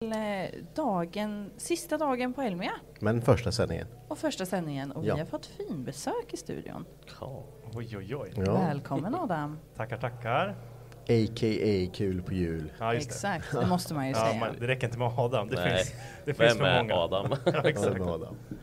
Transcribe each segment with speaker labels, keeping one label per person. Speaker 1: till, eh, dagen, sista dagen på Elmia
Speaker 2: Men första sändningen.
Speaker 1: och första sändningen och
Speaker 2: Ja.
Speaker 1: vi har fått fin besök i studion.
Speaker 3: Oj, oj, oj.
Speaker 2: Ja.
Speaker 1: Välkommen Adam!
Speaker 3: Tackar, tackar.
Speaker 2: A.k.a. kul på jul.
Speaker 3: Ja, just det.
Speaker 1: Exakt, det måste man ju
Speaker 3: Ja,
Speaker 1: säga.
Speaker 3: man, det räcker inte med Adam. Det
Speaker 4: Nej.
Speaker 3: finns, det finns
Speaker 4: Vem
Speaker 3: för
Speaker 4: är
Speaker 3: många.
Speaker 4: Adam?
Speaker 3: Ja,
Speaker 2: Ja,
Speaker 3: exakt.
Speaker 2: med Adam.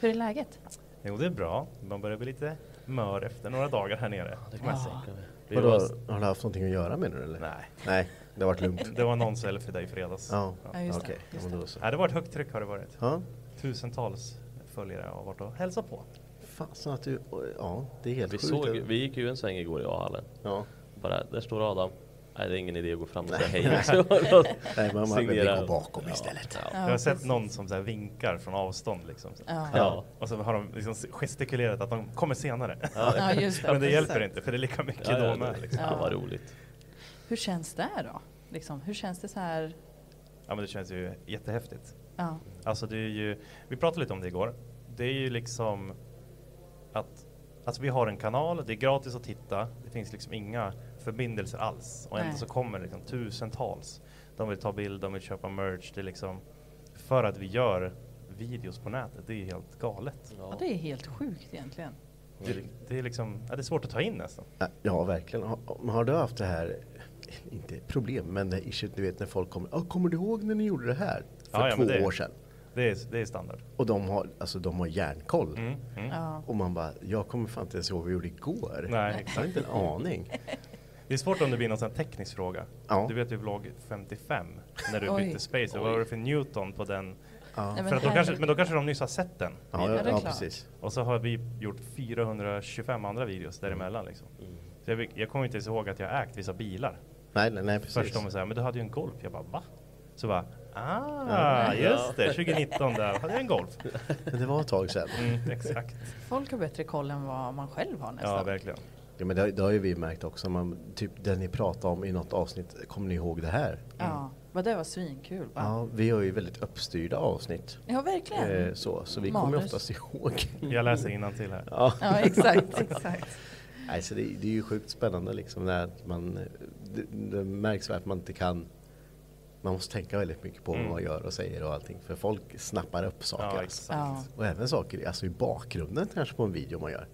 Speaker 1: Hur är läget?
Speaker 3: Jo, det är bra. Man börjar bli lite mör efter några dagar här nere. kan man säga.
Speaker 4: Vi
Speaker 2: Vadå,
Speaker 4: var-
Speaker 2: har du haft någonting att göra med det eller?
Speaker 3: Nej,
Speaker 2: Nej, det har varit lugnt.
Speaker 3: det var någon selfie för dig i fredags.
Speaker 2: Ja,
Speaker 1: Ja,
Speaker 2: okej.
Speaker 1: just det,
Speaker 2: Ja, men då så.
Speaker 3: Nej, det har varit högt tryck har det varit.
Speaker 2: Ja,
Speaker 3: Tusentals följare har varit och hälsat på.
Speaker 2: fasen att du... Ja, det är helt
Speaker 4: Vi,
Speaker 2: sjukt.
Speaker 4: såg, vi gick ju en sväng igår i A-hallen.
Speaker 2: Ja.
Speaker 4: Bara, där står Adam. Nej, det är ingen idé att gå fram och säga hej. Så-
Speaker 2: Nej, mamma, men vi
Speaker 4: Signera.
Speaker 2: går bakom istället.
Speaker 3: Jag har sett någon som så här vinkar från avstånd liksom. Så.
Speaker 4: ja.
Speaker 3: Och så har de liksom gestikulerat att de kommer senare.
Speaker 1: Ja, just det.
Speaker 3: Men det hjälper
Speaker 1: Exakt.
Speaker 3: inte för det är lika mycket
Speaker 4: Ja, ja,
Speaker 3: då med.
Speaker 4: det-
Speaker 3: Liksom.
Speaker 4: ja, vad roligt.
Speaker 1: Hur känns det då? Liksom, hur känns det så här?
Speaker 3: Ja, men det känns ju jättehäftigt.
Speaker 1: Ja,
Speaker 3: Alltså det är ju, vi pratade lite om det igår. Det är ju liksom att alltså vi har en kanal, det är gratis att titta, det finns liksom inga förbindelser alls och ändå
Speaker 1: Nej.
Speaker 3: så kommer det liksom tusentals. De vill ta bild, de vill köpa merch, det är liksom för att vi gör videos på nätet, det är helt galet.
Speaker 1: ja, det är helt sjukt egentligen.
Speaker 3: Det, det är liksom, ja, det är svårt att ta in nästan.
Speaker 2: Ja, Ja, verkligen. Har, har du haft det här, inte problem, men det issue, du vet när folk kommer, "Ja, kommer du ihåg när ni gjorde det här? För
Speaker 3: Ja, ja,
Speaker 2: två
Speaker 3: men det-
Speaker 2: år sedan.
Speaker 3: Det är, det är standard. Mm,
Speaker 2: Och de har, alltså, de har järnkoll.
Speaker 1: Ja.
Speaker 2: Och man bara, jag kommer fan inte ens ihåg vad vi gjorde igår.
Speaker 3: Nej,
Speaker 2: Jag har
Speaker 3: exakt.
Speaker 2: inte en aning.
Speaker 3: Det är svårt om det blir någon sån här teknisk fråga.
Speaker 2: Ja.
Speaker 3: Du vet ju vlogg 55 när du
Speaker 1: Oj.
Speaker 3: bytte space, vad var det för Newton på den?
Speaker 1: Nej,
Speaker 3: För att då
Speaker 1: här-
Speaker 3: kanske, men då kanske de nyss har sett den.
Speaker 2: Ja,
Speaker 1: Ja,
Speaker 2: ja,
Speaker 1: det är
Speaker 2: ja
Speaker 1: klart.
Speaker 2: precis.
Speaker 3: Och så har vi gjort 425 andra videos
Speaker 2: Mm.
Speaker 3: däremellan. Liksom. Så jag, vet- jag kommer inte ens ihåg att jag ägt vissa bilar.
Speaker 2: Nej, nej, nej precis.
Speaker 3: Först de säger, men du hade ju en Golf. Jag bara, va? Så bara, ah, just det, 2019 där hade jag en Golf.
Speaker 2: Men det var ett tag sedan.
Speaker 3: Mm, exakt.
Speaker 1: Folk har bättre koll än vad man själv har
Speaker 3: Ja,
Speaker 1: nästan.
Speaker 3: verkligen.
Speaker 2: Ja, men det, har- det har ju vi märkt också. Man, typ det ni pratade om i något avsnitt, kommer ni ihåg det här?
Speaker 3: Mm.
Speaker 1: Ja, vad det var svinkul va? Ja,
Speaker 2: Ja, vi har ju väldigt uppstyrda avsnitt.
Speaker 1: verkligen.
Speaker 2: Eh, så, så vi kommer ju
Speaker 1: Manus.
Speaker 2: oftast ihåg.
Speaker 3: Jag läser till här.
Speaker 1: Ja, exakt, exakt.
Speaker 2: Nej, så det, det är ju sjukt spännande liksom när att man, det, det märks att man inte kan man måste tänka väldigt mycket på vad man gör och säger och allting för folk snappar upp saker.
Speaker 3: Mm. Ja,
Speaker 2: alltså.
Speaker 3: exakt.
Speaker 1: Ja.
Speaker 2: Och även saker alltså i bakgrunden kanske på en video man gör.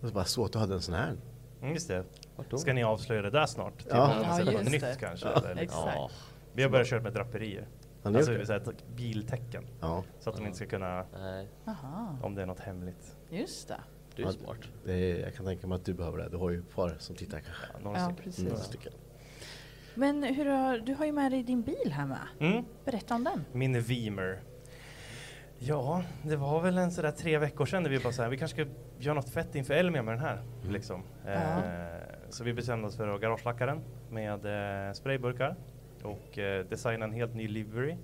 Speaker 2: Och så bara så att du hade en sån här.
Speaker 3: Mm, just det.
Speaker 4: Vart då?
Speaker 3: Ska ni avslöja det där snart? Typ Till
Speaker 2: Ja.
Speaker 3: någon
Speaker 1: Ja,
Speaker 3: som sett
Speaker 1: just
Speaker 3: något
Speaker 1: det.
Speaker 3: nytt kanske? eller liksom.
Speaker 1: Exakt.
Speaker 4: Ja,
Speaker 3: Vi har börjat köra med draperier.
Speaker 2: Har ni
Speaker 3: Alltså
Speaker 2: gjort
Speaker 3: det vill säga ett biltecken.
Speaker 2: Ja,
Speaker 3: Så att de inte ska kunna,
Speaker 4: nej,
Speaker 1: Aha,
Speaker 3: om det är något hemligt.
Speaker 1: just det.
Speaker 4: det är ju smart.
Speaker 2: det är, jag kan tänka mig att du behöver det. Du har ju ett par som tittar kanske.
Speaker 3: Några
Speaker 1: Ja,
Speaker 3: stycken.
Speaker 1: precis.
Speaker 2: Några stycken.
Speaker 1: Men hur har, du har ju med dig din bil här med.
Speaker 3: Mm.
Speaker 1: Berätta om den.
Speaker 3: Min Vimer. Ja, det var väl en sådär tre veckor sedan där vi bara såhär, vi kanske ska göra något fett inför Elmia med den här.
Speaker 2: Mm.
Speaker 3: Liksom. Eh, så vi bestämde oss för att garagelacka den med eh, sprayburkar och eh, designa en helt ny livery.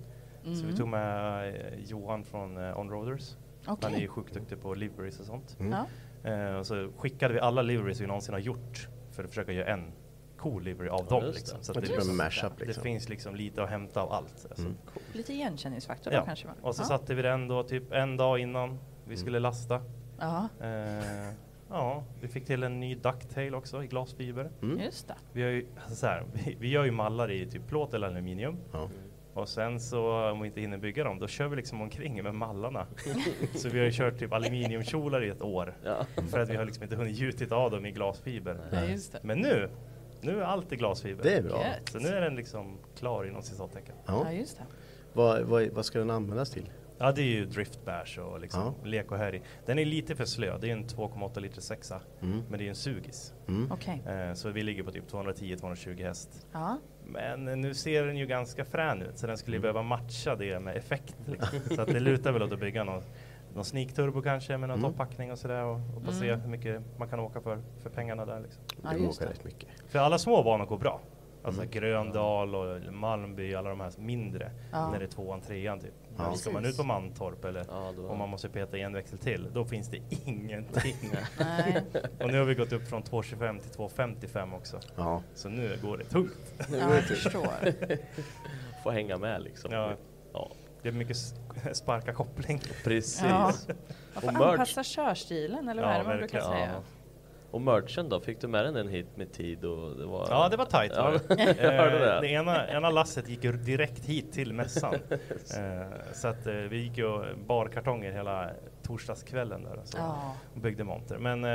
Speaker 3: Så
Speaker 2: Mm.
Speaker 3: vi tog med eh, Johan från eh, Onroaders. Han är
Speaker 1: Okej.
Speaker 3: ju sjukt duktig på liveries
Speaker 2: Mm.
Speaker 3: och sånt.
Speaker 1: Ja.
Speaker 3: Eh, och så skickade vi alla liveries vi någonsin har gjort för att försöka göra en co-livery av dem.
Speaker 4: just det.
Speaker 3: Liksom. Så
Speaker 2: Det är typ
Speaker 3: finns-
Speaker 2: en mashup,
Speaker 3: det
Speaker 2: liksom.
Speaker 3: finns liksom lite att hämta av allt. Alltså,
Speaker 4: Mm.
Speaker 1: Lite igenkänningsfaktor då
Speaker 3: ja.
Speaker 1: kanske? Man.
Speaker 3: Och så
Speaker 1: ja.
Speaker 3: satte vi den då typ en dag innan
Speaker 2: Mm.
Speaker 3: vi skulle lasta.
Speaker 1: Ja,
Speaker 3: Eh, ja, vi fick till en ny ducktail också i glasfiber.
Speaker 2: Mm.
Speaker 1: just det.
Speaker 3: Vi, har ju, alltså så här, vi, vi gör ju mallar i typ plåt eller aluminium.
Speaker 2: Ja.
Speaker 3: Och sen så om vi inte hinner bygga dem, då kör vi liksom omkring med mallarna. så vi har ju kört typ aluminiumkjolar i ett år. För att vi har liksom inte hunnit gjutit av dem i glasfiber.
Speaker 1: Ja, just det.
Speaker 3: Men nu, nu är allt i glasfiber.
Speaker 2: Det är bra.
Speaker 1: Gött.
Speaker 3: Så nu är den liksom klar inom citattecken.
Speaker 1: Ja,
Speaker 2: Ja.
Speaker 1: just det.
Speaker 2: Vad, vad, vad ska den användas till?
Speaker 3: Ja, det är ju driftbash och liksom lek och här i. Den är lite för slö. Det är ju en 2,8 liter sexa. Men det är ju en sugis.
Speaker 1: Okej.
Speaker 3: Eh, så vi ligger på typ 210-220 häst.
Speaker 1: Ja.
Speaker 3: Men eh, nu ser den ju ganska frän ut så den
Speaker 2: Mm.
Speaker 3: skulle ju behöva matcha det med effekt. Liksom. Så att det lutar väl åt att bygga någon, någon sneak-turbo kanske med någon
Speaker 2: Mm.
Speaker 3: toppackning och sådär och, och bara se hur mycket man kan åka för, för pengarna där. Liksom.
Speaker 1: Mm. Ja,
Speaker 2: du
Speaker 1: just
Speaker 2: åker
Speaker 1: det.
Speaker 2: rätt mycket. Mm.
Speaker 3: För alla små banor går bra. Alltså Gröndal och Malmby, alla de här mindre. När det är tvåan, trean typ. Men ska man ut på Mantorp eller
Speaker 4: Ja, då-
Speaker 3: om man måste peta i en växel till, då finns det ingenting.
Speaker 1: Nej.
Speaker 3: och nu har vi gått upp från 2,25 till 2,55 också.
Speaker 2: Ja.
Speaker 3: Så nu går det tungt.
Speaker 1: Ja, jag förstår.
Speaker 4: Får hänga med liksom.
Speaker 3: Ja.
Speaker 4: Ja,
Speaker 3: Det är mycket s- sparka koppling.
Speaker 4: precis.
Speaker 1: Ja. Man
Speaker 4: Och
Speaker 1: får
Speaker 4: merch.
Speaker 1: anpassa körstilen eller vad
Speaker 3: Ja,
Speaker 1: är det man brukar
Speaker 3: verkligen.
Speaker 1: säga?
Speaker 4: Och merchen då? Fick du med den en hit med tid och det var...
Speaker 3: Ja, det var tajt. Var
Speaker 4: Ja,
Speaker 3: det.
Speaker 4: jag hörde
Speaker 3: Eh,
Speaker 4: det.
Speaker 3: det ena, ena lasset gick ju direkt hit till mässan. Eh, så att eh, vi gick ju och bar kartonger hela torsdagskvällen där och så
Speaker 1: Ja.
Speaker 3: och byggde monter. Men eh,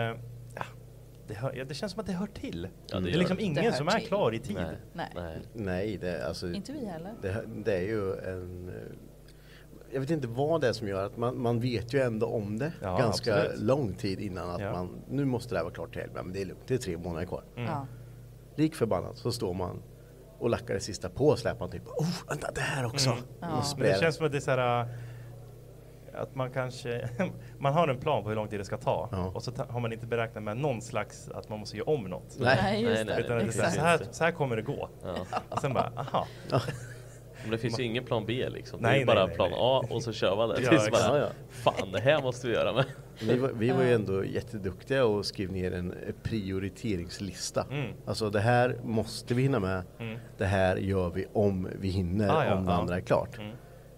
Speaker 3: ja, det, hör, ja, det känns som att det hör till.
Speaker 4: det
Speaker 3: det,
Speaker 4: gör
Speaker 3: är liksom
Speaker 4: det.
Speaker 3: ingen
Speaker 1: Det hör
Speaker 3: som är
Speaker 1: till.
Speaker 3: klar i tid.
Speaker 4: Nej.
Speaker 1: Nej.
Speaker 4: Nej.
Speaker 2: Nej, det, alltså,
Speaker 1: Inte vi heller.
Speaker 2: det, det är ju en... eh, Jag vet inte vad det är som gör att man, man vet ju ändå om det
Speaker 3: Ja,
Speaker 2: ganska
Speaker 3: absolut.
Speaker 2: lång tid innan att
Speaker 3: Ja. Mm.
Speaker 2: man, nu måste det här vara klart till helgen, men det är lugnt, det är tre månader kvar.
Speaker 1: Ja.
Speaker 2: Lik förbannat så står man och lackar det sista på och släpar typ, oh, vänta det här också! Och
Speaker 3: Mm. Men det
Speaker 2: sprayar
Speaker 3: känns som att det är så här, äh, att man kanske, man har en plan på hur lång tid det ska ta
Speaker 2: Ja.
Speaker 3: och så ta, har man inte beräknat med någon slags att man måste göra om något.
Speaker 2: Nej.
Speaker 1: Nej, just
Speaker 4: Nej, nej,
Speaker 3: Utan att
Speaker 1: det.
Speaker 3: det är så, här,
Speaker 1: Exakt.
Speaker 3: så, här, så här kommer det gå. Och sen bara, aha.
Speaker 4: Men det finns ju ingen plan B liksom. det är
Speaker 3: Nej,
Speaker 4: ju bara
Speaker 3: nej, nej,
Speaker 4: plan
Speaker 3: nej.
Speaker 4: A och så kör man det.
Speaker 3: Ja,
Speaker 4: tills
Speaker 2: exakt.
Speaker 4: bara,
Speaker 2: Ja, ja.
Speaker 4: Fan, det här måste vi göra med.
Speaker 2: Vi var, vi var ju ändå jätteduktiga och skrev ner en prioriteringslista.
Speaker 3: Mm.
Speaker 2: Alltså det här måste vi hinna med. Det här gör vi om vi hinner,
Speaker 3: Ah, ja,
Speaker 2: om det
Speaker 3: ja. Mm.
Speaker 2: andra är klart.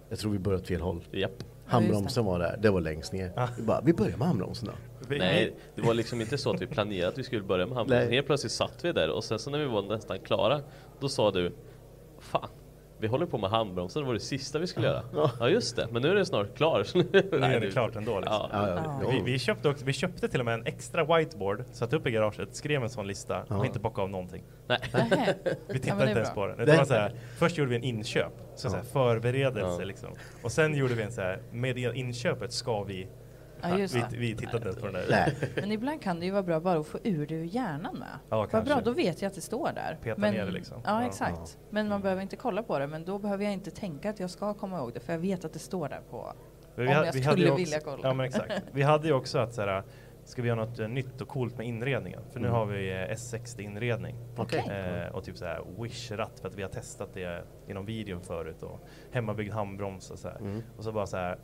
Speaker 2: Jag tror vi började åt fel håll.
Speaker 4: Japp.
Speaker 2: Handbromsen var där, det var längst ner.
Speaker 3: Ah.
Speaker 2: Vi bara, vi börjar med handbromsen då.
Speaker 3: Vi-
Speaker 4: Nej, det var liksom inte så att vi planerade att vi skulle börja med handbollen.
Speaker 2: Nej.
Speaker 4: Helt plötsligt satt vi där och sen så när vi var nästan klara, då sa du Fan, vi håller på med handbromsen, det var det sista vi skulle göra. Ja, just det, men nu är det snart klar. Så nu
Speaker 3: Nu är
Speaker 4: du-
Speaker 3: det klart ändå. Liksom.
Speaker 4: Ja.
Speaker 2: Ja, ja, ja.
Speaker 3: Vi, vi, köpte också, vi köpte till och med en extra whiteboard, satte upp i garaget, skrev en sån lista och inte bockade av någonting.
Speaker 4: Nej.
Speaker 1: Nähä.
Speaker 3: Vi
Speaker 1: Ja,
Speaker 3: tittade
Speaker 1: men det är
Speaker 3: inte ens
Speaker 1: bra.
Speaker 3: på den. Det
Speaker 2: Nej.
Speaker 3: var så här, först gjorde vi en inköp, så så här, förberedelse liksom. Och sen gjorde vi en så här, med det inköpet ska vi...
Speaker 1: Ja, just
Speaker 3: vi,
Speaker 1: det.
Speaker 3: vi tittade inte ens på den där.
Speaker 2: Nej,
Speaker 1: Men ibland kan det ju vara bra bara att få ur det ur hjärnan med.
Speaker 3: Ja,
Speaker 1: Vad
Speaker 3: kanske.
Speaker 1: bra, då vet jag att det står där.
Speaker 3: Peta ner det liksom.
Speaker 1: Ja,
Speaker 3: Ja.
Speaker 1: exakt. Men man behöver inte kolla på det, men då behöver jag inte tänka att jag ska komma ihåg det, för jag vet att det står där på.
Speaker 3: Men ha-
Speaker 1: Om jag
Speaker 3: hade ju
Speaker 1: skulle
Speaker 3: också,
Speaker 1: vilja kolla.
Speaker 3: Ja, men exakt. Vi hade ju också att så här, ska vi göra något eh, nytt och coolt med inredningen? För
Speaker 4: Mm.
Speaker 3: nu har vi eh, S60 inredning.
Speaker 1: Okej.
Speaker 3: Eh, och typ så här wish-ratt för att vi har testat det inom videon förut och hemmabyggd handbroms och så här.
Speaker 4: Mm.
Speaker 3: Och så bara så här,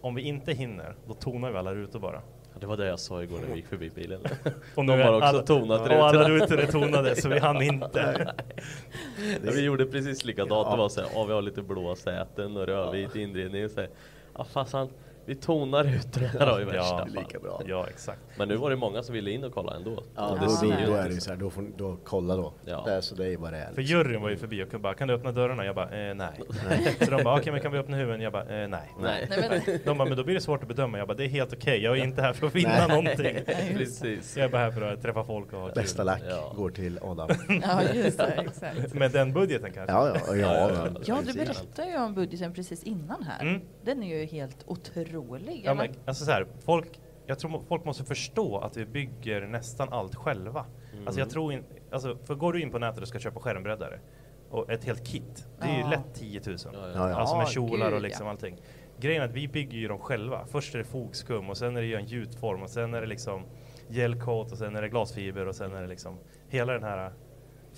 Speaker 3: om vi inte hinner, då tonar vi alla rutor bara.
Speaker 4: Ja, Det var det jag sa igår när vi gick förbi bilen.
Speaker 3: Och
Speaker 4: De har också tonat
Speaker 3: Och alla
Speaker 4: rutorna.
Speaker 3: rutor är tonade så vi hann inte.
Speaker 4: Ja, vi gjorde precis likadant. Det var så här, ja, vi har lite blåa säten och rödvit inredning. Och så här, ja, fasan, vi tonar ut det här då i värsta
Speaker 3: Ja.
Speaker 4: fall.
Speaker 2: lika bra.
Speaker 3: Ja, exakt.
Speaker 4: Men nu var det många som ville in och kolla ändå.
Speaker 2: Ja,
Speaker 4: Och
Speaker 2: då,
Speaker 4: ser
Speaker 2: då,
Speaker 4: ju
Speaker 2: då
Speaker 4: inte
Speaker 2: är det ju så här, då får ni då kolla då.
Speaker 4: Ja.
Speaker 2: Det är så det är ju vad det är. liksom.
Speaker 3: För juryn var ju förbi och bara, kan du öppna dörrarna? Jag bara, eh, nej. Så de bara, okej men kan vi öppna huvuden? Jag bara, eh, nej.
Speaker 4: Nej.
Speaker 1: Nej, men,
Speaker 3: De bara, men då blir det svårt att bedöma. Jag bara, det är helt okej. Jag är inte här för att vinna någonting.
Speaker 4: Precis.
Speaker 3: Jag är bara här för att träffa folk och ha kul.
Speaker 2: Bästa lack
Speaker 4: Ja.
Speaker 2: går till Adam.
Speaker 1: ja, just det, exakt.
Speaker 3: Med den budgeten kanske.
Speaker 2: Ja, ja, ja. ja,
Speaker 1: Ja, du berättade ju om budgeten precis innan här. Den är ju helt otrolig.
Speaker 3: Mm. Ja, men, alltså så här, folk, jag tror må- folk måste förstå att vi bygger nästan allt själva. Alltså
Speaker 4: Mm.
Speaker 3: jag tror in, alltså, för går du in på nätet och ska köpa skärmbreddare och ett helt kit, det är ju
Speaker 1: Ja.
Speaker 3: lätt 10 000.
Speaker 2: ja.
Speaker 3: Alltså med
Speaker 1: Ja,
Speaker 3: kjolar
Speaker 1: gud,
Speaker 3: och liksom
Speaker 1: ja.
Speaker 3: allting. Grejen är att vi bygger ju dem själva. Först är det fogskum och sen är det ju en gjutform och sen är det liksom gelcoat och sen är det glasfiber och sen är det liksom hela den här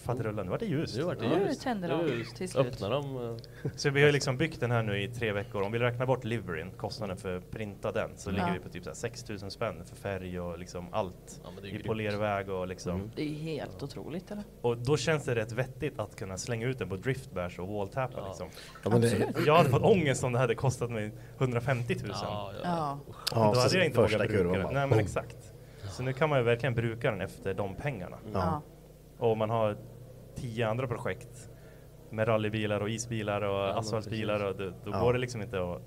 Speaker 3: Faderullan, nu vart det ljust.
Speaker 4: Nu vart det
Speaker 1: Ja,
Speaker 4: ljust.
Speaker 1: nu tänder de
Speaker 4: Nu
Speaker 1: till slut.
Speaker 4: öppnar de. eh,
Speaker 3: Så vi har ju liksom byggt den här nu i tre veckor. Om vi räknar bort liveryn, kostnaden för att printa den, så ligger vi på typ så här 6 000 spänn för färg och liksom allt.
Speaker 4: Ja, men det är
Speaker 3: I
Speaker 4: grymt. Mm.
Speaker 3: polerväg och liksom.
Speaker 1: Det är helt otroligt eller?
Speaker 3: Och då känns det rätt vettigt att kunna slänga ut den på driftbärs och walltappa liksom.
Speaker 2: Ja, men det,
Speaker 3: Jag hade fått ångest om det hade kostat mig 150 000.
Speaker 4: Ja, ja.
Speaker 1: Ja.
Speaker 2: ja,
Speaker 3: då
Speaker 2: så
Speaker 3: hade jag inte
Speaker 2: första
Speaker 3: vågat bruka
Speaker 2: kurvan
Speaker 3: den.
Speaker 2: bara, Oh.
Speaker 3: Nej men
Speaker 2: boom.
Speaker 3: exakt. Så nu kan man ju verkligen bruka den efter de pengarna.
Speaker 1: ja.
Speaker 3: Och om man har tio andra projekt med rallybilar och isbilar och
Speaker 4: men
Speaker 3: asfaltbilar, och då, då
Speaker 2: Ja.
Speaker 3: går det liksom inte att...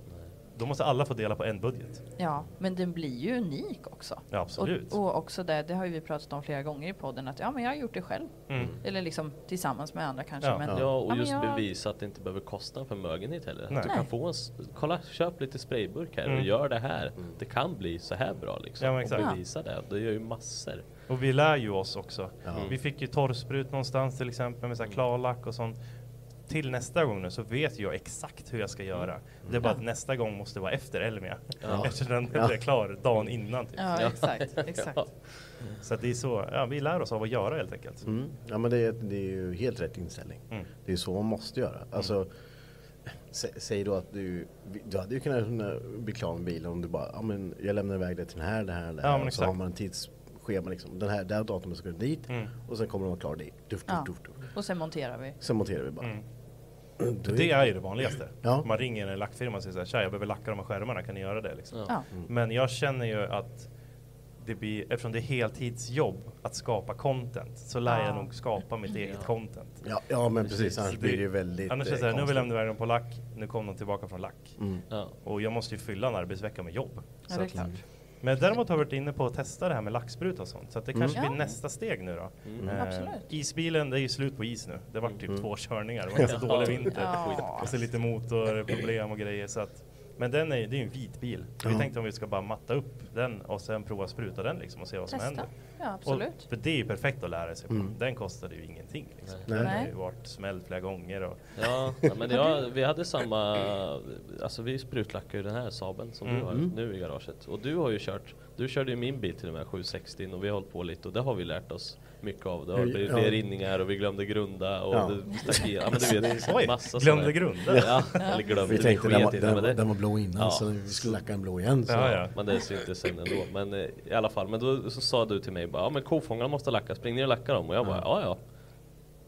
Speaker 3: Då måste alla få dela på en budget.
Speaker 1: Ja, men den blir ju unik också.
Speaker 3: Ja, absolut.
Speaker 1: Och, och också det, det har ju vi pratat om flera gånger i podden, att ja men jag har gjort det själv. Eller liksom tillsammans med andra kanske.
Speaker 3: Mm. Ja.
Speaker 1: men,
Speaker 4: Ja, och
Speaker 1: men
Speaker 4: just
Speaker 1: jag-
Speaker 4: bevisa att det inte behöver kosta en förmögenhet heller.
Speaker 3: Nej.
Speaker 4: Att du
Speaker 1: Nej.
Speaker 4: kan få en, s- kolla, köp lite sprayburk här
Speaker 3: Mm.
Speaker 4: och gör det här. Det kan bli så här bra liksom.
Speaker 3: Ja, men exakt.
Speaker 4: Och
Speaker 3: Ja.
Speaker 4: bevisa det. Det gör ju massor.
Speaker 3: Och vi lär ju oss också. Vi fick ju torrsprut någonstans till exempel med så här klarlack och sånt. Till nästa gång nu så vet jag exakt hur jag ska göra. Det är bara att nästa gång måste vara efter Elmia. Eftersom den blev klar dagen innan. Typ.
Speaker 1: Ja, exakt. exakt.
Speaker 3: Så att det är så, ja, vi lär oss av att göra helt enkelt.
Speaker 2: Mm. Ja men det, är- det är ju helt rätt inställning.
Speaker 3: Mm.
Speaker 2: Det är så man måste göra. Alltså, sä, säg då att du, du hade ju kunnat kunna bli klar med bilen om du bara, ja men jag lämnar iväg det till den här, den här, den
Speaker 3: Ja,
Speaker 2: här.
Speaker 3: men
Speaker 2: och så har
Speaker 3: exakt.
Speaker 2: man en tidsschema liksom. Den här, det här datumet ska du dit
Speaker 3: Mm.
Speaker 2: och sen kommer de vara klara dit. Duff, duff,
Speaker 1: Ja.
Speaker 2: duff, duff.
Speaker 1: Och sen monterar vi.
Speaker 2: Sen monterar vi bara. Då är-
Speaker 3: Mm. Det är ju det vanligaste.
Speaker 2: Ja.
Speaker 3: Man ringer en lackfirma och säger så här, "Tja, jag behöver lacka de här skärmarna, kan ni göra det? Liksom.
Speaker 1: Ja.
Speaker 2: Mm.
Speaker 3: Men jag känner ju att det blir, eftersom det är heltidsjobb att skapa content så lär jag nog skapa mitt eget content.
Speaker 2: Ja, ja men precis, annars
Speaker 3: Det-
Speaker 2: blir det ju väldigt
Speaker 3: Annars är det
Speaker 2: eh,
Speaker 3: så här, nu har vi
Speaker 2: konstigt. Mm.
Speaker 3: lämnat iväg dem på lack, nu kom de tillbaka från lack.
Speaker 4: Ja.
Speaker 3: Och jag måste ju fylla en arbetsvecka med jobb.
Speaker 1: Ja,
Speaker 3: Så
Speaker 1: det är
Speaker 3: att-
Speaker 1: klart.
Speaker 3: Men däremot har vi varit inne på att testa det här med lackspruta och sånt. Så att det
Speaker 2: Mm.
Speaker 3: kanske
Speaker 1: Ja.
Speaker 3: blir nästa steg nu då. Eh,
Speaker 1: Absolut.
Speaker 3: isbilen, det är ju slut på is nu. Det var typ
Speaker 2: Mm.
Speaker 3: två körningar. Det var en så dålig vinter.
Speaker 1: Ja.
Speaker 3: Och så lite motorproblem och grejer. Så att, men den är, ju- det är ju en vit bil. Så Vi tänkte om vi ska bara matta upp den och sen prova spruta den liksom och se vad som
Speaker 1: Testa.
Speaker 3: händer.
Speaker 1: Ja, absolut.
Speaker 3: Och, för det är ju perfekt att lära sig på. Den kostade ju ingenting. Liksom. Den har
Speaker 1: Nej.
Speaker 3: ju varit smälld flera gånger. Och,
Speaker 4: Ja, nej, men jag, vi hade samma, alltså vi sprutlackade ju den här Saaben som
Speaker 3: Mm.
Speaker 4: du har nu i garaget. Och du har ju kört, du körde ju min bil till och med 760 och vi har hållit på lite och det har vi lärt oss mycket av. Det har
Speaker 2: Hur-
Speaker 4: blivit
Speaker 2: ja.
Speaker 4: fler rinningar och vi glömde grunda och
Speaker 2: Ja.
Speaker 4: det stack i, ja men du vet,
Speaker 3: Oj,
Speaker 4: massa
Speaker 3: glömde
Speaker 4: sådana-
Speaker 3: grunda?
Speaker 4: Ja, eller glömde,
Speaker 2: Vi tänkte
Speaker 4: sket
Speaker 2: den
Speaker 4: i
Speaker 2: var,
Speaker 4: det, men
Speaker 2: den,
Speaker 4: det-
Speaker 2: den var blå innan
Speaker 4: Ja.
Speaker 2: så vi skulle lacka den blå igen. Så.
Speaker 3: ja, ja.
Speaker 4: Men det syntes sen ändå. Men eh, i alla fall, men då så sa du till mig bara, ja men kofångarna måste lackas, spring ner och lacka dem. Och jag bara, ja ja.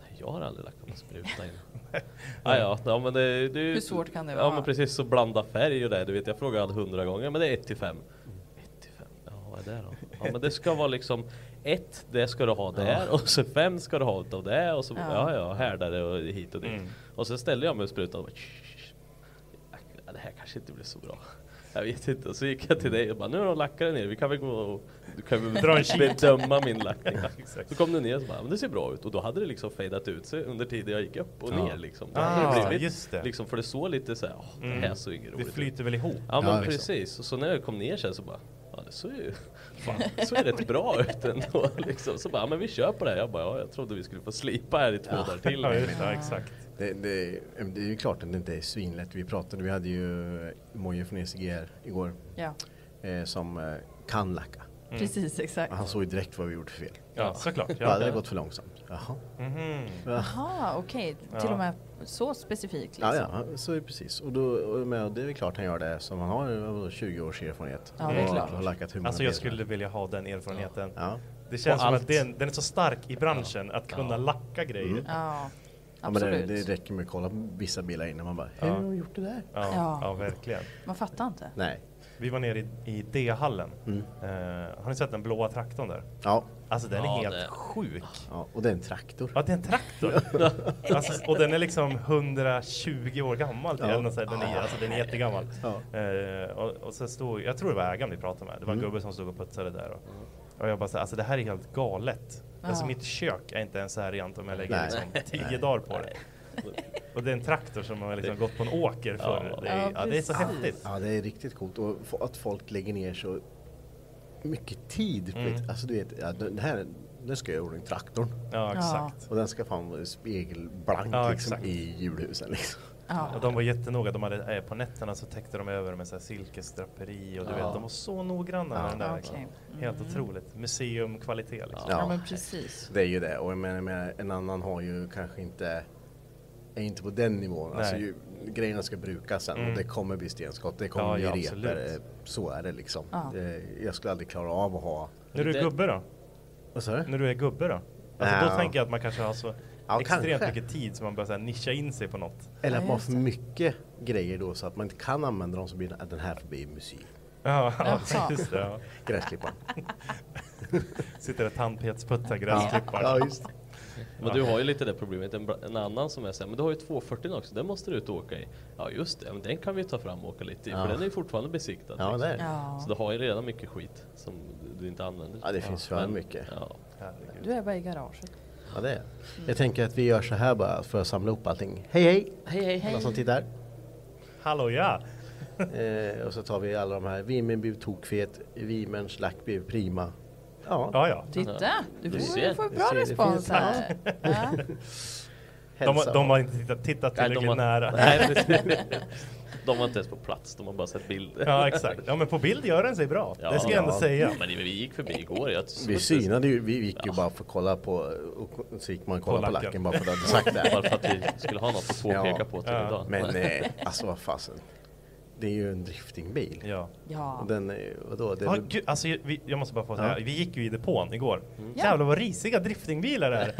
Speaker 4: Nej, Jag har aldrig lackat med spruta innan. ja, ja, ja, men det, det,
Speaker 1: Hur svårt kan det
Speaker 4: ja,
Speaker 1: vara?
Speaker 4: men precis, så blanda färg och det. Du vet, jag frågade hundra gånger, men det är 1 till 5.
Speaker 3: Mm.
Speaker 4: 1 till 5, ja vad är det då? Ja men det ska vara liksom 1, det ska du ha där och så 5 ska du ha utav det och så ja ja, härdare och hit och dit.
Speaker 3: Mm.
Speaker 4: Och så ställde jag mig och sprutade och bara, "Shh, ja, det här kanske inte blir så bra. Jag vet inte. Och så gick jag till dig och bara, nu har de lackat ner, vi kan väl gå och du kan väl
Speaker 3: Dra en kik."
Speaker 4: bedöma min lackning.
Speaker 3: exakt.
Speaker 4: så kom du ner och så bara, men det ser bra ut. Och då hade det liksom fejdat ut sig under tiden jag gick upp och ner liksom. Det hade
Speaker 3: Ah,
Speaker 4: det blivit,
Speaker 3: just det. Mm.
Speaker 4: Liksom, för det såg lite så här, "Åh, det här såg inget
Speaker 3: Det
Speaker 4: roligt ut."
Speaker 3: flyter väl ihop.
Speaker 4: Ja men
Speaker 2: Ja, liksom.
Speaker 4: precis, och så när jag kom ner sen så bara Ja det såg ju fan, det såg ju rätt bra ut ändå liksom. Så bara, ja, men vi kör på det här. Jag bara, ja, jag trodde vi skulle få slipa här i två dagar till.
Speaker 3: Ja, just det, ja, exakt.
Speaker 2: Det, det, det är ju klart att det inte är svinlätt. Vi pratade, vi hade ju Moje från ECGR igår
Speaker 1: Ja. Mm.
Speaker 2: eh, som eh, kan lacka.
Speaker 1: Precis, exakt.
Speaker 2: Han såg ju direkt vad vi gjort för fel.
Speaker 3: Ja, såklart.
Speaker 2: Ja,
Speaker 3: Ja.
Speaker 2: det har gått för långsamt. Jaha.
Speaker 3: Mhm.
Speaker 1: Jaha, okej. Till och med så specifikt liksom.
Speaker 2: Ja, ja, så är det precis. Och, då, och med, det är väl klart han gör det som han har eh, vadå, 20 års erfarenhet.
Speaker 1: Ja, det är
Speaker 2: Och
Speaker 1: klart.
Speaker 2: Har lackat hur många
Speaker 3: Alltså jag
Speaker 2: bilar som
Speaker 3: skulle vilja ha den erfarenheten.
Speaker 2: Ja.
Speaker 3: Det känns
Speaker 4: På
Speaker 3: som
Speaker 4: allt.
Speaker 3: att den, den är så stark i branschen att kunna lacka grejer.
Speaker 1: Mm. Ja,
Speaker 2: helst. ja, men det,
Speaker 1: absolut.
Speaker 2: det räcker med att kolla på vissa bilar innan man bara, hur har de gjort det där?
Speaker 3: Ja, ja.
Speaker 1: Ja.
Speaker 3: verkligen.
Speaker 1: Man fattar inte.
Speaker 2: Nej. Mm.
Speaker 3: Vi var nere i, i D-hallen. Eh, har ni sett den blåa traktorn där?
Speaker 2: Ja.
Speaker 3: Alltså den
Speaker 4: Ja,
Speaker 3: är helt
Speaker 4: det-
Speaker 3: sjuk.
Speaker 2: ja, och det är en traktor.
Speaker 3: Ja, det är en traktor. alltså, och den är liksom 120 år gammal. Ja. Eller något sånt. den, är, alltså, den är jättegammal. Eh, och, och så stod, jag tror det var ägaren vi pratade med. Det var en
Speaker 2: Mm.
Speaker 3: gubbe som stod och putsade där. Och, och jag bara så här, alltså det här är helt galet. Alltså mitt kök är inte ens så här rent om jag lägger
Speaker 2: Nej.
Speaker 3: liksom, tio dagar på det. Och det är en traktor som har liksom gått på en åker förr. Det, är,
Speaker 1: Ja,
Speaker 3: ja, det är så
Speaker 1: precis.
Speaker 3: häftigt.
Speaker 2: Ja, det är riktigt coolt. Och f- att folk lägger ner så mycket tid. på
Speaker 3: Mm.
Speaker 2: det. Alltså du vet, ja, den här, nu ska jag göra i ordning traktorn.
Speaker 3: Ja, exakt.
Speaker 2: Och den ska fan vara spegelblank
Speaker 3: Ja,
Speaker 2: liksom,
Speaker 3: exakt.
Speaker 2: i julhusen. Liksom.
Speaker 1: Ja.
Speaker 3: Och de var jättenoga, de hade, eh, på nätterna så täckte de över med så här silkesdraperi och du vet, de var så noggranna med den där.
Speaker 1: Ja,
Speaker 3: liksom.
Speaker 1: okej. Mm.
Speaker 3: Helt otroligt. Museumkvalitet liksom.
Speaker 1: Ja,
Speaker 2: Ja.
Speaker 1: men precis.
Speaker 2: Det är ju det. Och jag menar, jag menar, en annan har ju kanske inte är inte på den nivån. Alltså,
Speaker 3: Nej.
Speaker 2: ju, grejerna ska brukas sen och det kommer bli stenskott. Det kommer
Speaker 3: Ja,
Speaker 2: bli repor.
Speaker 3: ja, absolut.
Speaker 2: eh, Så är det liksom.
Speaker 1: Ja.
Speaker 2: Det, jag skulle aldrig klara av att ha...
Speaker 3: När du är
Speaker 4: Det-
Speaker 3: gubbe då?
Speaker 2: Vad sa du?
Speaker 3: När du är gubbe då? Alltså, Då
Speaker 2: Ja.
Speaker 3: tänker jag att man kanske har så
Speaker 2: Ja,
Speaker 3: extremt
Speaker 2: kanske.
Speaker 3: mycket tid så man börjar så här, nischa in sig på något.
Speaker 2: Eller
Speaker 1: Ja,
Speaker 2: att man har
Speaker 1: just
Speaker 2: för mycket grejer då så att man inte kan använda dem så blir den- den här får bli musik.
Speaker 3: Ja,
Speaker 1: Jaha.
Speaker 3: just det. Ja.
Speaker 2: Gräsklipparen.
Speaker 3: Sitter och tandpetsputtar gräsklipparen.
Speaker 2: ja, just det.
Speaker 4: Men du har ju lite det problemet. En, bra- en annan som är såhär, men du har ju 240 också, den måste du ut och åka i. Ja just det, men den kan vi ta fram och åka lite i,
Speaker 2: Ja.
Speaker 4: för den är ju fortfarande besiktad. liksom.
Speaker 2: Ja, det är det.
Speaker 1: Ja.
Speaker 4: Så du har ju redan mycket skit som du- du inte använder.
Speaker 2: Ja, det finns för mycket.
Speaker 4: Ja.
Speaker 3: Herregud.
Speaker 1: Du är bara i garaget.
Speaker 2: Ja, det är. det. Jag tänker att vi gör så här bara för att samla ihop allting. Hej hej! Hej hej! Alla som tittar.
Speaker 3: Hallå ja!
Speaker 2: Eh, och så tar vi alla de här. Vimen blev tokfet, Vimens lack blev prima. Ja,
Speaker 3: Ja, ja.
Speaker 1: Titta, du får,
Speaker 4: ser,
Speaker 1: du får
Speaker 2: du
Speaker 1: bra
Speaker 2: ser, det
Speaker 1: respons
Speaker 2: finns
Speaker 1: här. Ja.
Speaker 3: De,
Speaker 2: hälsa.
Speaker 3: har- de har inte tittat, tittat
Speaker 4: Nej, de
Speaker 3: tillräckligt
Speaker 4: har,
Speaker 3: nära.
Speaker 4: nej, precis. de var inte ens på plats, de har bara sett bilder.
Speaker 3: Ja, exakt. Ja, men på bild gör den sig bra. det ska jag ändå
Speaker 4: ja.
Speaker 3: säga.
Speaker 4: Men vi gick förbi igår. Jag
Speaker 2: Vi synade ju, vi gick ju bara för att kolla på och så gick man och kollade på lacken
Speaker 3: lacken.
Speaker 2: bara för att du hade sagt det.
Speaker 4: Bara
Speaker 2: här.
Speaker 4: för att vi skulle ha något att påpeka
Speaker 2: Ja.
Speaker 4: på till idag.
Speaker 2: Men eh, alltså vad fasen. Det är ju en driftingbil.
Speaker 3: Ja.
Speaker 1: Ja.
Speaker 2: Och den är, vadå? Det är
Speaker 3: Ja,
Speaker 2: väl-
Speaker 3: gud, alltså, vi, jag måste bara få säga,
Speaker 2: Ja. Mm.
Speaker 3: vi gick ju i depån igår.
Speaker 1: Ja.
Speaker 3: Jävlar vad risiga driftingbilar det är.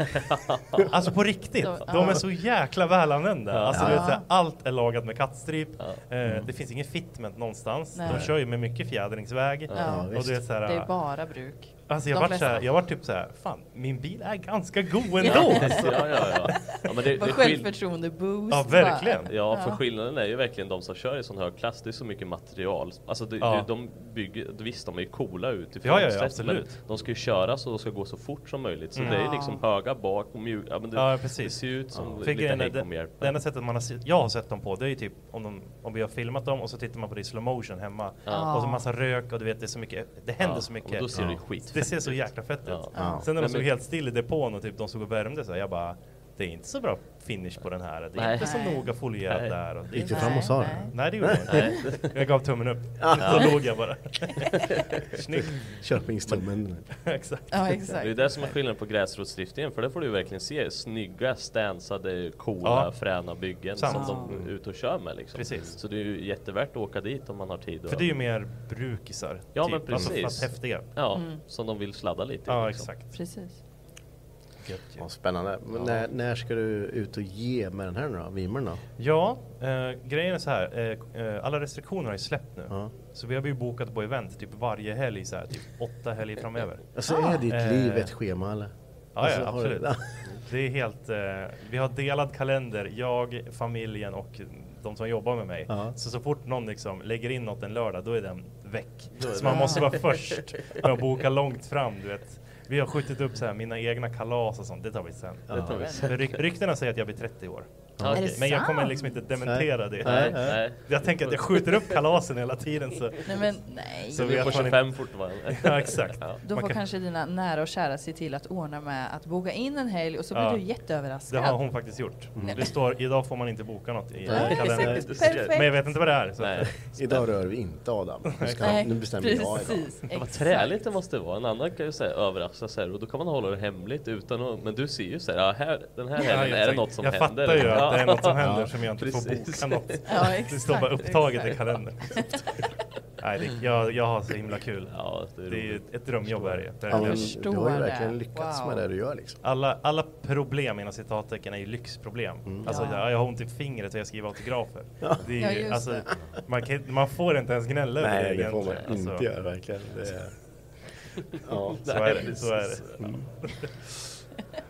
Speaker 3: alltså på riktigt.
Speaker 1: Så,
Speaker 3: De
Speaker 1: ja.
Speaker 3: är så jäkla välanvända. Alltså,
Speaker 1: Ja.
Speaker 3: du vet, så här, allt är lagat med kattstrip.
Speaker 4: Mm.
Speaker 3: Eh, det finns ingen fitment någonstans.
Speaker 1: Nej.
Speaker 3: De kör ju med mycket fjädringsväg.
Speaker 1: Ja,
Speaker 3: och du vet, så här,
Speaker 1: Det är bara bruk.
Speaker 3: alltså, jag,
Speaker 1: de
Speaker 3: vart
Speaker 1: flesta.
Speaker 3: så här, jag vart typ så här, fan min bil är ganska god ändå. alltså.
Speaker 4: ja, ja, ja. ja, men det, det
Speaker 1: Vad
Speaker 4: skill-
Speaker 1: självförtroende-boost.
Speaker 3: ja, verkligen.
Speaker 4: ja, för skillnaden är ju verkligen de som kör i sån hög klass, det är så mycket material. Alltså det,
Speaker 3: Ja.
Speaker 4: det, de bygger, visst de är ju coola utifrån
Speaker 3: Ja, ja, ja,
Speaker 4: sett, men
Speaker 3: absolut. Mm.
Speaker 4: de ska ju köra så de ska gå så fort som möjligt. Så det är ju liksom höga bak och mjuka, ja, men det,
Speaker 3: Ja, precis.
Speaker 4: det ser ju ut som
Speaker 3: För
Speaker 4: lite
Speaker 3: grejen är,
Speaker 4: hej
Speaker 3: det,
Speaker 4: kom hjälp.
Speaker 3: det enda sättet man har, se- jag har sett dem på, det är ju typ om, de, om vi har filmat dem och så tittar man på det i slow motion hemma. Och så massa rök och du vet, det är så mycket, det händer
Speaker 4: Ja,
Speaker 3: så
Speaker 4: men
Speaker 3: mycket.
Speaker 4: då ser det ju
Speaker 3: Det
Speaker 4: skitfett
Speaker 3: ser så jäkla fett
Speaker 4: Ja.
Speaker 3: ut.
Speaker 2: Ja.
Speaker 3: Sen när de
Speaker 4: Nej,
Speaker 3: stod
Speaker 4: men-
Speaker 3: helt still i depån och typ de stod och värmde sig, jag bara, det är inte så bra finish på den här. Det är
Speaker 4: Nej.
Speaker 3: inte så
Speaker 1: Nej.
Speaker 3: noga folierat där. Och det är
Speaker 2: Gick du
Speaker 3: inte...
Speaker 2: fram och sa
Speaker 1: Nej,
Speaker 2: det?
Speaker 3: Nej, det gjorde jag inte. Jag gav tummen upp. Så låg jag bara. Snyggt.
Speaker 2: Köpingstummen.
Speaker 3: Exakt.
Speaker 1: Ja,
Speaker 4: Det är
Speaker 1: exakt.
Speaker 4: det som är skillnaden på gräsrotsdriftingen för där får du ju verkligen se snygga, stansade, coola,
Speaker 3: Ja.
Speaker 4: fräna byggen
Speaker 3: Sant.
Speaker 4: som de är ute och kör med. Liksom.
Speaker 3: Precis.
Speaker 4: Så det är ju jättevärt att åka dit om man har tid. och-
Speaker 3: För det är ju mer brukisar.
Speaker 4: Ja, men
Speaker 3: Alltså,
Speaker 4: precis.
Speaker 3: fast häftiga.
Speaker 4: Ja,
Speaker 1: Mm.
Speaker 4: som de vill sladda lite i,
Speaker 3: Ja,
Speaker 4: liksom.
Speaker 3: exakt.
Speaker 1: Precis.
Speaker 2: Ja, spännande. Men när, när ska du ut och ge med den här nu då? Vimern då?
Speaker 3: Ja, eh, grejen är så här. Eh, eh, alla restriktioner har ju släppt nu. Så vi har ju bokat på event typ varje helg, så här, typ åtta helger framöver. Eh,
Speaker 2: Alltså är ditt liv ett schema eller?
Speaker 3: Ah. Ja,
Speaker 2: Alltså,
Speaker 3: ja
Speaker 2: har du-
Speaker 3: absolut. Det är helt, eh, vi har delad kalender, jag, familjen och de som jobbar med mig.
Speaker 2: Ja.
Speaker 3: Så så fort någon liksom lägger in något en lördag, då är den väck. Så man måste vara först med att boka långt fram, du vet. Vi har skjutit upp så här, mina egna kalas och sånt, det tar vi sen.
Speaker 4: Det tar vi sen.
Speaker 3: Men ryk- ryktena säger att jag blir 30 år.
Speaker 4: Ja, okej.
Speaker 1: det
Speaker 3: Men jag kommer
Speaker 1: sant?
Speaker 3: liksom inte dementera det.
Speaker 4: Nej, nej.
Speaker 3: Jag tänker att jag skjuter upp kalasen hela tiden så...
Speaker 1: Nej, men nej.
Speaker 3: Så
Speaker 4: Du är
Speaker 3: vet
Speaker 4: på
Speaker 3: man
Speaker 4: 25 fortfarande.
Speaker 3: Ja, exakt.
Speaker 1: Då
Speaker 3: Man
Speaker 1: får
Speaker 3: kan-
Speaker 1: kanske dina nära och kära se till att ordna med att boka in en helg och så blir
Speaker 3: Ja.
Speaker 1: du
Speaker 3: Det
Speaker 1: jätteöverraskad. Mm.
Speaker 3: har hon faktiskt gjort. Det står idag får man inte boka något i
Speaker 2: Nej,
Speaker 3: kalendern.
Speaker 1: Perfekt.
Speaker 3: Men jag vet inte vad det är. Så att,
Speaker 4: Nej.
Speaker 2: Idag rör vi inte Adam. Nu, ska,
Speaker 1: Nej,
Speaker 2: nu bestämmer jag idag.
Speaker 1: precis.
Speaker 4: Vad
Speaker 1: Exakt.
Speaker 4: träligt det måste vara. En annan kan ju säga överraskas så här och då kan man hålla det hemligt utan att, men du ser ju så här, ja, här den här
Speaker 3: Ja,
Speaker 4: helgen är det
Speaker 3: exakt.
Speaker 4: något som
Speaker 3: jag
Speaker 4: händer.
Speaker 3: fattar ju
Speaker 4: Ja.
Speaker 3: att det är något som händer som jag inte
Speaker 4: precis.
Speaker 3: får boka något.
Speaker 1: Ja,
Speaker 3: det står bara
Speaker 1: exakt,
Speaker 3: upptaget i
Speaker 1: exakt.
Speaker 3: kalendern. Nej, det, jag, jag har så himla kul.
Speaker 4: Ja, det är
Speaker 3: Det är ju
Speaker 4: roligt.
Speaker 3: ett drömjobb är det ju.
Speaker 2: Ja,
Speaker 3: Det är
Speaker 2: men
Speaker 3: det.
Speaker 1: förstår
Speaker 2: du har ju
Speaker 1: det.
Speaker 2: verkligen lyckats
Speaker 1: Wow.
Speaker 2: med det du gör liksom.
Speaker 3: Alla, alla problem inom citattecken är ju lyxproblem. Alltså,
Speaker 1: Ja.
Speaker 3: jag, jag har ont i fingret och jag skriver autografer. Det
Speaker 1: Ja,
Speaker 3: är ju,
Speaker 1: just
Speaker 3: alltså,
Speaker 1: det.
Speaker 3: man, kan, man får inte ens gnälla över
Speaker 2: Nej, det får man
Speaker 3: egentligen.
Speaker 2: inte
Speaker 3: Alltså,
Speaker 2: göra verkligen. Det är... ja.
Speaker 3: Så är eh, det. Så är
Speaker 2: Mm.
Speaker 3: det.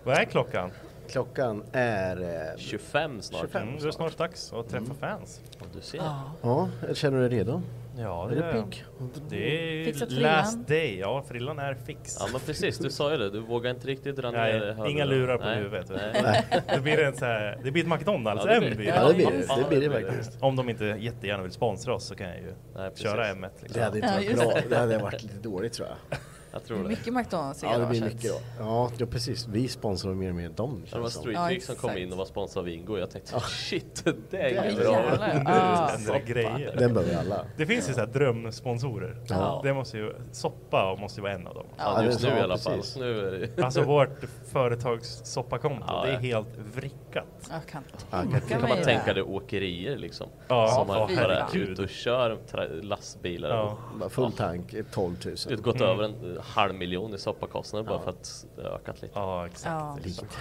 Speaker 3: Vad är klockan?
Speaker 2: Klockan är... eh,
Speaker 4: 25 snart.
Speaker 3: Mm, det är snart dags att
Speaker 2: Mm.
Speaker 3: träffa fans.
Speaker 4: Ja, du ser.
Speaker 2: Ja, känner du dig redo?
Speaker 3: Ja,
Speaker 2: Är
Speaker 3: det
Speaker 2: du
Speaker 3: är
Speaker 2: pigg?
Speaker 3: Det är
Speaker 1: Fixa frillan.
Speaker 3: last day. Ja, frillan är fix.
Speaker 4: Ja men precis, du sa ju det. Du vågar inte riktigt dra ner
Speaker 3: Nej,
Speaker 4: hörlurarna.
Speaker 3: inga lurar på
Speaker 4: Nej.
Speaker 3: huvudet. vet du.
Speaker 4: Nej.
Speaker 3: Det blir, en så här, det blir ett
Speaker 4: Ja, det blir
Speaker 3: McDonalds-MV.
Speaker 4: det.
Speaker 2: Ja, det blir det. Det blir det faktiskt.
Speaker 3: Om de inte jättegärna vill sponsra oss så kan jag ju
Speaker 4: Nej, precis.
Speaker 3: köra M1.
Speaker 2: Det
Speaker 3: Liksom.
Speaker 2: hade inte
Speaker 1: Ja,
Speaker 2: varit
Speaker 1: just
Speaker 2: bra. Det hade varit lite dåligt tror jag. Mm.
Speaker 4: Jag
Speaker 1: Det
Speaker 4: tror
Speaker 1: är
Speaker 4: det.
Speaker 1: mycket McDonalds i
Speaker 2: Ja, det blir
Speaker 1: garaget.
Speaker 2: mycket då. Ja, ja, precis. Vi sponsrar mer och mer dem.
Speaker 4: Det var
Speaker 2: känns det som.
Speaker 4: Street
Speaker 1: Ja,
Speaker 4: League som kom
Speaker 1: exakt.
Speaker 4: in och var sponsrad av Ingo. Jag tänkte shit, det där
Speaker 2: Det
Speaker 4: är
Speaker 2: är
Speaker 4: bra.
Speaker 1: jävlar. Ja.
Speaker 3: Andra grejer.
Speaker 2: Den behöver alla.
Speaker 3: Det finns ju så här drömsponsorer.
Speaker 1: Ja.
Speaker 3: Det måste ju, soppa måste ju vara en av dem.
Speaker 4: Ja,
Speaker 2: Ja,
Speaker 4: just
Speaker 2: det
Speaker 4: nu
Speaker 2: är
Speaker 4: i
Speaker 2: så,
Speaker 4: alla fall.
Speaker 2: precis.
Speaker 4: Nu är det ju-
Speaker 3: Alltså vårt företags soppakonto,
Speaker 4: Ja,
Speaker 3: det är
Speaker 4: ja.
Speaker 3: helt vrickat.
Speaker 1: Jag kan
Speaker 2: kan
Speaker 1: tänka
Speaker 4: kan
Speaker 1: mig
Speaker 4: man
Speaker 1: det.
Speaker 4: tänka dig åkerier liksom.
Speaker 3: Ja,
Speaker 4: som
Speaker 3: ja,
Speaker 4: har varit
Speaker 3: herregud.
Speaker 4: ut och kör tra- lastbilar.
Speaker 3: Ja. Mm.
Speaker 2: Bara Full tank, eh, 12 000.
Speaker 4: Och gått över en eh, halv miljon i soppakostnader bara för att det har ökat lite.
Speaker 3: Ja, exakt.
Speaker 1: Ja.
Speaker 3: exakt.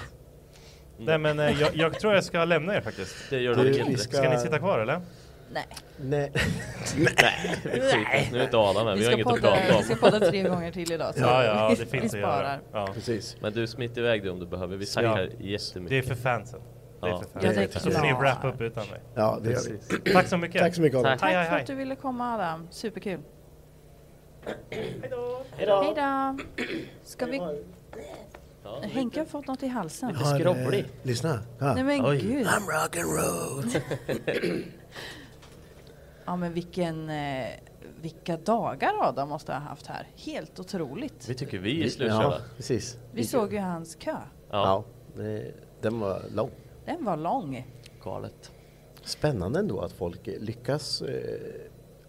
Speaker 3: Nej men eh, jag, jag tror jag ska lämna er faktiskt.
Speaker 4: Det gör
Speaker 2: Du,
Speaker 4: det
Speaker 2: vi
Speaker 4: inte.
Speaker 2: ska-
Speaker 3: Ska ni sitta kvar eller?
Speaker 1: Nej.
Speaker 2: Nej.
Speaker 4: Nej. Nu är inte Adam här, vi,
Speaker 1: Vi
Speaker 4: har
Speaker 1: ska,
Speaker 4: inget att
Speaker 1: podda,
Speaker 4: prata
Speaker 1: vi ska
Speaker 4: om.
Speaker 1: podda tre gånger till idag. Så
Speaker 3: Ja, ja,
Speaker 1: vi-
Speaker 3: det finns
Speaker 1: vi
Speaker 3: att göra.
Speaker 1: sparar.
Speaker 3: Ja.
Speaker 2: Precis.
Speaker 4: Men du smiter iväg dig om du behöver, vi tackar
Speaker 3: Ja. Det är
Speaker 4: jättemycket.
Speaker 3: för fansen. Det är
Speaker 4: Ja.
Speaker 3: för
Speaker 1: Ja,
Speaker 3: fansen.
Speaker 1: det är
Speaker 3: Så får ni
Speaker 1: klart.
Speaker 3: wrap upp utan mig.
Speaker 2: Ja, det gör vi.
Speaker 3: Tack så mycket.
Speaker 2: Tack så mycket Adam.
Speaker 4: Tack.
Speaker 3: Hej, hej,
Speaker 1: Tack för
Speaker 3: hej.
Speaker 1: att du ville komma Adam. Superkul. Hejdå. Hejdå. Ska vi... Henke har fått något i halsen.
Speaker 2: Har, eh,
Speaker 4: skrovlig.
Speaker 2: Lyssna. Ja.
Speaker 1: Nej men gud.
Speaker 2: I'm rock and roll.
Speaker 1: Ja men vilken... Eh, vilka dagar Adam måste ha haft här. Helt otroligt.
Speaker 4: Vi tycker vi är slutkörda.
Speaker 2: Ja, precis.
Speaker 1: Vi såg ju hans kö.
Speaker 2: Ja, det, den var lång.
Speaker 1: Den var lång.
Speaker 4: Galet.
Speaker 2: Spännande ändå att folk eh, lyckas eh,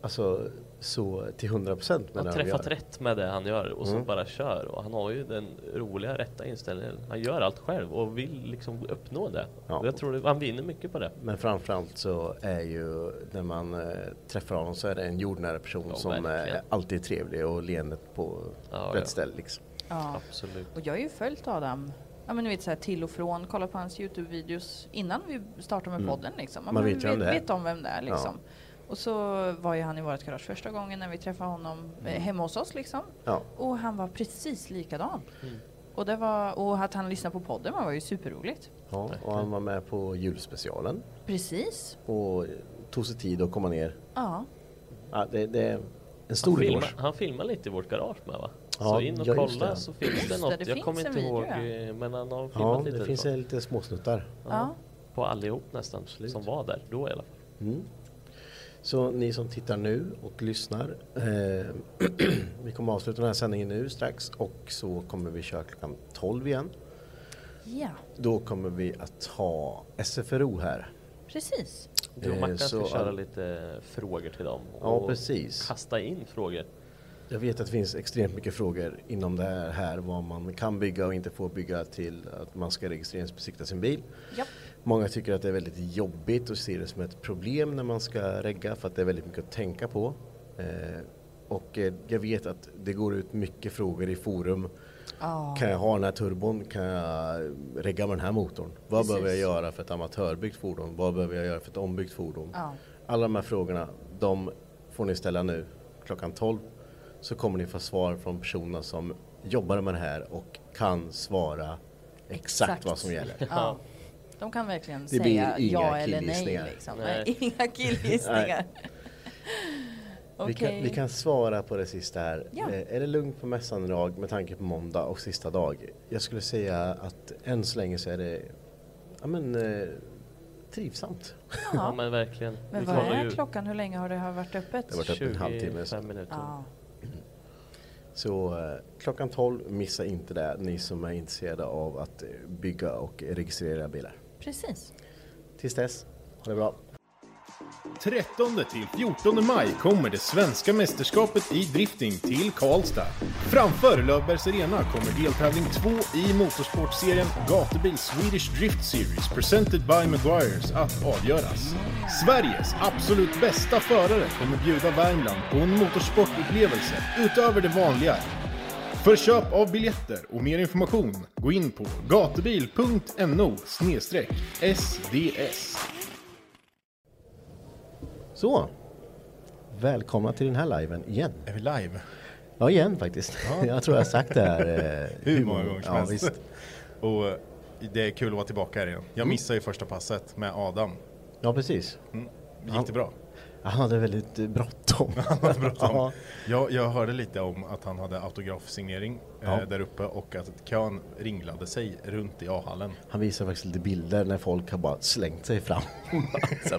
Speaker 2: alltså, så till 100 procent med
Speaker 4: Han
Speaker 2: det Mm.
Speaker 4: har
Speaker 2: de
Speaker 4: träffat
Speaker 2: gör.
Speaker 4: rätt med det han gör och så bara kör. Och han har ju den roliga rätta inställningen. Han gör allt själv och vill liksom uppnå det.
Speaker 2: Ja.
Speaker 4: Och Jag tror det, han vinner mycket på det.
Speaker 2: Men framförallt så är ju när man eh, träffar honom så är det en jordnära person
Speaker 4: Ja,
Speaker 2: som eh,
Speaker 4: verkligen.
Speaker 2: alltid är trevlig och leendet på
Speaker 4: Ja,
Speaker 2: rätt
Speaker 4: ja.
Speaker 2: ställe liksom.
Speaker 1: Ja.
Speaker 4: Absolut.
Speaker 1: Och jag har ju följt Adam. Ja men ni vet så här till och från, kolla på hans Youtube-videos innan vi startade med podden liksom. Ja,
Speaker 2: Mm. Man
Speaker 1: men
Speaker 2: vet ju vem det är.
Speaker 1: vet om vem det är liksom. Och så var ju han i vårt garage första gången när vi träffade honom eh, hemma hos oss liksom.
Speaker 2: Mm. Ja.
Speaker 1: Och han var precis likadan.
Speaker 4: Mm.
Speaker 1: Och, det var, och att han lyssnade på podden var ju superroligt.
Speaker 2: Ja, och han var med på julspecialen
Speaker 1: Precis.
Speaker 2: och tog sig tid att komma ner.
Speaker 1: Ja.
Speaker 2: Ja, det, det är en
Speaker 4: Han,
Speaker 2: stor
Speaker 4: filma,
Speaker 2: eloge.
Speaker 4: han filmar lite i vårt garage med va? så
Speaker 2: Ja,
Speaker 4: in och
Speaker 2: ja, just
Speaker 4: kolla
Speaker 2: det.
Speaker 4: så finns det
Speaker 1: Just
Speaker 4: något.
Speaker 1: det, det
Speaker 4: jag
Speaker 1: finns
Speaker 4: kommer
Speaker 1: en
Speaker 4: inte
Speaker 1: video,
Speaker 4: ihåg
Speaker 1: ja.
Speaker 4: eh, men han har filmat
Speaker 2: Ja,
Speaker 4: lite
Speaker 2: det finns
Speaker 4: därifrån.
Speaker 2: eh, lite småsnuttar.
Speaker 1: ja.
Speaker 4: På allihop nästan som var där då i alla fall.
Speaker 2: Mm. Så ni som tittar nu och lyssnar. Eh, vi kommer avsluta den här sändningen nu strax och så kommer vi köra klockan 12 igen.
Speaker 1: Ja,
Speaker 2: Då kommer vi att ha SFRO här.
Speaker 1: precis.
Speaker 4: Du och
Speaker 2: Eh,
Speaker 4: Mackan
Speaker 2: så,
Speaker 4: ska köra
Speaker 2: ja.
Speaker 4: lite frågor till dem.
Speaker 2: Ja,
Speaker 4: och
Speaker 2: precis.
Speaker 4: Kasta in frågor.
Speaker 2: Jag vet att det finns extremt mycket frågor inom det här, här vad man kan bygga och inte får bygga till att man ska registreringsbesikta sin bil.
Speaker 1: Japp.
Speaker 2: Många tycker att det är väldigt jobbigt och ser det som ett problem när man ska regga för att det är väldigt mycket att tänka på. Eh, och eh, jag vet att det går ut mycket frågor i forum. Kan jag ha den här turbon? Kan jag regga med den här motorn? Vad
Speaker 1: Precis.
Speaker 2: behöver jag göra för ett amatörbyggt fordon? Vad behöver jag göra för ett ombyggt fordon?
Speaker 1: Ja.
Speaker 2: Alla de här frågorna, de får ni ställa nu klockan 12. Så kommer ni få svar från personerna som jobbar med det här och kan svara exakt,
Speaker 1: Exakt.
Speaker 2: vad som gäller.
Speaker 1: Ja. De kan verkligen
Speaker 2: Det blir
Speaker 1: säga
Speaker 2: inga
Speaker 1: ja eller nej.
Speaker 2: killgissningar.
Speaker 1: Liksom.
Speaker 4: Nej.
Speaker 1: Nej. Inga killgissningar.
Speaker 2: Vi,
Speaker 1: Okej.
Speaker 2: kan, vi kan svara på det sista här.
Speaker 1: Ja.
Speaker 2: Eh, Är det lugnt på mässan idag med tanke på måndag och sista dag? Jag skulle säga att än så länge så är det ja, men, eh, trivsamt.
Speaker 4: Ja, men verkligen.
Speaker 1: Men
Speaker 4: Vi
Speaker 1: vad
Speaker 4: kollar
Speaker 1: är
Speaker 4: ju
Speaker 1: klockan? Hur länge har det här varit öppet?
Speaker 2: Det har varit öppet en halvtimme.
Speaker 4: 25 minuter.
Speaker 1: Ja.
Speaker 2: Så eh, klockan 12, missa inte det ni som är intresserade av att eh, bygga och registrera bilar.
Speaker 1: Precis.
Speaker 2: Tills dess, ha det bra.
Speaker 5: 13 till 14 maj kommer det svenska mästerskapet i drifting till Karlstad. Framför Löfbergs Arena kommer deltävling 2 i motorsportserien Gatubil Swedish Drift Series presented by Maguires att avgöras. Sveriges absolut bästa förare kommer bjuda Värmland på en motorsportupplevelse utöver det vanliga. För köp av biljetter och mer information, gå in på gatubil.no sds.
Speaker 2: Så, välkomna till den här liven igen.
Speaker 5: Är vi live?
Speaker 2: Ja, igen faktiskt. Jag tror jag har sagt det här. eh,
Speaker 5: Hur många gånger som
Speaker 2: ja,
Speaker 5: helst.
Speaker 2: Visst. Mm.
Speaker 5: Och eh, det är kul att vara tillbaka här igen. Jag missade ju första passet med Adam.
Speaker 2: Ja, precis.
Speaker 5: Det Mm. gick det bra?
Speaker 2: Han hade väldigt eh, bråttom.
Speaker 5: Ja.
Speaker 2: Ja.
Speaker 5: Jag, jag hörde lite om att han hade autografsignering eh,
Speaker 2: Ja.
Speaker 5: där uppe och att kön ringlade sig runt i A-hallen.
Speaker 2: Han visar faktiskt lite bilder när folk har bara slängt sig fram. alltså,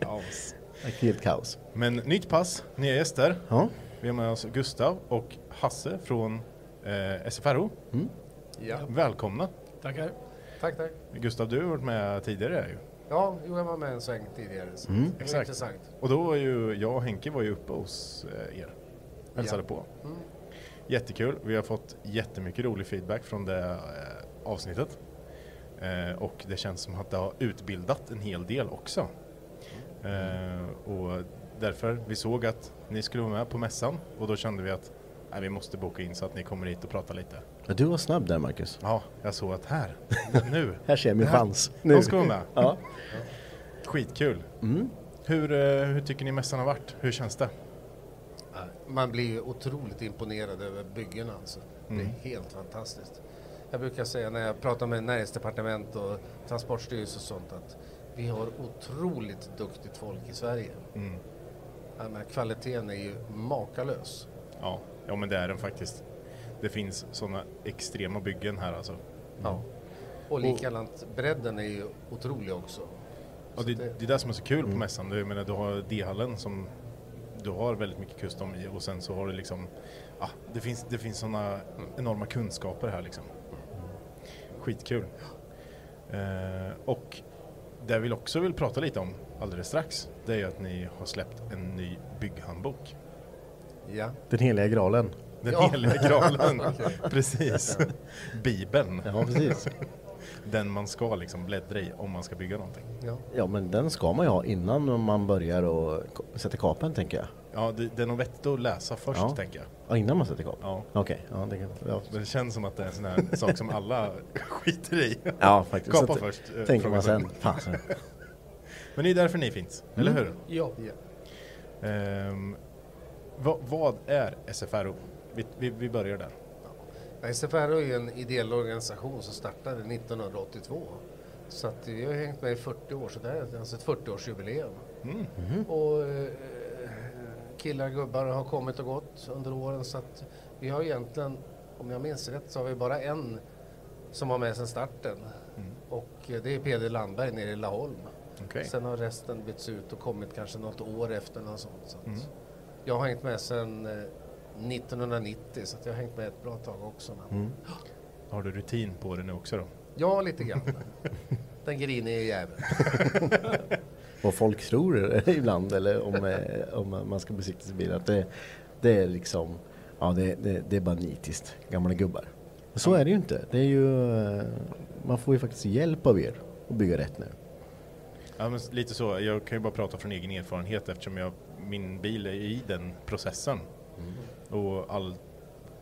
Speaker 5: Kaos.
Speaker 2: helt kaos.
Speaker 5: Men nytt pass, nya gäster.
Speaker 2: Ja,
Speaker 5: Vi har med oss Gustav och Hasse från eh, SFRO.
Speaker 2: Mm.
Speaker 6: Ja.
Speaker 5: Välkomna!
Speaker 6: Tackar. Tack, tack.
Speaker 5: Gustav, du har varit med tidigare ju.
Speaker 6: Ja, jo, jag var med en sväng tidigare. Så
Speaker 5: Mm.
Speaker 6: det var
Speaker 5: Exakt.
Speaker 6: intressant.
Speaker 5: Och då var ju jag och Henke var ju uppe hos eh, er. Hälsade
Speaker 6: Ja.
Speaker 5: på.
Speaker 6: Mm.
Speaker 5: Jättekul. Vi har fått jättemycket rolig feedback från det eh, avsnittet. Eh, och det känns som att det har utbildat en hel del också. Eh, och därför, vi såg att ni skulle vara med på mässan och då kände vi att nej, vi måste boka in så att ni kommer hit och pratar lite.
Speaker 7: Ja, du var snabb där Marcus.
Speaker 5: Ja, jag såg att här, nu.
Speaker 7: Här ser jag min
Speaker 5: Det här-
Speaker 7: chans.
Speaker 5: De
Speaker 7: Nu.
Speaker 5: ska vara med.
Speaker 7: Ja. Mm.
Speaker 5: Skitkul. Hur, eh, hur tycker ni mässan har varit? Hur känns det?
Speaker 6: Man blir ju otroligt imponerad över byggena. Alltså. Det
Speaker 5: Mm.
Speaker 6: är helt fantastiskt. Jag brukar säga när jag pratar med näringsdepartement och transportstyrelse och sånt att vi har otroligt duktigt folk i Sverige.
Speaker 5: Mm.
Speaker 6: Ja, men kvaliteten är ju makalös.
Speaker 5: Ja, ja men det är den faktiskt. Det finns sådana extrema byggen här alltså.
Speaker 6: Ja. Och likadant bredden är ju otrolig också.
Speaker 5: Och det, det är det som är så kul
Speaker 6: Mm.
Speaker 5: på mässan. Du, jag menar, du har D-hallen som du har väldigt mycket custom i och sen så har du liksom, ja, det finns, det finns sådana enorma kunskaper här liksom.
Speaker 6: Mm.
Speaker 5: Skitkul. Eh, och det vi också vill prata lite om alldeles strax, det är ju att ni har släppt en ny bygghandbok.
Speaker 6: Ja.
Speaker 7: Den heliga graalen.
Speaker 5: Den
Speaker 6: Ja.
Speaker 5: heliga graalen.
Speaker 6: Okej.
Speaker 5: Precis. Bibeln.
Speaker 7: Ja, precis.
Speaker 5: Den man ska liksom bläddra i om man ska bygga någonting.
Speaker 6: Ja.
Speaker 7: Ja, men den ska man ju ha innan man börjar och k- sätter kapen, tänker jag.
Speaker 5: Ja, det, det är nog vettigt att läsa först
Speaker 7: Ja.
Speaker 5: tänker jag.
Speaker 7: Ja, innan man sätter kapen?
Speaker 5: Ja.
Speaker 7: Okej. Ja, det kan, ja.
Speaker 5: Men Det känns som att det är en sån här sak som alla skiter i.
Speaker 7: ja, faktiskt.
Speaker 5: Kapa
Speaker 7: Så att-
Speaker 5: först, eh,
Speaker 7: Tänker man
Speaker 5: fråga
Speaker 7: sen. Fan, så. Mm.
Speaker 5: Men det är därför ni finns, eller hur?
Speaker 6: Ja.
Speaker 5: Ehm, vad, vad är SFRO? Vi, vi, vi börjar där.
Speaker 6: Nej, SFR är ju en ideell organisation som startade 1982. Så att vi har hängt med i 40 år, så det här är alltså ett 40-årsjubileum. Och eh, killar och gubbar har kommit och gått under åren så att vi har egentligen, om jag minns rätt, så har vi bara en som var med sedan starten. Och eh, det är Peder Landberg nere i Laholm.
Speaker 5: Okej.
Speaker 6: Sen har resten bytts ut och kommit kanske något år efter något sånt. Så att Jag har hängt med sedan eh, 1990 så att jag har hängt med ett bra tag också. Men...
Speaker 7: Mm.
Speaker 5: Har du rutin på det nu också då?
Speaker 6: Ja, lite grann. Den griniga jäveln.
Speaker 7: Vad folk tror ibland, eller om, eh, om man ska besikta sin bil, att det, det är liksom, ja, det, det, det är bara nitiskt, gamla gubbar. Men Så är det ju inte. Det är ju, eh, man får ju faktiskt hjälp av er att bygga rätt nu.
Speaker 5: Ja, men lite så. Jag kan ju bara prata från egen erfarenhet eftersom jag, min bil är i den processen. Och all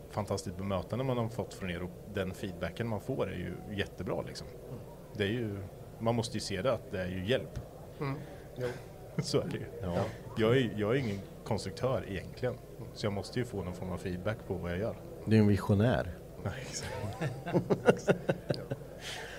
Speaker 5: fantastiskt bemötande man har fått från er och den feedbacken man får är ju jättebra liksom. Det är ju, man måste ju se det att det är ju hjälp. så är det ju. Jag, är, jag är ingen konstruktör egentligen. Så jag måste ju få någon form av feedback på vad jag gör.
Speaker 7: Du är en visionär.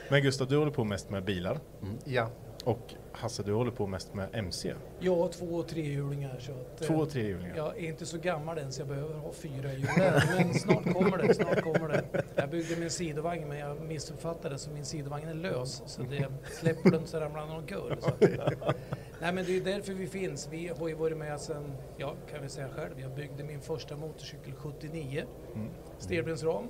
Speaker 5: Men Gustav, du håller på mest med bilar.
Speaker 6: Ja.
Speaker 5: Och Hasse, du håller på mest med MC.
Speaker 8: Ja, två och trehjulingar. Så att, eh,
Speaker 5: Två och trehjulingar.
Speaker 8: Jag är inte så gammal än så jag behöver ha fyra hjul där, men snart kommer det, snart kommer det. Jag byggde min sidovagn men jag missuppfattade så min sidovagn är lös så det släpper den så ramlar den omkull. Så. att- Nej men det är därför vi finns. Vi har ju varit med sedan, ja kan vi säga själv, jag byggde min första motorcykel 79, stelbensram.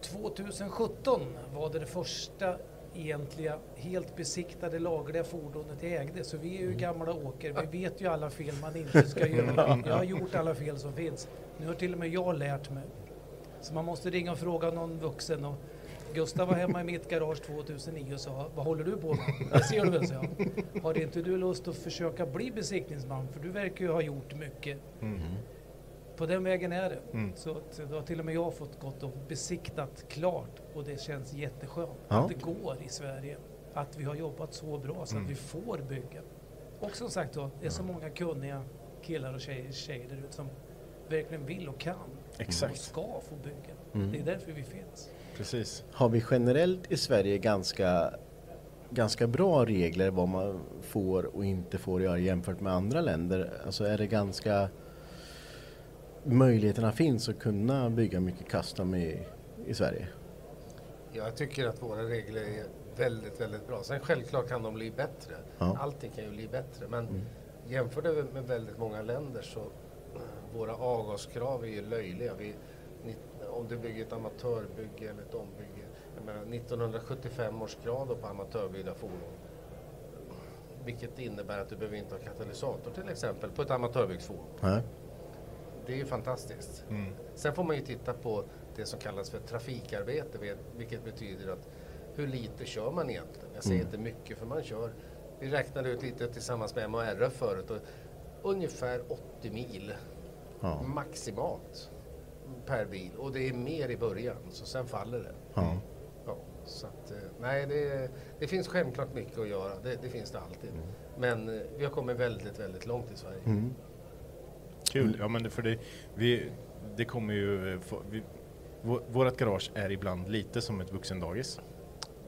Speaker 8: 2017 var det det första egentliga helt besiktade lagliga fordonet jag ägde. Så vi är ju gamla åker. Vi vet ju alla fel man inte ska göra. Jag har gjort alla fel som finns. Nu har till och med jag lärt mig. Så man måste ringa och fråga någon vuxen. Och Gustav var hemma i mitt garage 2009 och sa Vad håller du på med? Det ser du väl, sa jag. Har inte du lust att försöka bli besiktningsman? För du verkar ju ha gjort mycket.
Speaker 9: Mm.
Speaker 8: På den vägen är det.
Speaker 5: Mm.
Speaker 8: Så att då har till och med jag fått gått och besiktat klart och det känns jätteskönt
Speaker 7: Ja.
Speaker 8: att det går i Sverige. Att vi har jobbat så bra
Speaker 5: Mm.
Speaker 8: så att vi får bygga. Och som sagt då, det är så många kunniga killar och tjejer, tjejer där ute som verkligen vill och kan och
Speaker 5: Exakt, Mm.
Speaker 8: ska få bygga. Det är därför vi finns.
Speaker 5: precis.
Speaker 7: Har vi generellt i Sverige ganska, ganska bra regler vad man får och inte får göra jämfört med andra länder? Alltså är det ganska... Möjligheterna finns att kunna bygga mycket custom i, i Sverige?
Speaker 6: Ja, Jag tycker att våra regler är väldigt, väldigt bra. Sen självklart kan de bli bättre.
Speaker 7: Ja.
Speaker 6: Allting kan ju bli bättre. Men jämfört med väldigt många länder så eh, Våra avgaskrav är ju löjliga. Vi, ni- om du bygger ett amatörbygge eller ett ombygge. Jag menar 1975 års krav då på amatörbyggda fordon. Vilket innebär att du behöver inte ha katalysator till exempel på ett amatörbyggt fordon.
Speaker 7: Nej.
Speaker 6: Det är ju fantastiskt.
Speaker 7: Mm.
Speaker 6: Sen får man ju titta på det som kallas för trafikarbete, vet- vilket betyder att hur lite kör man egentligen? Jag säger
Speaker 7: Mm.
Speaker 6: inte mycket, för man kör. Vi räknade ut lite tillsammans med MHRF förut. Och ungefär 80 mil
Speaker 7: Ja.
Speaker 6: maximalt per bil. Och det är mer i början, så sen faller det.
Speaker 7: Ja.
Speaker 6: Ja, så att, eh, nej, det, det finns självklart mycket att göra. Det, det finns det alltid.
Speaker 7: Mm.
Speaker 6: Men eh, vi har kommit väldigt, väldigt långt i Sverige.
Speaker 5: Mm. Kul, ja men det- för det, vi, det kommer ju, eh, få- vi, vå- vårat garage är ibland lite som ett vuxendagis.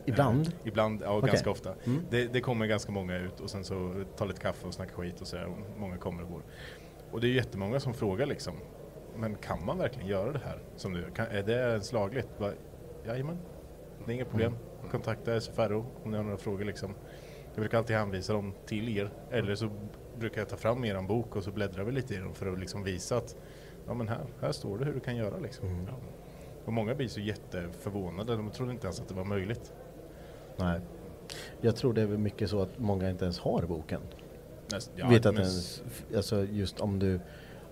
Speaker 2: Ibland?
Speaker 5: Eh, ibland, ja
Speaker 2: Okej.
Speaker 5: ganska ofta.
Speaker 2: Mm.
Speaker 5: Det, det kommer ganska många ut och sen så tar lite kaffe och snackar skit och sådär. och Många kommer och går. Och det är jättemånga som frågar liksom, men kan man verkligen göra det här? Som du, kan, är det ens lagligt? Bara, Jajamän, det är inga problem. Kontakta SFRO om ni har några frågor liksom. Jag brukar alltid hänvisa dem till er. Eller så brukar jag ta fram er bok och så bläddrar vi lite i den för att liksom visa att ja, men här, här står det hur du kan göra liksom. Och många blir så jätteförvånade. De trodde inte ens att det var möjligt.
Speaker 2: Nej. Jag tror det är väl mycket så att många inte ens har boken.
Speaker 5: Näst- ja,
Speaker 2: Vet att
Speaker 5: men-
Speaker 2: ens, alltså just om du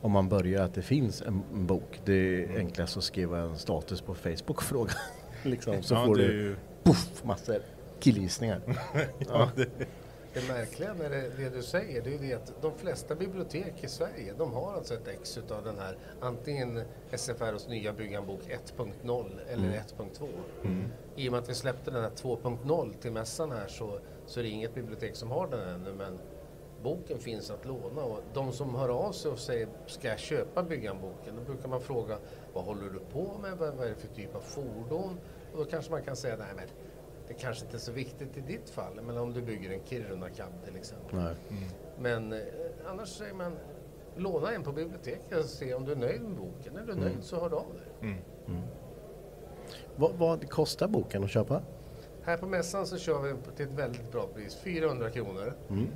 Speaker 2: om man börjar att det finns en, en bok. Det är
Speaker 5: Mm.
Speaker 2: enklast att skriva en status på Facebook och fråga. liksom, så
Speaker 5: Ja,
Speaker 2: får
Speaker 5: det
Speaker 2: du
Speaker 5: är ju-
Speaker 2: puff, massor killgissningar.
Speaker 5: Ja, det-
Speaker 6: Det märkliga med det, det du säger det är ju det att de flesta bibliotek i Sverige de har alltså ett ex utav den här antingen SFRs nya bygganbok 1.0 eller
Speaker 5: Mm.
Speaker 6: 1.2.
Speaker 5: Mm.
Speaker 6: I och med att vi släppte den här 2.0 till mässan här så, så är det inget bibliotek som har den ännu men boken finns att låna och de som hör av sig och säger ska jag köpa bygganboken? Då brukar man fråga vad håller du på med? Vad, vad är det för typ av fordon? Och då kanske man kan säga nej men det kanske inte är så viktigt i ditt fall, men om du bygger en Kiruna cab till exempel.
Speaker 5: Mm.
Speaker 2: Nej.
Speaker 6: Men eh, annars säger man låna en på biblioteket och se om du är nöjd med boken. Är du
Speaker 2: Mm.
Speaker 6: nöjd så hör du av dig.
Speaker 2: Vad, Mm. vad kostar boken att köpa?
Speaker 6: Här på mässan så kör vi på- till ett väldigt bra pris, 400 kronor.
Speaker 2: Mm.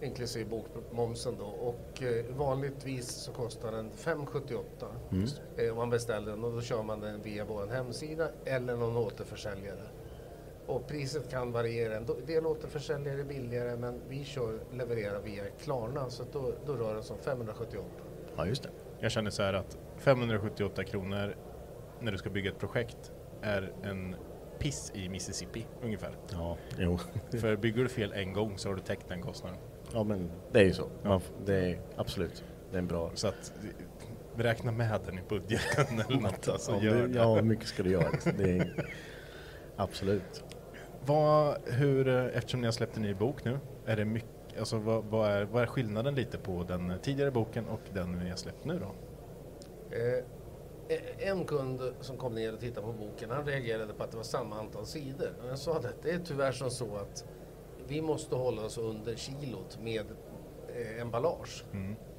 Speaker 6: Inklusive bokmomsen då och eh, vanligtvis så kostar den 578
Speaker 2: Mm.
Speaker 6: eh, om man beställer den och då kör man den via vår hemsida eller någon återförsäljare. Och priset kan variera. En do- del återförsäljare är billigare men vi kör, levererar via Klarna så att då, då rör det sig om 578.
Speaker 2: Ja, just det.
Speaker 5: Jag känner så här att 578 kronor när du ska bygga ett projekt är en piss i Mississippi ungefär.
Speaker 2: Ja, jo.
Speaker 5: För bygger du fel en gång så har du täckt den kostnaden.
Speaker 2: Ja, men det är ju så. Man, f- det är absolut. Det är en bra...
Speaker 5: Så att räkna med den i budgeten eller något. Alltså,
Speaker 2: ja,
Speaker 5: gör
Speaker 2: det,
Speaker 5: det.
Speaker 2: ja, hur mycket ska du göra? Det är, absolut.
Speaker 5: Vad, hur, eh, eftersom ni har släppt en ny bok nu, är det mycket, alltså vad, vad, är, vad är skillnaden lite på den tidigare boken och den ni har släppt nu då?
Speaker 6: Eh, e- en kund som kom ner och tittade på boken, han reagerade på att det var samma antal sidor. Och jag sa det, det är tyvärr som så att vi måste hålla oss under kilot med eh, emballage.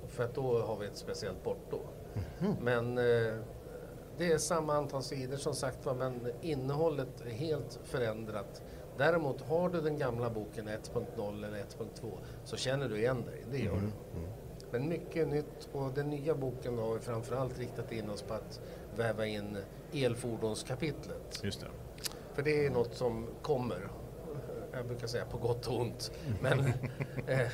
Speaker 6: För att då har vi ett speciellt porto. Men eh, det är samma antal sidor som sagt var, men innehållet är helt förändrat. Däremot har du den gamla boken 1.0 eller 1.2 så känner du igen dig, det
Speaker 2: Mhm.
Speaker 6: gör
Speaker 2: Mm.
Speaker 6: du. Men mycket är nytt och den nya boken har vi framförallt riktat in oss på att väva in elfordonskapitlet.
Speaker 5: Just det.
Speaker 6: För det är något som kommer. Jag brukar säga på gott och ont. Men, eh,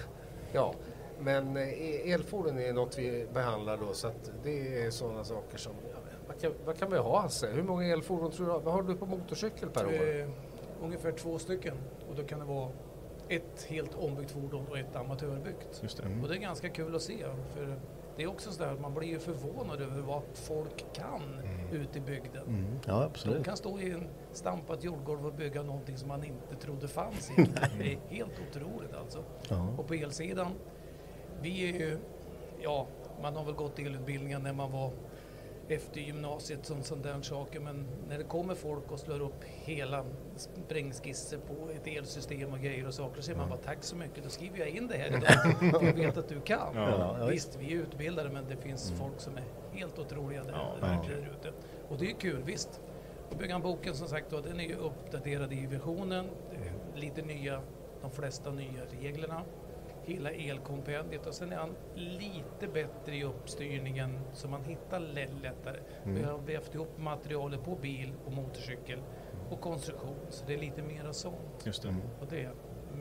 Speaker 6: ja. Men eh, elfordon är något vi behandlar då så att det är sådana saker som ja, vad kan, vad kan vi ha Hasse? Hur många elfordon tror du har- Vad har du på motorcykel per år?
Speaker 8: Eh, ungefär två stycken och då kan det vara ett helt ombyggt fordon och ett amatörbyggt.
Speaker 5: Just det. Mm.
Speaker 8: Och det är ganska kul att se för det är också sådär att man blir ju förvånad över vad folk kan ute i bygden.
Speaker 2: Mm. Ja,
Speaker 8: De
Speaker 2: absolut.
Speaker 8: kan stå i en stampat jordgolv och bygga någonting som man inte trodde fanns egentligen. det är helt otroligt alltså.
Speaker 2: Ja.
Speaker 8: Och på elsidan, vi är ju, ja, man har väl gått elutbildningen när man var efter gymnasiet som sån där saker men när det kommer folk och slår upp hela sprängskisser på ett elsystem och grejer och saker så säger man bara tack så mycket, då skriver jag in det här idag för jag vet att du kan.
Speaker 2: Ja, Mm. ja,
Speaker 8: visst, vi är utbildade men det finns folk som är helt otroliga där, verkligen där ute. Och det är kul, visst. Och Byggan-boken som sagt då, den är ju
Speaker 5: Mm.
Speaker 8: uppdaterad i versionen. Det är Lite nya, de flesta nya reglerna. hela elkompendiet och sen är han lite bättre i uppstyrningen så man hittar lätt lättare.
Speaker 6: Mm.
Speaker 8: Vi har vävt ihop materialet på bil och motorcykel och konstruktion så det är lite mera sånt.
Speaker 5: Just det. Mm.
Speaker 8: Och det är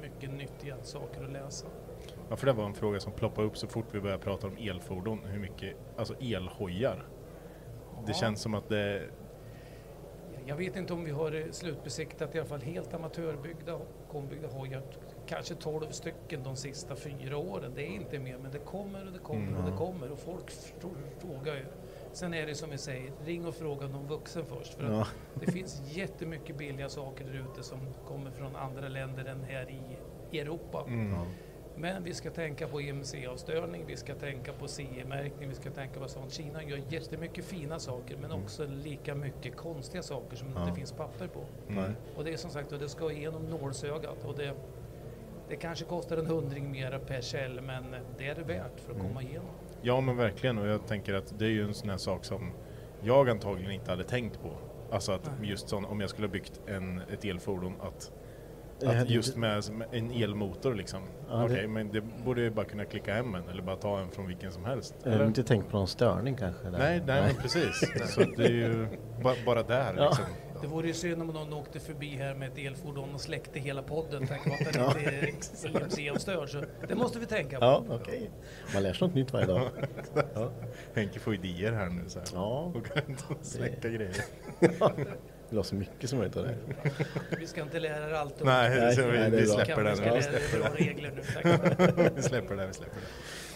Speaker 8: mycket nyttiga saker att läsa.
Speaker 5: Ja, för det var en fråga som ploppade upp så fort vi började prata om elfordon, hur mycket, alltså elhojar. Det
Speaker 8: Ja.
Speaker 5: känns som att det,
Speaker 8: Jag vet inte om vi har eh, slutbesiktat i alla fall helt amatörbyggda kombyggda hojar. Kanske 12 stycken de sista fyra åren. Det är inte mer, men det kommer och det kommer
Speaker 6: Mm.
Speaker 8: och det kommer och folk frå- frågar ju. Sen är det som vi säger, ring och fråga någon vuxen först. För
Speaker 6: Ja.
Speaker 8: att det finns jättemycket billiga saker där ute som kommer från andra länder än här i Europa.
Speaker 6: Mm. Ja.
Speaker 8: Men vi ska tänka på EMC-avstörning, vi ska tänka på CE-märkning, vi ska tänka på sånt. Kina gör jättemycket fina saker men också lika mycket konstiga saker som
Speaker 6: Ja.
Speaker 8: det finns papper på.
Speaker 6: Nej.
Speaker 8: Och det är som sagt och det ska igenom nålsögat och det, det kanske kostar en hundring mer per käll men det är det värt för att
Speaker 5: Mm.
Speaker 8: komma igenom.
Speaker 5: ja men verkligen och jag tänker att det är ju en sån här sak som jag antagligen inte hade tänkt på. Alltså att just sån, om jag skulle ha byggt en, ett elfordon att,
Speaker 2: Jag
Speaker 5: att
Speaker 2: hade
Speaker 5: just
Speaker 2: inte-
Speaker 5: med som en elmotor liksom.
Speaker 2: Ja, det-
Speaker 5: Okej, men det borde jag ju bara kunna klicka hem en eller bara ta en från vilken som helst.
Speaker 2: Jag har
Speaker 5: eller?
Speaker 2: inte tänkt på någon störning kanske? där.
Speaker 5: Nej, nej, men precis. Så det är ju ba- bara där
Speaker 2: Ja.
Speaker 5: liksom.
Speaker 8: Det vore ju synd om någon åkte förbi här med ett elfordon och släckte hela podden tack vare att
Speaker 2: Ja,
Speaker 8: den inte är EMC-avstörd. Så det måste vi tänka på.
Speaker 2: Ja, okej. Man lär sig något nytt varje dag. Ja.
Speaker 5: Henke får idéer här nu så här.
Speaker 2: Ja.
Speaker 5: Och kan inte släcka grejer.
Speaker 2: Vill ha så mycket som möjligt av det.
Speaker 8: Vi ska inte lära er allt. om-
Speaker 5: Nej, det- vi,
Speaker 2: nej, det är
Speaker 5: vi
Speaker 2: bra.
Speaker 5: släpper
Speaker 8: Kan vi
Speaker 5: det
Speaker 8: ska
Speaker 5: nu.
Speaker 8: lära
Speaker 5: Vi
Speaker 8: er
Speaker 5: släpper
Speaker 8: bra regler nu,
Speaker 5: det.
Speaker 8: tack.
Speaker 5: Vi släpper det, vi släpper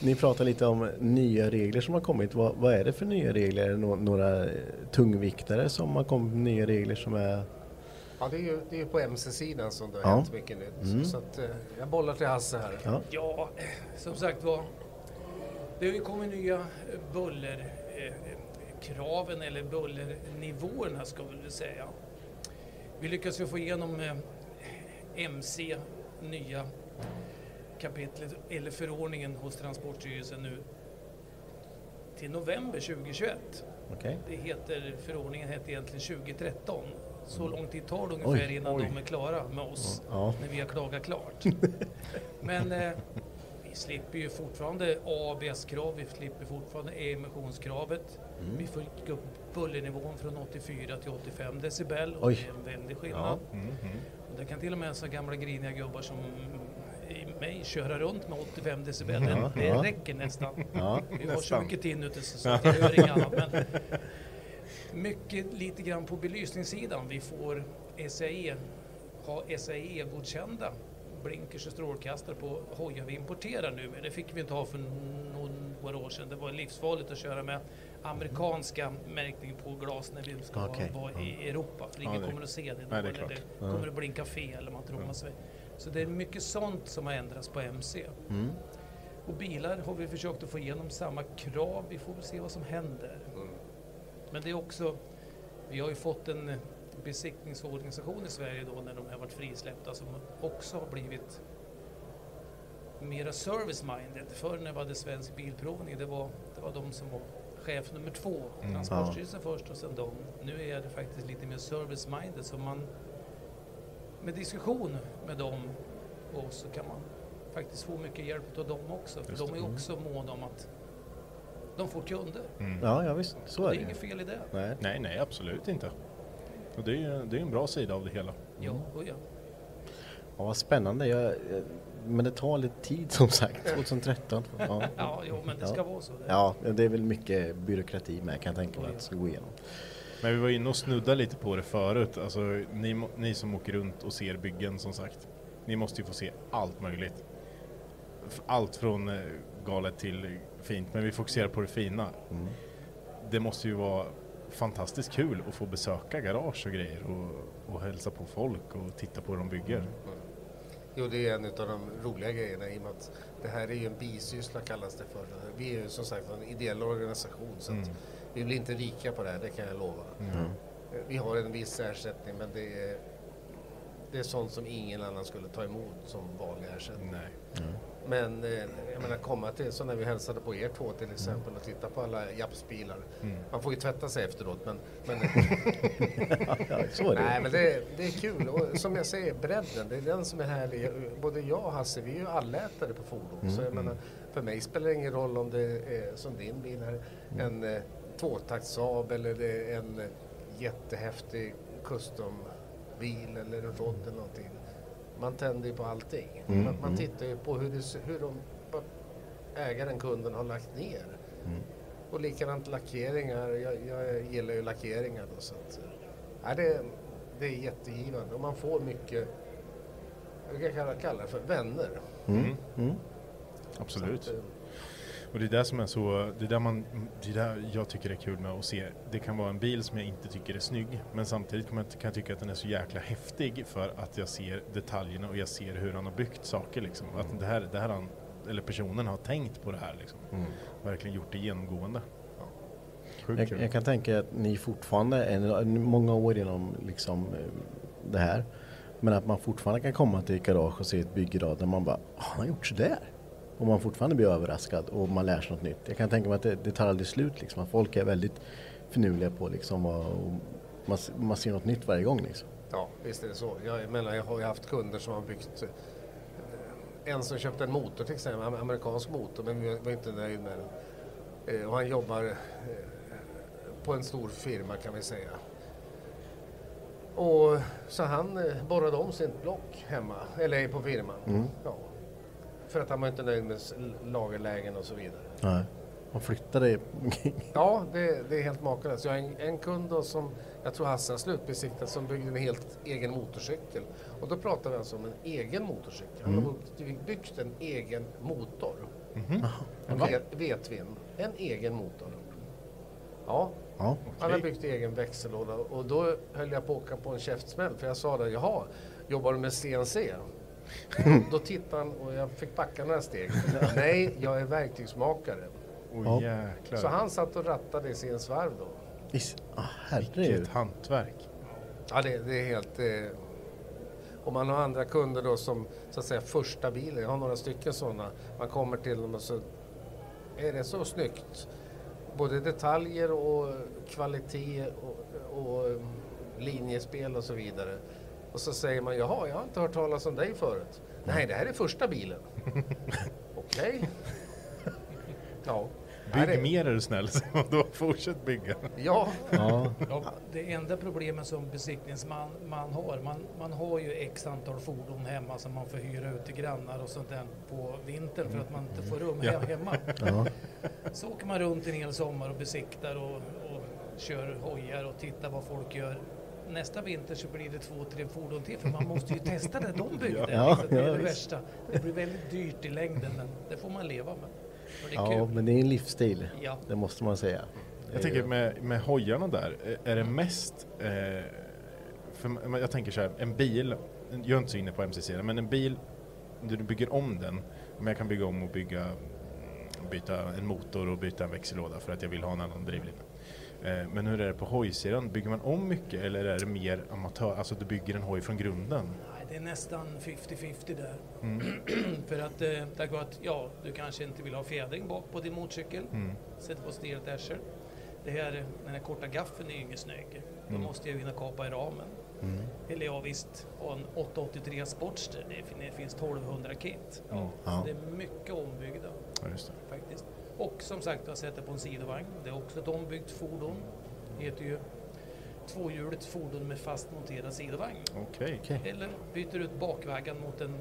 Speaker 5: det.
Speaker 2: Ni pratar lite om nya regler som har kommit. Vad, vad är det för nya regler? Är det nå- några eh, tungviktare som har kommit med nya regler som är...
Speaker 6: Ja, det är ju det är ju på MC-sidan som det har
Speaker 2: Ja.
Speaker 6: hänt mycket nytt.
Speaker 2: Mm.
Speaker 6: Så att, eh, jag bollar till Hasse här.
Speaker 2: Ja.
Speaker 8: Ja, eh, som sagt var. Det har ju kommit nya eh, buller eh, eh, kraven eller bullernivåerna ska vi väl säga. Vi lyckas ju få igenom eh, MC, nya kapitlet eller förordningen hos Transportstyrelsen nu till november 2021.
Speaker 2: Okej.
Speaker 8: Det heter, förordningen heter egentligen 2013. Så lång tid tar det
Speaker 2: Mm. Oj,
Speaker 8: ungefär innan
Speaker 2: oj.
Speaker 8: de är klara med oss
Speaker 2: Ja.
Speaker 8: när vi har klagat klart. Men eh, vi slipper ju fortfarande ABS-krav, vi slipper fortfarande emissionskravet.
Speaker 2: Mm.
Speaker 8: Vi får gå upp bullernivån från 84 till 85 decibel och
Speaker 2: Oj.
Speaker 8: det är en väldig skillnad.
Speaker 2: Ja. Mm, mm.
Speaker 8: Och det kan till och med så gamla griniga gubbar som i mig köra runt med 85 decibel.
Speaker 2: Ja,
Speaker 8: det
Speaker 2: ja.
Speaker 8: räcker nästan.
Speaker 2: Ja.
Speaker 8: Vi har så
Speaker 2: Nästan.
Speaker 8: mycket inuti så så att jag hör inget annat. Men mycket lite grann på belysningssidan. Vi får SAE, ha SAE-godkända blinkers och strålkastare på hojar vi importerar nu. Men det fick vi inte ha för någon- några år sedan. Det var livsfarligt att köra med amerikanska märkningen på glas när vi ska
Speaker 2: Okej.
Speaker 8: vara i Europa. För
Speaker 2: Ja,
Speaker 8: ingen
Speaker 2: det-
Speaker 8: kommer att se det.
Speaker 2: Nej,
Speaker 8: då,
Speaker 2: det är
Speaker 8: eller
Speaker 2: klart.
Speaker 8: det
Speaker 2: Ja.
Speaker 8: kommer att blinka fel om man trommar sig. Så det är mycket sånt som har ändrats på MC.
Speaker 2: Mm.
Speaker 8: Och bilar har vi försökt att få igenom samma krav. Vi får väl se vad som händer. Men det är också, vi har ju fått en besiktningsorganisation i Sverige då när de har varit frisläppta som också har blivit mera service-minded. Förr när vi hade Svensk Bilprovning, det var, det var de som var chef nummer två.
Speaker 6: Mm.
Speaker 8: Transportstyrelsen först och sen de. Nu är det faktiskt lite mer service-minded så man med diskussion med dem och så kan man faktiskt få mycket hjälp av dem också. För
Speaker 2: Just
Speaker 8: de
Speaker 2: det.
Speaker 8: är
Speaker 2: Mm.
Speaker 8: också måna om att de får kunder.
Speaker 5: Ja,
Speaker 2: ja visst, så
Speaker 8: Och
Speaker 2: är
Speaker 8: det
Speaker 2: det
Speaker 8: är
Speaker 2: ju.
Speaker 8: inget fel i det.
Speaker 2: Nej.
Speaker 5: Mm. Nej, nej, absolut inte. Och det är ju det är ju en bra sida av det hela.
Speaker 8: Ja,
Speaker 2: Mm.
Speaker 8: och ja.
Speaker 2: Ja, vad spännande. Jag, eh, men det tar lite tid som sagt, 2013. Ja,
Speaker 8: Ja, jo, men det ska vara så.
Speaker 2: Ja, det är väl mycket byråkrati med kan jag tänka mig att det ska gå igenom.
Speaker 5: Men vi var inne och snudda lite på det förut. Alltså, ni, må- ni som åker runt och ser byggen som sagt. Ni måste ju få se allt möjligt. F- Allt från eh, galet till fint. Men vi fokuserar på det fina. Det måste ju vara fantastiskt kul att få besöka garage och grejer och, och hälsa på folk och titta på hur de bygger.
Speaker 6: Mm. Jo, det är en av de roliga grejerna i och med att det här är ju en bisyssla kallas det för. Vi är ju som sagt en ideell organisation så att
Speaker 5: Mm.
Speaker 6: vi blir inte rika på det här, det kan jag lova.
Speaker 5: Mm.
Speaker 6: Vi har en viss ersättning men det är, Det är sånt som ingen annan skulle ta emot som vanlig ersättning.
Speaker 5: Nej.
Speaker 2: Mm.
Speaker 6: Men eh, jag menar komma till, så när vi hälsade på er två till exempel och titta på alla japsbilar.
Speaker 5: Mm.
Speaker 6: Man får ju tvätta sig efteråt men... men
Speaker 2: ja, så är det.
Speaker 6: Nej men det, det är kul och som jag säger bredden, det är den som är härlig. Både jag och Hasse vi är ju allätare på fordon.
Speaker 2: Mm,
Speaker 6: Så jag
Speaker 2: mm.
Speaker 6: menar, för mig spelar det ingen roll om det är som din bil här,
Speaker 2: Mm.
Speaker 6: en eh, tvåtakts Saab eller det är en eh, jättehäftig custom-bil eller en rodd eller någonting. Man tänder ju på allting.
Speaker 2: Mm,
Speaker 6: Man, man
Speaker 2: mm.
Speaker 6: tittar ju på hur, det, ser- hur de, vad ägaren, kunden har lagt ner.
Speaker 4: Mm.
Speaker 6: Och likadant lackeringar. Jag, jag gillar ju lackeringar då så att... Ja, det, det är jättegivande och man får mycket, jag kan kalla- kalla det för vänner.
Speaker 5: Mm. Absolut.
Speaker 6: Så att, eh,
Speaker 5: Och det är där som är så, det är där man, det är där jag tycker det är kul med att se, det kan vara en bil som jag inte tycker är snygg, men samtidigt kan man- kan jag tycka att den är så jäkla häftig för att jag ser detaljerna och jag ser hur han har byggt saker liksom. Att det här, det här han, eller personen har tänkt på det här liksom. Verkligen gjort det genomgående. Sjukt
Speaker 2: Jag,
Speaker 5: kul.
Speaker 2: jag kan tänka att ni fortfarande, är många år inom liksom eh, det här, men att man fortfarande kan komma till ett garage och se ett bygge idag där man bara, "Ah, han har gjort sådär. Och man fortfarande blir överraskad och man lär sig något nytt. Jag kan tänka mig att det, det tar aldrig slut liksom. Att folk är väldigt finurliga på liksom vad, och man, s- man ser något nytt varje gång liksom.
Speaker 6: Ja, visst är det så. Jag, jag menar, jag har ju haft kunder som har byggt... eh, En som köpte en motor till exempel, en amerikansk motor, men vi var inte nöjd med den. Eh, Och han jobbar eh, på en stor firma kan vi säga. Och så han eh, borrade om sitt block hemma, eller på firman.
Speaker 2: Mm.
Speaker 6: Ja. För att han var inte nöjd med s- lagerlägen och så vidare.
Speaker 2: Nej. Man flyttar det.
Speaker 6: Ja, det, det är helt makalöst. Jag har en, en kund då som jag tror Hasse har slutbesiktat som byggde en helt egen motorcykel. Och då pratar vi alltså om en egen motorcykel. Han har
Speaker 2: Mm.
Speaker 6: byggt- byggt en egen motor. En
Speaker 2: Okej.
Speaker 6: vet- vetvin. En egen motor. Ja,
Speaker 2: Ja.
Speaker 6: han har byggt egen växellåda och då höll jag på att åka på en käftsmäll för jag sa det, jaha, jobbar du med CNC? då tittade han och jag fick backa några steg. Nej, jag är verktygsmakare.
Speaker 5: Åh, jäklar.
Speaker 6: Så han satt och rattade i sin svarv då.
Speaker 2: Is, ah, herregud.
Speaker 5: Vilket hantverk.
Speaker 6: Ja, det, det är helt... Eh, om man har andra kunder då som så att säga första bilen, jag har några stycken sådana. Man kommer till dem och så är det så snyggt. Både detaljer och kvalitet och, och eh, linjespel och så vidare. Och så säger man, jaha, jag har inte hört talas om dig förut. Nej, det här är första bilen. Okej. Ja. Nej,
Speaker 5: Bygg
Speaker 6: det-
Speaker 5: mer är du snäll, och då fortsätt bygga.
Speaker 6: Ja.
Speaker 2: Ja.
Speaker 8: Ja, det enda problemet som besiktningsman man har, man, man har ju x antal fordon hemma som man får hyra ut till grannar och sånt där på vintern för att man inte får rum
Speaker 5: Ja.
Speaker 8: he- hemma.
Speaker 2: Ja.
Speaker 8: Så åker man runt en hel sommar och besiktar och, och kör hojar och tittar vad folk gör. Nästa vinter så blir det två, tre fordon till för man måste ju testa det de byggde.
Speaker 2: Ja,
Speaker 8: liksom. det är
Speaker 2: ja,
Speaker 8: det
Speaker 2: visst.
Speaker 8: värsta. Det blir väldigt dyrt i längden men det får man leva med. Och det är
Speaker 2: ja,
Speaker 8: kul.
Speaker 2: men det är en livsstil.
Speaker 8: Ja.
Speaker 2: Det måste man säga.
Speaker 5: Jag tänker med, med hojarna där, eh, är det mest... Eh, för m- jag tänker så här, en bil, jag är inte så inne på mcc men en bil, du du bygger om den, men jag kan bygga om och bygga, mm, byta en motor och byta en växellåda för att jag vill ha en annan drivlina. Eh, men hur är det på hojsidan, bygger man om mycket eller är det mer amatör, alltså du bygger en hoj från grunden?
Speaker 8: Nej, det är nästan 50-50 där.
Speaker 5: Mm.
Speaker 8: För att eh, tack vare att ja, du kanske inte vill ha fjädring bak på din motorcykel.
Speaker 5: Mm.
Speaker 8: Sätter på stelt ässel. Det här, den här korta gaffeln är ju ingen snygg. Då
Speaker 5: Mm.
Speaker 8: måste jag ju hinna kapa i ramen. Eller ja visst, ha en 883 Sportster. Det fin- Det finns 1200 kit. Ja,
Speaker 5: Mm.
Speaker 8: så
Speaker 2: Ja.
Speaker 8: Det är mycket ombyggda
Speaker 5: Ja, just det.
Speaker 8: faktiskt. Och som sagt, jag sätter på en sidovagn. Det är också ett ombyggt fordon. Det heter ju tvåhjuligt fordon med fast monterad sidovagn.
Speaker 5: Okej.
Speaker 8: Eller byter ut bakvaggan mot en,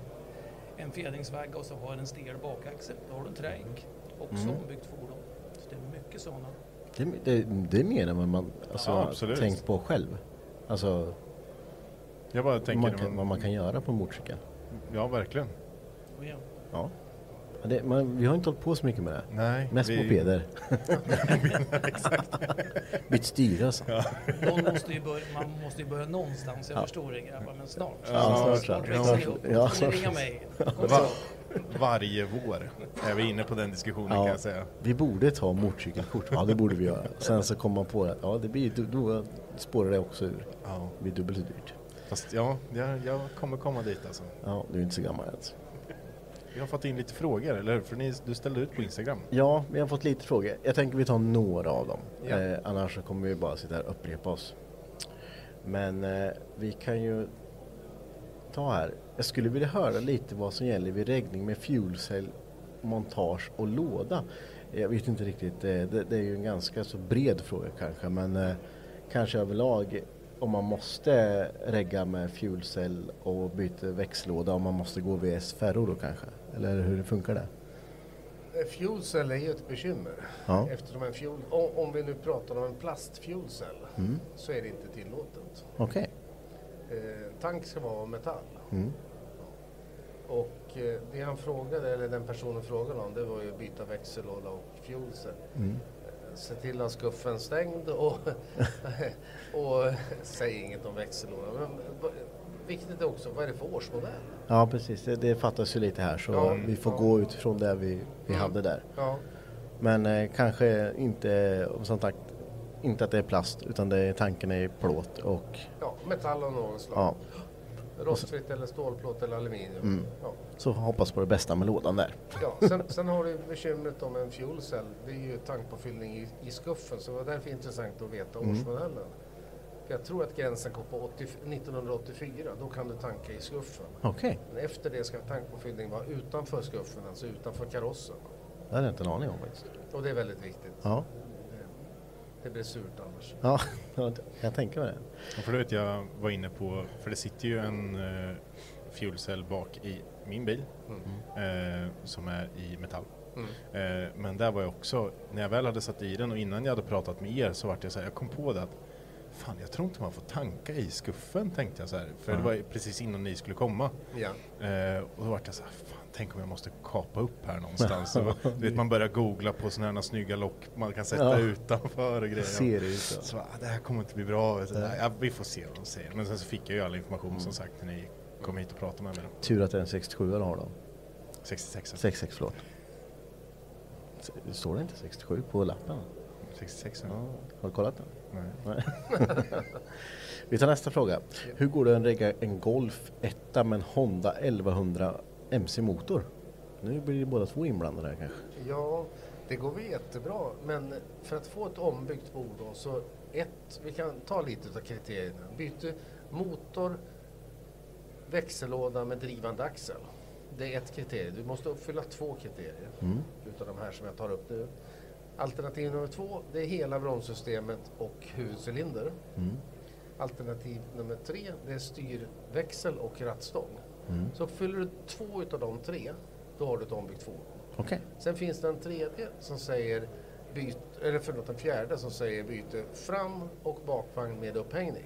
Speaker 8: en fjädringsvagga och så har den stel bakaxel. Då har du en tränk. Också
Speaker 2: Mm.
Speaker 8: ombyggt fordon. Så det är mycket sådana.
Speaker 2: Det, det, det är mer än vad man alltså,
Speaker 5: Ja,
Speaker 2: har
Speaker 5: absolut.
Speaker 2: tänkt på själv. Alltså
Speaker 5: Jag bara
Speaker 2: vad
Speaker 5: tänker...
Speaker 2: man
Speaker 5: när
Speaker 2: kan, vad man kan göra på en motorcykel.
Speaker 5: Ja, verkligen.
Speaker 8: Och igen,
Speaker 2: Ja. Ja, Det, man, vi har inte hållit på så mycket med det.
Speaker 5: Nej,
Speaker 2: Mest
Speaker 5: vi-
Speaker 2: mopeder. Bytt styre alltså. Ja.
Speaker 8: Någon måste ju börja, man måste ju börja någonstans. Jag förstår det grabbar, men snart.
Speaker 2: snart,
Speaker 8: snart
Speaker 2: snart.
Speaker 8: växer det upp.
Speaker 2: Ja,
Speaker 8: Ni
Speaker 2: snart.
Speaker 8: ringa mig. Kom
Speaker 5: Va-
Speaker 8: så.
Speaker 5: varje vår är vi inne på den diskussionen kan jag säga.
Speaker 2: vi borde ta motorcykelkort. Ja, det borde vi göra. Sen så kom man på att ja, det blir, ju- då, då spårar det också ur.
Speaker 5: Ja.
Speaker 2: Det blir dubbelt så dyrt.
Speaker 5: Fast ja, jag, jag kommer komma dit alltså.
Speaker 2: Ja, du är inte så gammal ens.
Speaker 5: Vi har fått in lite frågor, eller hur? För ni, du ställde ut på Instagram.
Speaker 2: Ja, vi har fått lite frågor. Jag tänker vi tar några av dem.
Speaker 5: Ja.
Speaker 2: Eh, annars så kommer vi bara sitta här och upprepa oss. Men eh, vi kan ju ta här. Jag skulle vilja höra lite vad som gäller vid räddning med fuelcell, montage och låda. Jag vet inte riktigt, eh, det, det är ju en ganska så bred fråga kanske, men eh, kanske överlag om man måste regga med fuelcell och byta växellåda om man måste gå VS-ferro då kanske? Eller hur funkar det?
Speaker 6: Eh, Fuel cell är ju ett bekymmer.
Speaker 2: Ja.
Speaker 6: Eftersom en fuel, o- om vi nu pratar om en plastfuel cell
Speaker 2: Mm.
Speaker 6: så är det inte tillåtet.
Speaker 2: Okej.
Speaker 6: Eh, tank ska vara av metall.
Speaker 2: Mm.
Speaker 6: Och eh, det han frågade, eller den personen frågade om, det var ju att byta växellåda och fuel cell.
Speaker 2: Mm.
Speaker 6: Eh, Se till att ha skuffen stängd och, och eh, säg inget om växellådan. Men vad- viktigt är också, vad är det för årsmodell?
Speaker 2: Ja precis, det, det fattas ju lite här så
Speaker 6: Ja,
Speaker 2: vi får
Speaker 6: ja.
Speaker 2: gå utifrån det vi, vi
Speaker 6: Mm.
Speaker 2: hade där.
Speaker 6: Ja.
Speaker 2: Men eh, kanske inte, och som sagt, inte att det är plast utan det är, tanken är plåt och
Speaker 6: Ja, metall av något slag.
Speaker 2: ja.
Speaker 6: Rostfritt eller stålplåt eller aluminium.
Speaker 2: Mm.
Speaker 6: Ja.
Speaker 2: Så hoppas på det bästa med lådan där.
Speaker 6: Ja, sen, sen har du bekymret om en fuel cell. Det är ju tankpåfyllning i, i skuffen så det var därför intressant att veta
Speaker 2: Mm.
Speaker 6: årsmodellen. Jag tror att gränsen går på 80, 1984, då kan du tanka i skuffen.
Speaker 2: Okej.
Speaker 6: Men efter det ska tankpåfyllning vara utanför skuffen, alltså utanför karossen.
Speaker 2: Det hade jag inte en aning om faktiskt.
Speaker 6: Och det är väldigt viktigt.
Speaker 2: Ja,
Speaker 6: Det blir surt annars.
Speaker 2: ja jag tänker mig det.
Speaker 5: Ja, för du vet, jag var inne på, för det sitter ju en eh, fuelcell bak i min bil eh, som är i metall.
Speaker 6: Mm.
Speaker 5: Eh, men där var jag också, när jag väl hade satt i den och innan jag hade pratat med er så vart jag så här, jag kom på det att fan jag tror inte man får tanka i skuffen tänkte jag så här. För det
Speaker 6: Ja.
Speaker 5: var ju precis innan ni skulle komma.
Speaker 6: Ja.
Speaker 5: Eh, och då vart jag så här, fan tänk om jag måste kapa upp här någonstans. Och, du vet man börjar googla på sådana här snygga lock man kan sätta
Speaker 2: Ja.
Speaker 5: utanför och grejer.
Speaker 2: Ser det ut så.
Speaker 5: Så, ah, det här kommer inte bli bra. Vet du. Ja, vi får se vad de säger. Men sen så fick jag ju all information
Speaker 2: Mm.
Speaker 5: som sagt när ni kom hit och pratade med mig. då.
Speaker 2: Tur att det är en 67 har då.
Speaker 5: 66.
Speaker 2: 66 förlåt. S- Står det inte 67 på lappen?
Speaker 5: 66
Speaker 2: ja. Har du kollat den?
Speaker 5: Nej.
Speaker 2: Vi tar nästa fråga. Hur går det att regga en Golf 1 med en Honda 1100 MC-motor? Nu blir det båda två inblandade här kanske.
Speaker 6: Ja, det går väl jättebra. Men för att få ett ombyggt fordon så ett, vi kan ta lite av kriterierna. Byte motor, växellåda med drivande axel. Det är ett kriterium. Du måste uppfylla två kriterier
Speaker 2: Mm.
Speaker 6: utav de här som jag tar upp nu. Alternativ nummer två, det är hela bromssystemet och huvudcylinder.
Speaker 2: Mm.
Speaker 6: Alternativ nummer tre, det är styrväxel och rattstång.
Speaker 2: Mm.
Speaker 6: Så uppfyller du två utav de tre, då har du ett ombyggt fordon.
Speaker 2: Okej.
Speaker 6: Sen finns det en tredje som säger byt, eller förlåt, en fjärde som säger byte fram och bakvagn med upphängning.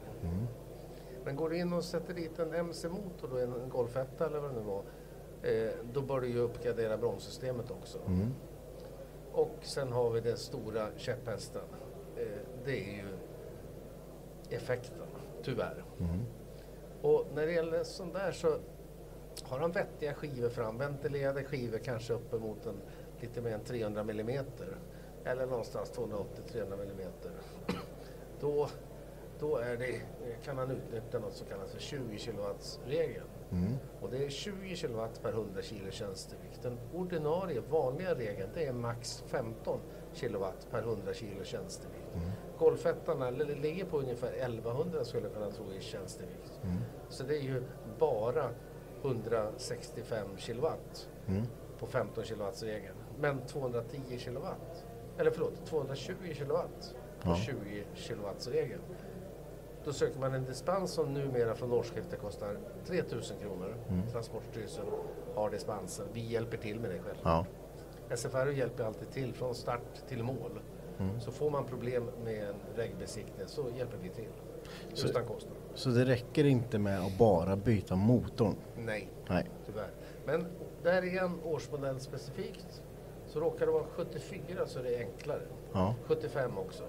Speaker 6: Men går du in och sätter dit en MC-motor, då, en Golf 1 eller vad det nu var, eh, då bör du ju uppgradera bromssystemet också.
Speaker 2: Mm.
Speaker 6: Och sen har vi den stora käpphästen. Eh, det är ju effekten, tyvärr.
Speaker 2: Mm.
Speaker 6: Och när det gäller sånt där så har han vettiga skivor fram, ventilerade skivor kanske uppemot en, lite mer än 300 millimeter eller någonstans 280-300 millimeter. Då, då är det, kan han utnyttja något som kallas för 20 kilowatts-regeln.
Speaker 2: Mm.
Speaker 6: Och det är 20 kilowatt per 100 kilo tjänstevikt. Den ordinarie vanliga regeln det är max 15 kilowatt per 100 kilo tjänstevikt.
Speaker 10: Mm.
Speaker 6: Golfettan eller det ligger på ungefär 1100 skulle jag kunna tro i tjänstevikt.
Speaker 2: Mm.
Speaker 6: Så det är ju bara 165 kilowatt
Speaker 2: Mm.
Speaker 6: på 15 kilowattsregeln. Men 210 kilowatt, eller förlåt 220 kilowatt på
Speaker 2: Ja.
Speaker 6: 20 kilowattsregeln. Då söker man en dispens som numera från årsskiftet kostar 3000 kronor.
Speaker 2: Mm.
Speaker 6: Transportstyrelsen har dispensen. Vi hjälper till med det själv.
Speaker 2: Ja.
Speaker 6: SFR hjälper alltid till från start till mål.
Speaker 2: Mm.
Speaker 6: Så får man problem med en vägbesiktning så hjälper vi till.
Speaker 2: Så-
Speaker 6: Utan kostnad.
Speaker 2: Så det räcker inte med att bara byta motorn?
Speaker 6: Nej,
Speaker 2: Nej.
Speaker 6: tyvärr. Men där igen, årsmodell specifikt. Så råkar det vara 74 så är det enklare.
Speaker 2: Ja.
Speaker 6: 75 också.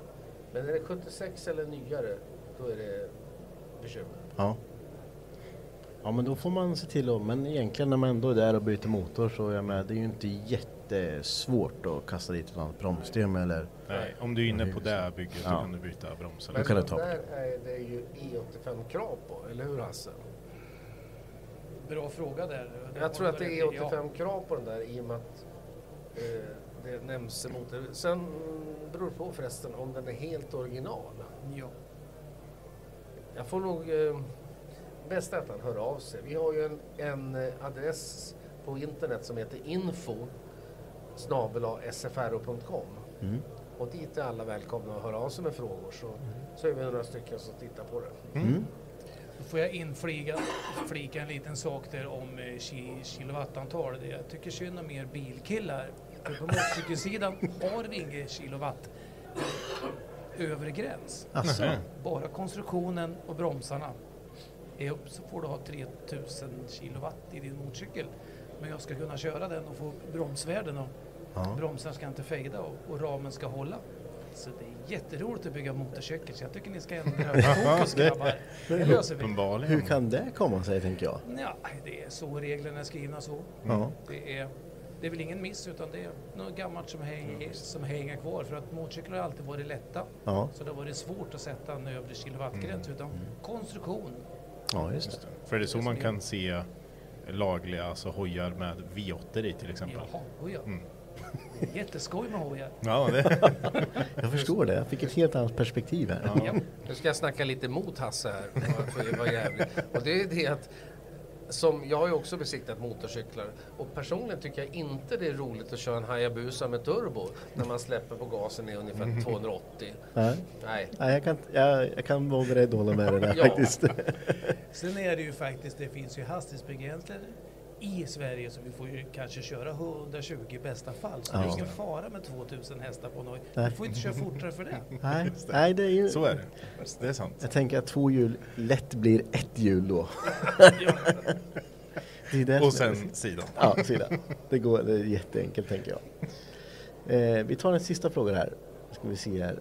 Speaker 6: Men är det 76 eller nyare då är det bekymmer.
Speaker 2: Ja. Ja men då får man se till att, men egentligen när man ändå är där och byter motor så jag med, det är ju inte jättesvårt att kasta dit ett annat bromssystem eller...
Speaker 5: Nej, om du är inne på det bygget så kan du byta broms eller-
Speaker 2: Då kan du ta
Speaker 6: det där är det ju E85 krav på, eller hur Hasse?
Speaker 8: Bra fråga där.
Speaker 6: Jag tror att det är E85 krav på den där i och med att eh, det nämns emot. det. Sen mm, beror det på förresten om den är helt original.
Speaker 8: Ja.
Speaker 6: Jag får nog... Eh, bäst är att han hör av sig. Vi har ju en, en eh, adress på internet som heter info sfro.com
Speaker 11: 嗯
Speaker 2: Mm.
Speaker 6: och dit är alla välkomna att höra av sig med frågor så, så är vi några stycken som tittar på det.
Speaker 2: Mm.
Speaker 8: Då får jag inflika flika en liten sak där om eh, ki, kilowattantal. Det- Jag tycker synd om er bilkillar. För på motorcykelsidan har vi ingen kilowatt eh, övre gräns.
Speaker 2: Asså.
Speaker 8: Bara konstruktionen och bromsarna är upp så får du ha 3000 kilowatt i din motorcykel. Men jag ska kunna köra den och få bromsvärden och
Speaker 2: Ja.
Speaker 8: bromsarna ska inte fejda och, och ramen ska hålla. Så det är jätteroligt att bygga motorcykel så jag tycker ni ska ändra fokus grabbar. Det löser vi.
Speaker 2: Hur kan det komma sig tänker jag?
Speaker 8: Ja, det är så reglerna är skrivna så.
Speaker 2: Ja.
Speaker 8: Det, är, det är väl ingen miss utan det är något gammalt som hänger, som hänger kvar. För att motorcyklar har alltid varit lätta.
Speaker 2: Ja. Mm.
Speaker 8: Så det har varit svårt att sätta en övre kilowattgräns. Utan konstruktion.
Speaker 2: Ja, just det.
Speaker 5: För det är så man kan se lagliga alltså, hojar med V8 i till exempel. Mm.
Speaker 8: Jaha, oj ja. Det är Jätteskoj med hojar.
Speaker 5: Ja,
Speaker 2: Jag förstår det, jag fick ett helt annat perspektiv här.
Speaker 6: Nu ska jag snacka lite mot Hasse här. För det var jävligt. Och det är det att som, jag har ju också besiktat motorcyklar och personligen tycker jag inte det är roligt att köra en Hayabusa med turbo när man släpper på gasen i ungefär 280.
Speaker 2: Nej.
Speaker 6: Nej.
Speaker 2: Nej, jag kan, jag, jag kan vara beredd att hålla med dig där
Speaker 6: Ja.
Speaker 2: faktiskt.
Speaker 8: Sen är det ju faktiskt, det finns ju hastighetsbegränsningar i Sverige så vi får ju kanske köra 120 i bästa fall. Så
Speaker 2: Ja.
Speaker 8: det är ingen fara med 2000 hästar på en hoj.
Speaker 2: Nej.
Speaker 8: Du får inte köra fortare för det.
Speaker 2: Nej, nej, det är ju...
Speaker 5: Så är det. Alltså, Det är sant.
Speaker 2: Jag tänker att två hjul lätt blir ett hjul då. Det är därför-
Speaker 5: Och sen sidan.
Speaker 2: Ja, sidan. Det, går, det är jätteenkelt tänker jag. Eh, vi tar en sista fråga här. Ska vi se här.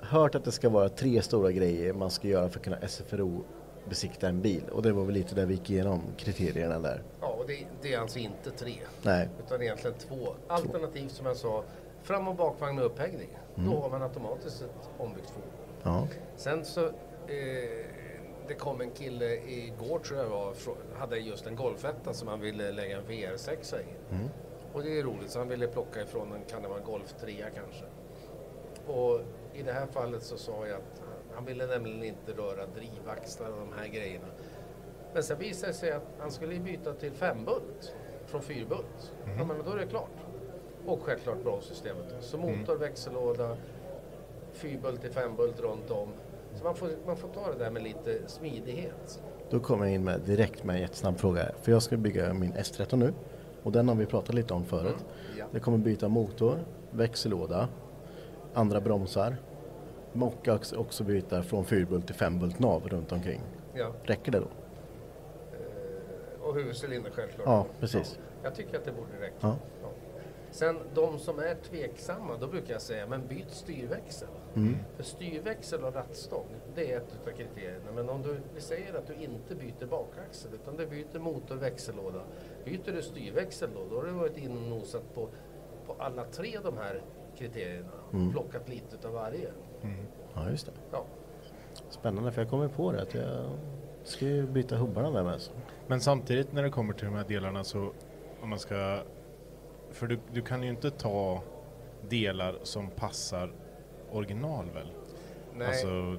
Speaker 2: Hört att det ska vara tre stora grejer man ska göra för att kunna SFRO besikta en bil och det var väl lite där vi gick igenom kriterierna där.
Speaker 6: Ja, och det, det är alltså inte tre.
Speaker 2: Nej.
Speaker 6: Utan egentligen två. Alternativ som jag sa, fram och bakvagn med upphängning. Då har man automatiskt ett ombyggt fordon.
Speaker 2: Mm. Ja.
Speaker 6: Sen så, eh, det kom en kille igår tror jag var, frå- hade just en golfetta som han ville lägga en VR6 i.
Speaker 2: Mm.
Speaker 6: Och det är roligt, så han ville plocka ifrån en, kan det vara en Golf 3 kanske. Och i det här fallet så sa jag att han ville nämligen inte röra drivaxlar och de här grejerna. Men sen visade det sig att han skulle byta till fembult från fyrbult. Ja, men då är det klart. Och självklart bromssystemet. då. Så motor, växellåda, fyrbult till fembult runt om. Så man får, man får ta det där med lite smidighet.
Speaker 2: Då kommer jag in med direkt med en jättesnabb fråga. här. För jag ska bygga min S13 nu och den har vi pratat lite om förut.
Speaker 5: Mm,
Speaker 6: Ja.
Speaker 2: Jag kommer byta motor, växellåda, andra bromsar och också- också byta från fyrbult till fembult nav runt omkring.
Speaker 6: Ja.
Speaker 2: Räcker det då?
Speaker 6: Och huvudcylinder självklart.
Speaker 2: Ja, precis.
Speaker 6: Jag tycker att det borde räcka.
Speaker 2: Ja.
Speaker 6: Ja. Sen de som är tveksamma, då brukar jag säga, men byt styrväxel.
Speaker 2: Mm.
Speaker 6: För styrväxel och rattstång, det är ett utav kriterierna. Men om du vi säger att du inte byter bakaxel, utan du byter motor och växellåda. Byter du styrväxel då, då har du varit inne och nosat på, på alla tre de här kriterierna.
Speaker 2: Mm.
Speaker 6: Plockat lite utav varje.
Speaker 5: Mm.
Speaker 2: Ja, just det.
Speaker 6: Ja.
Speaker 2: Spännande, för jag kommer på det att jag ska ju byta hubbarna där med. alltså. Så.
Speaker 5: Men samtidigt när det kommer till de här delarna så om man ska... För du, du kan ju inte ta delar som passar original väl?
Speaker 6: Nej.
Speaker 5: Alltså,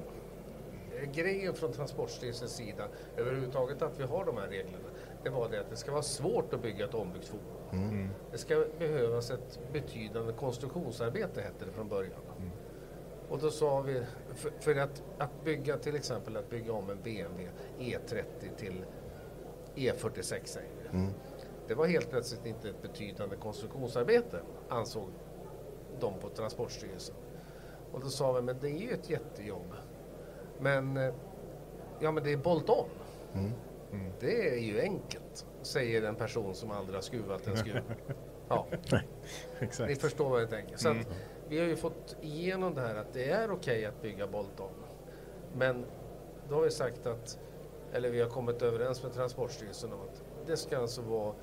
Speaker 6: Eh, Grejen från Transportstyrelsens sida, överhuvudtaget att vi har de här reglerna, det var det att det ska vara svårt att bygga ett ombyggt fordon.
Speaker 5: mm.
Speaker 6: Det ska behövas ett betydande konstruktionsarbete hette det från början. Och då sa vi, för, för att, att bygga till exempel att bygga om en BMW E30 E till E46 säger vi.
Speaker 2: Mm,
Speaker 6: Det var helt plötsligt inte ett betydande konstruktionsarbete ansåg de på Transportstyrelsen. Och då sa vi, men det är ju ett jättejobb. Men, eh, ja men det är bolt-on. Mm, Det är ju enkelt, säger en person som aldrig har skruvat en skruv. Ja, ni
Speaker 5: Exakt.
Speaker 6: förstår vad jag tänker. Så att, vi har ju fått igenom det här att det är okej att bygga bolt-on. Men då har vi sagt att eller vi har kommit överens med Transportstyrelsen om att det ska alltså vara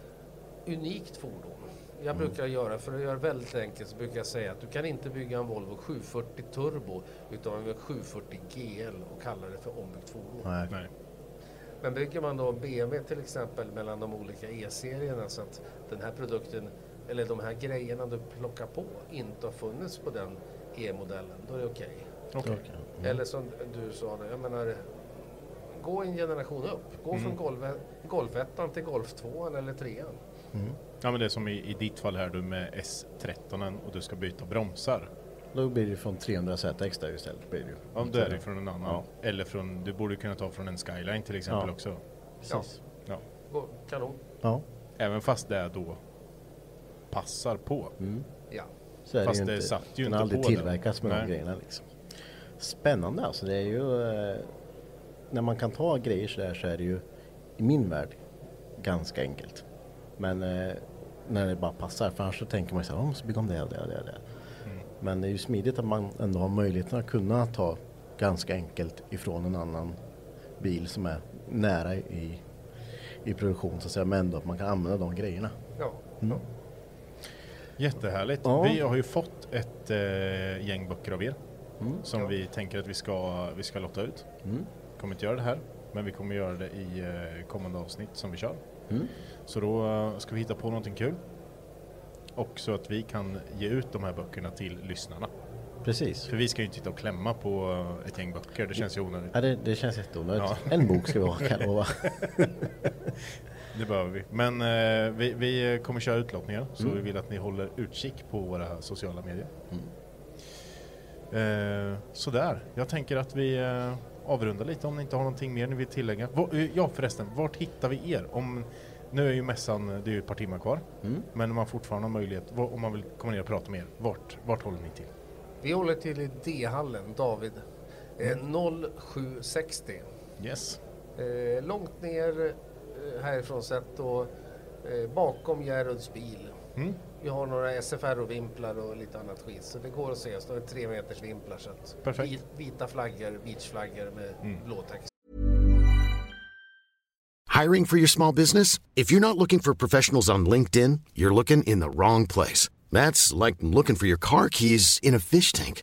Speaker 6: unikt fordon.
Speaker 2: Mm.
Speaker 6: Jag brukar göra, för att göra väldigt enkelt, så brukar jag säga att du kan inte bygga en Volvo 740 Turbo utan en 740 GL och kalla det för ombyggt fordon.
Speaker 2: Nej. Nej.
Speaker 6: Men bygger man då en BMW till exempel mellan de olika E-serierna så att den här produkten eller de här grejerna du plockar på inte har funnits på den E-modellen, då är det okej.
Speaker 2: Okej. Mm.
Speaker 6: Eller som du sa, jag menar, gå en generation upp. Gå från
Speaker 5: Mm.
Speaker 6: golve, golfettan till golftvåan eller trean.
Speaker 5: Ja men det är som i, i ditt fall här du med S13 och du ska byta bromsar.
Speaker 2: Då blir det från 300 ZX där istället. Blir det ju.
Speaker 5: Ja, då är det från en annan.
Speaker 2: Ja.
Speaker 5: Eller från, du borde kunna ta från en Skyline till exempel
Speaker 2: Ja.
Speaker 5: också.
Speaker 6: Precis.
Speaker 5: Ja.
Speaker 6: Gå, kanon.
Speaker 2: Ja.
Speaker 5: Även fast det då passar på.
Speaker 6: Mm. Ja.
Speaker 2: Så är
Speaker 5: fast
Speaker 2: det,
Speaker 5: det,
Speaker 2: ju inte.
Speaker 5: satt ju
Speaker 2: den
Speaker 5: inte
Speaker 2: har
Speaker 5: på
Speaker 2: aldrig tillverkats
Speaker 5: den.
Speaker 2: med de grejerna. Liksom. Spännande alltså. Det är ju, eh, när man kan ta grejer så där så är det ju i min värld ganska enkelt. Men eh, när det bara passar. För annars så tänker man så här, "Åh, måste bygga om det och det och det. Och det.
Speaker 5: Mm.
Speaker 2: Men det är ju smidigt att man ändå har möjligheten att kunna ta ganska enkelt ifrån en annan bil som är nära i, i produktion så att säga. Men ändå att man kan använda de grejerna.
Speaker 6: Ja.
Speaker 2: Mm.
Speaker 5: Jättehärligt.
Speaker 2: Ja.
Speaker 5: Vi har ju fått ett eh, gäng böcker av er
Speaker 2: Mm.
Speaker 5: som vi tänker att vi ska, vi ska lotta ut.
Speaker 2: Mm.
Speaker 5: Kommer inte göra det här, men vi kommer göra det i eh, kommande avsnitt som vi kör.
Speaker 2: Mm.
Speaker 5: Så då eh, ska vi hitta på någonting kul. Och så att vi kan ge ut de här böckerna till lyssnarna.
Speaker 2: Precis.
Speaker 5: För vi ska ju inte sitta och klämma på eh, ett gäng böcker, det känns ju onödigt.
Speaker 2: Ja, det, det känns jätteonödigt.
Speaker 5: Ja.
Speaker 2: En bok ska vi ha kan jag lova.
Speaker 5: Det behöver vi. Men eh, vi, vi kommer köra utlottningar så
Speaker 2: Mm.
Speaker 5: vi vill att ni håller utkik på våra sociala medier. Eh, sådär, jag tänker att vi eh, avrundar lite om ni inte har någonting mer ni vill tillägga. Va, eh, ja förresten, vart hittar vi er? Om, nu är ju mässan, det är ju ett par timmar kvar, men om man fortfarande har möjlighet, va- om man vill komma ner och prata med er, vart, vart håller ni till?
Speaker 6: Vi håller till i D-hallen, David. Eh, 0760.
Speaker 5: Mm. Yes.
Speaker 6: Eh, långt ner eh, härifrån sett och eh, bakom Gerhards bil.
Speaker 5: Mm.
Speaker 6: Vi har några SFR-vimplar och lite annat skit så det går att se. Så det är tre meters vimplar så att
Speaker 5: Perfekt. Mm.
Speaker 6: vi- vita flaggor, beachflaggor med blå text.
Speaker 12: Hiring for your small business? If you're not looking for professionals on LinkedIn, you're looking in the wrong place. That's like looking for your car keys in a fish tank.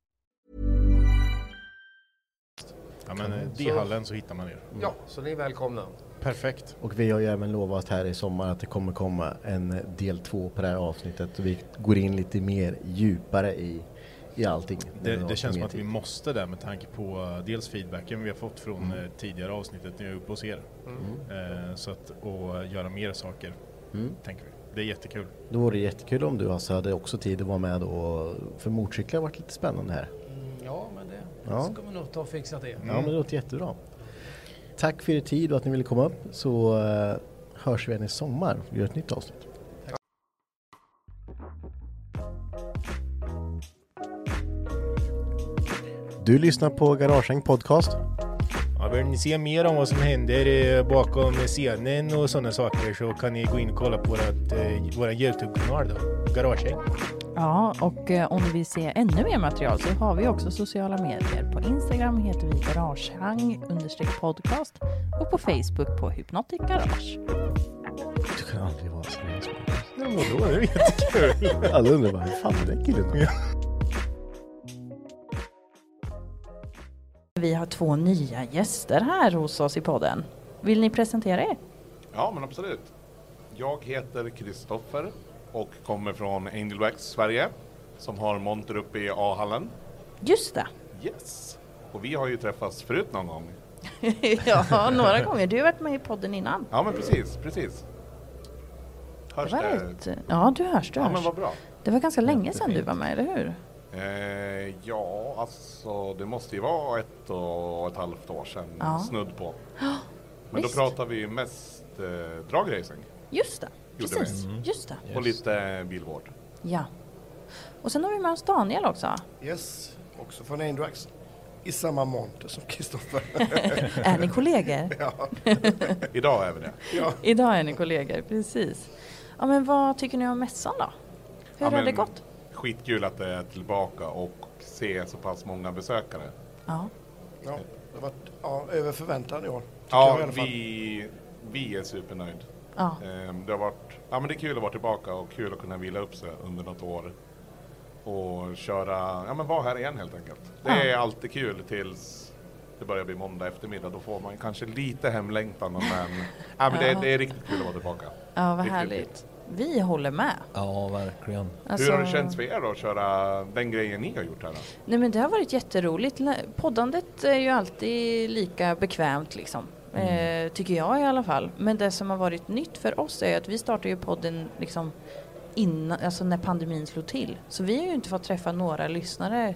Speaker 5: Ja men eh, D-hallen så hittar man er. Mm.
Speaker 6: Ja, så ni är välkomna.
Speaker 5: Perfekt.
Speaker 2: Och vi har ju även lovat här i sommar att det kommer komma en del två på det här avsnittet. Så vi går in lite mer djupare i, i allting.
Speaker 5: Det,
Speaker 2: När har
Speaker 5: det känns som
Speaker 2: mer
Speaker 5: att vi
Speaker 2: tid.
Speaker 5: måste det med tanke på eh, dels feedbacken vi har fått från
Speaker 2: Mm.
Speaker 5: eh, tidigare avsnittet när jag är uppe hos er.
Speaker 1: Mm.
Speaker 5: Eh, så att, och göra mer saker,
Speaker 2: Mm.
Speaker 5: tänker vi. Det är jättekul.
Speaker 2: Då vore det jättekul om du alltså hade också tid att vara med då. För motorcyklar har varit lite spännande här.
Speaker 8: Mm, Ja, men det
Speaker 2: Ja.
Speaker 8: ska vi nog ta och fixa det.
Speaker 2: Ja men det låter jättebra. Tack för er tid och att ni ville komma upp. Så eh, hörs vi igen i sommar. Vi gör ett nytt avsnitt. Du lyssnar på Garagehäng Podcast.
Speaker 5: Ja, vill ni se mer om vad som händer eh, bakom scenen och sådana saker så kan ni gå in och kolla på vårat, eh, vår Youtube-kanal då, Garagehäng.
Speaker 13: Ja, och eh, om du vill se ännu mer material så har vi också sociala medier. På Instagram heter vi garagehang understreck podcast och på Facebook på Hypnotic Garage.
Speaker 2: Du kan aldrig vara seriös.
Speaker 5: Ja, vadå? Det är jättekul.
Speaker 2: Alla undrar bara, hur fan är den där killen?
Speaker 13: Vi har två nya gäster här hos oss i podden. Vill ni presentera er?
Speaker 9: Ja, men absolut. Jag heter Kristoffer och kommer från Angel Wax Sverige som har monter uppe i A-hallen.
Speaker 1: Just det.
Speaker 9: Yes! Och vi har ju träffats förut någon gång.
Speaker 1: ja, några gånger. Du har varit med i podden innan.
Speaker 9: Ja, men precis, precis. Hörs
Speaker 1: Det var eh,
Speaker 9: det?
Speaker 1: rätt. Ja, du hörs, du
Speaker 9: Ja,
Speaker 1: hörs.
Speaker 9: men vad bra.
Speaker 1: Det var ganska länge sedan du var med, eller hur?
Speaker 9: Eh, ja, alltså det måste ju vara ett och ett halvt år sedan,
Speaker 1: Ja.
Speaker 9: snudd på.
Speaker 1: Ja,
Speaker 9: Men
Speaker 1: visst.
Speaker 9: då pratar vi ju mest eh, dragracing.
Speaker 1: Just det,
Speaker 9: Gjorde
Speaker 1: precis.
Speaker 9: vi.
Speaker 1: Just det.
Speaker 9: Och lite bilvård.
Speaker 1: Ja. Och sen har vi med oss Daniel också.
Speaker 10: Yes, också från Aindrax. I samma monter som Kristoffer.
Speaker 1: är ni kollegor?
Speaker 10: Ja.
Speaker 9: Idag är vi det.
Speaker 1: Idag är ni kollegor, precis. Ja, men vad tycker ni om mässan då?
Speaker 9: Ja,
Speaker 1: Hur har
Speaker 9: men
Speaker 1: det gått?
Speaker 9: Skitkul att det är tillbaka och se så pass många besökare.
Speaker 1: Ja.
Speaker 10: ja, det har varit ja, över förväntan i år. tycker jag i
Speaker 9: Ja,
Speaker 10: alla fall.
Speaker 9: vi, vi är supernöjd.
Speaker 10: Ja.
Speaker 9: Ehm, Det har varit, ja men det är kul att vara tillbaka och kul att kunna vila upp sig under något år. Och köra, ja men vara här igen helt enkelt. Det
Speaker 1: Ja.
Speaker 9: är alltid kul tills det börjar bli måndag eftermiddag. Då får man kanske lite hemlängtan men, ja, men
Speaker 1: Ja.
Speaker 9: det, det är riktigt kul att vara tillbaka.
Speaker 1: Ja, vad
Speaker 9: Riktigt
Speaker 1: härligt. Vi håller med.
Speaker 9: Ja, verkligen.
Speaker 1: Alltså-
Speaker 9: Hur har det känts för er då att köra den grejen ni har gjort här? Då?
Speaker 1: Nej men det har varit jätteroligt. Lä- Poddandet är ju alltid lika bekvämt liksom.
Speaker 14: Mm.
Speaker 1: Eh, tycker jag i alla fall. Men det som har varit nytt för oss är att vi startade ju podden liksom innan, alltså när pandemin slog till. Så vi har ju inte fått träffa några lyssnare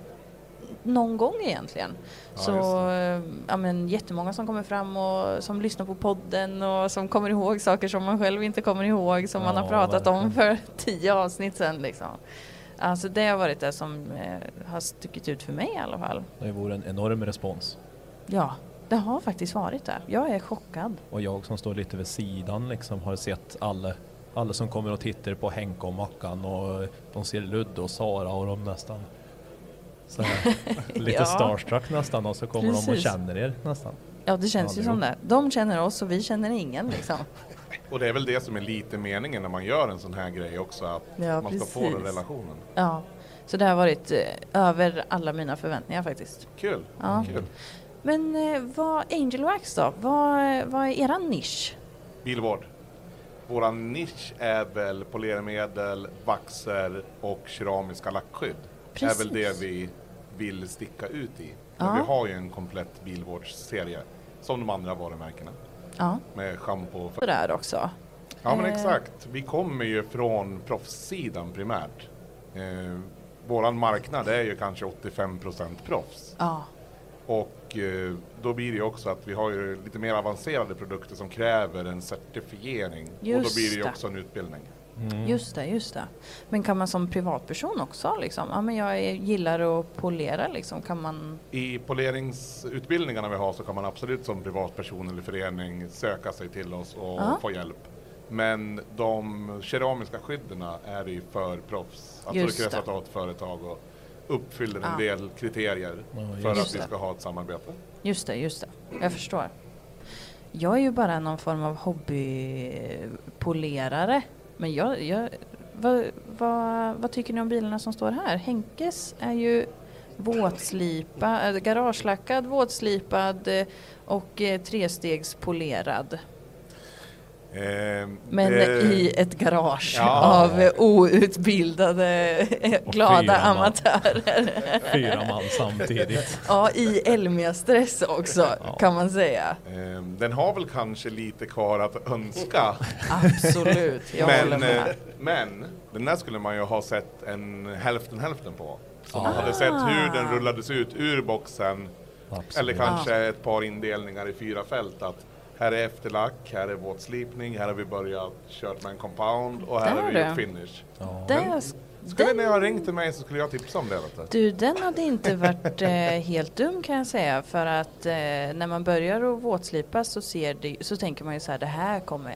Speaker 1: någon gång egentligen.
Speaker 14: Ja,
Speaker 1: så
Speaker 14: just
Speaker 1: eh, ja, men, jättemånga som kommer fram och som lyssnar på podden och som kommer ihåg saker som man själv inte kommer ihåg som man
Speaker 14: Ja,
Speaker 1: har pratat om för tio avsnitt sedan. Liksom. Alltså det har varit det som eh, har stuckit ut för mig i alla fall.
Speaker 15: Det vore en enorm respons.
Speaker 1: Ja, det har faktiskt varit det. Jag är chockad.
Speaker 15: Och jag som står lite vid sidan liksom har sett alla, alla som kommer och tittar på Henke och Mackan och de ser Ludde och Sara och de nästan så här, lite
Speaker 1: Ja.
Speaker 15: starstruck nästan och så kommer de och
Speaker 1: Precis.
Speaker 15: känner er nästan.
Speaker 1: Ja, det känns ju som det. De känner oss och vi känner ingen liksom.
Speaker 9: Och det är väl det som är lite meningen när man gör en sån här grej också, att
Speaker 1: Ja,
Speaker 9: man ska få den
Speaker 1: precis.
Speaker 9: relationen.
Speaker 1: Ja, så det har varit eh, över alla mina förväntningar faktiskt.
Speaker 9: Kul!
Speaker 1: Ja.
Speaker 9: Kul.
Speaker 1: Men eh, vad Angel Wax då? Vad, vad är eran nisch?
Speaker 9: Bilvård. Våran nisch är väl polermedel, vaxer och keramiska lackskydd. Det är
Speaker 1: Precis.
Speaker 9: väl det vi vill sticka ut i.
Speaker 1: Ja.
Speaker 9: Men vi har ju en komplett bilvårdsserie som de andra varumärkena
Speaker 1: Ja,
Speaker 9: med schampo och
Speaker 1: det där också.
Speaker 9: Ja men
Speaker 1: Eh.
Speaker 9: exakt. Vi kommer ju från proffssidan primärt. Eh, våran marknad är ju kanske 85 procent proffs.
Speaker 1: Ja,
Speaker 9: Och eh, då blir det ju också att vi har ju lite mer avancerade produkter som kräver en certifiering. och då
Speaker 1: Just
Speaker 9: blir det ju
Speaker 1: det.
Speaker 9: också en utbildning. Mm.
Speaker 1: just det, just det. Men kan man som privatperson också liksom? Ja, men jag eh, gillar att polera liksom. Kan man?
Speaker 9: I poleringsutbildningarna vi har så kan man absolut som privatperson eller förening söka sig till oss och
Speaker 1: Ja.
Speaker 9: få hjälp. Men de keramiska skydden är ju för proffs. Alltså
Speaker 1: Just
Speaker 9: det krävs
Speaker 1: det.
Speaker 9: att ha ett företag och uppfyller en
Speaker 1: Ja.
Speaker 9: del kriterier
Speaker 1: Ja,
Speaker 9: för
Speaker 1: just
Speaker 9: att vi
Speaker 1: det.
Speaker 9: ska ha ett samarbete.
Speaker 1: Just det, just det. Jag förstår. Jag är ju bara någon form av hobbypolerare. Men jag, jag vad, vad, vad tycker ni om bilarna som står här? Henkes är ju våtslipa, äh, garagelackad, våtslipad eh, och eh, trestegspolerad.
Speaker 9: Ehm,
Speaker 1: Men
Speaker 9: det-
Speaker 1: i ett garage
Speaker 9: Ja.
Speaker 1: av eh, outbildade, glada
Speaker 15: fyra man.
Speaker 1: amatörer.
Speaker 15: Fyra man samtidigt.
Speaker 1: Ja, i Elmia-stress också kan man säga.
Speaker 9: Ehm, Den har väl kanske lite kvar att önska.
Speaker 1: Absolut, jag håller
Speaker 9: men,
Speaker 1: med.
Speaker 9: eh, men den där skulle man ju ha sett en hälften hälften på. Så man
Speaker 15: Ah.
Speaker 9: hade sett hur den rullades ut ur boxen.
Speaker 15: Absolut.
Speaker 9: Eller kanske
Speaker 15: Ah.
Speaker 9: ett par indelningar i fyra fält. Att här är efterlack, här är våtslipning, här har vi börjat kört med en compound och här
Speaker 1: Där
Speaker 9: har vi gjort
Speaker 1: du.
Speaker 9: finish.
Speaker 1: Där
Speaker 9: Men
Speaker 1: sk-
Speaker 9: skulle ni ha ringt till mig så skulle jag tipsa om det. Vet du.
Speaker 1: Du, den hade inte varit eh, helt dum kan jag säga för att eh, när man börjar att våtslipa så, ser det, så tänker man ju så här, det här kommer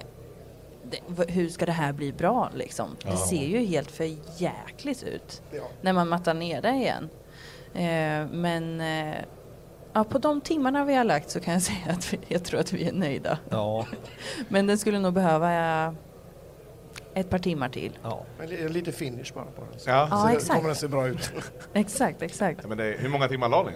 Speaker 1: det, v- hur ska det här bli bra liksom? Det
Speaker 14: Ja.
Speaker 1: ser ju helt för jäkligt ut när man mattar ner det igen. Eh, men eh, ja, på de timmarna vi har lagt så kan jag säga att vi, jag tror att vi är nöjda.
Speaker 15: Ja.
Speaker 1: Men den skulle nog behöva eh, ett par timmar till.
Speaker 10: Men li- lite finish bara på den.
Speaker 9: Ja.
Speaker 10: Så
Speaker 1: Ja,
Speaker 10: det-
Speaker 1: exakt.
Speaker 10: kommer den se bra ut.
Speaker 1: Exakt, exakt.
Speaker 9: Ja, men det, hur många timmar la ni?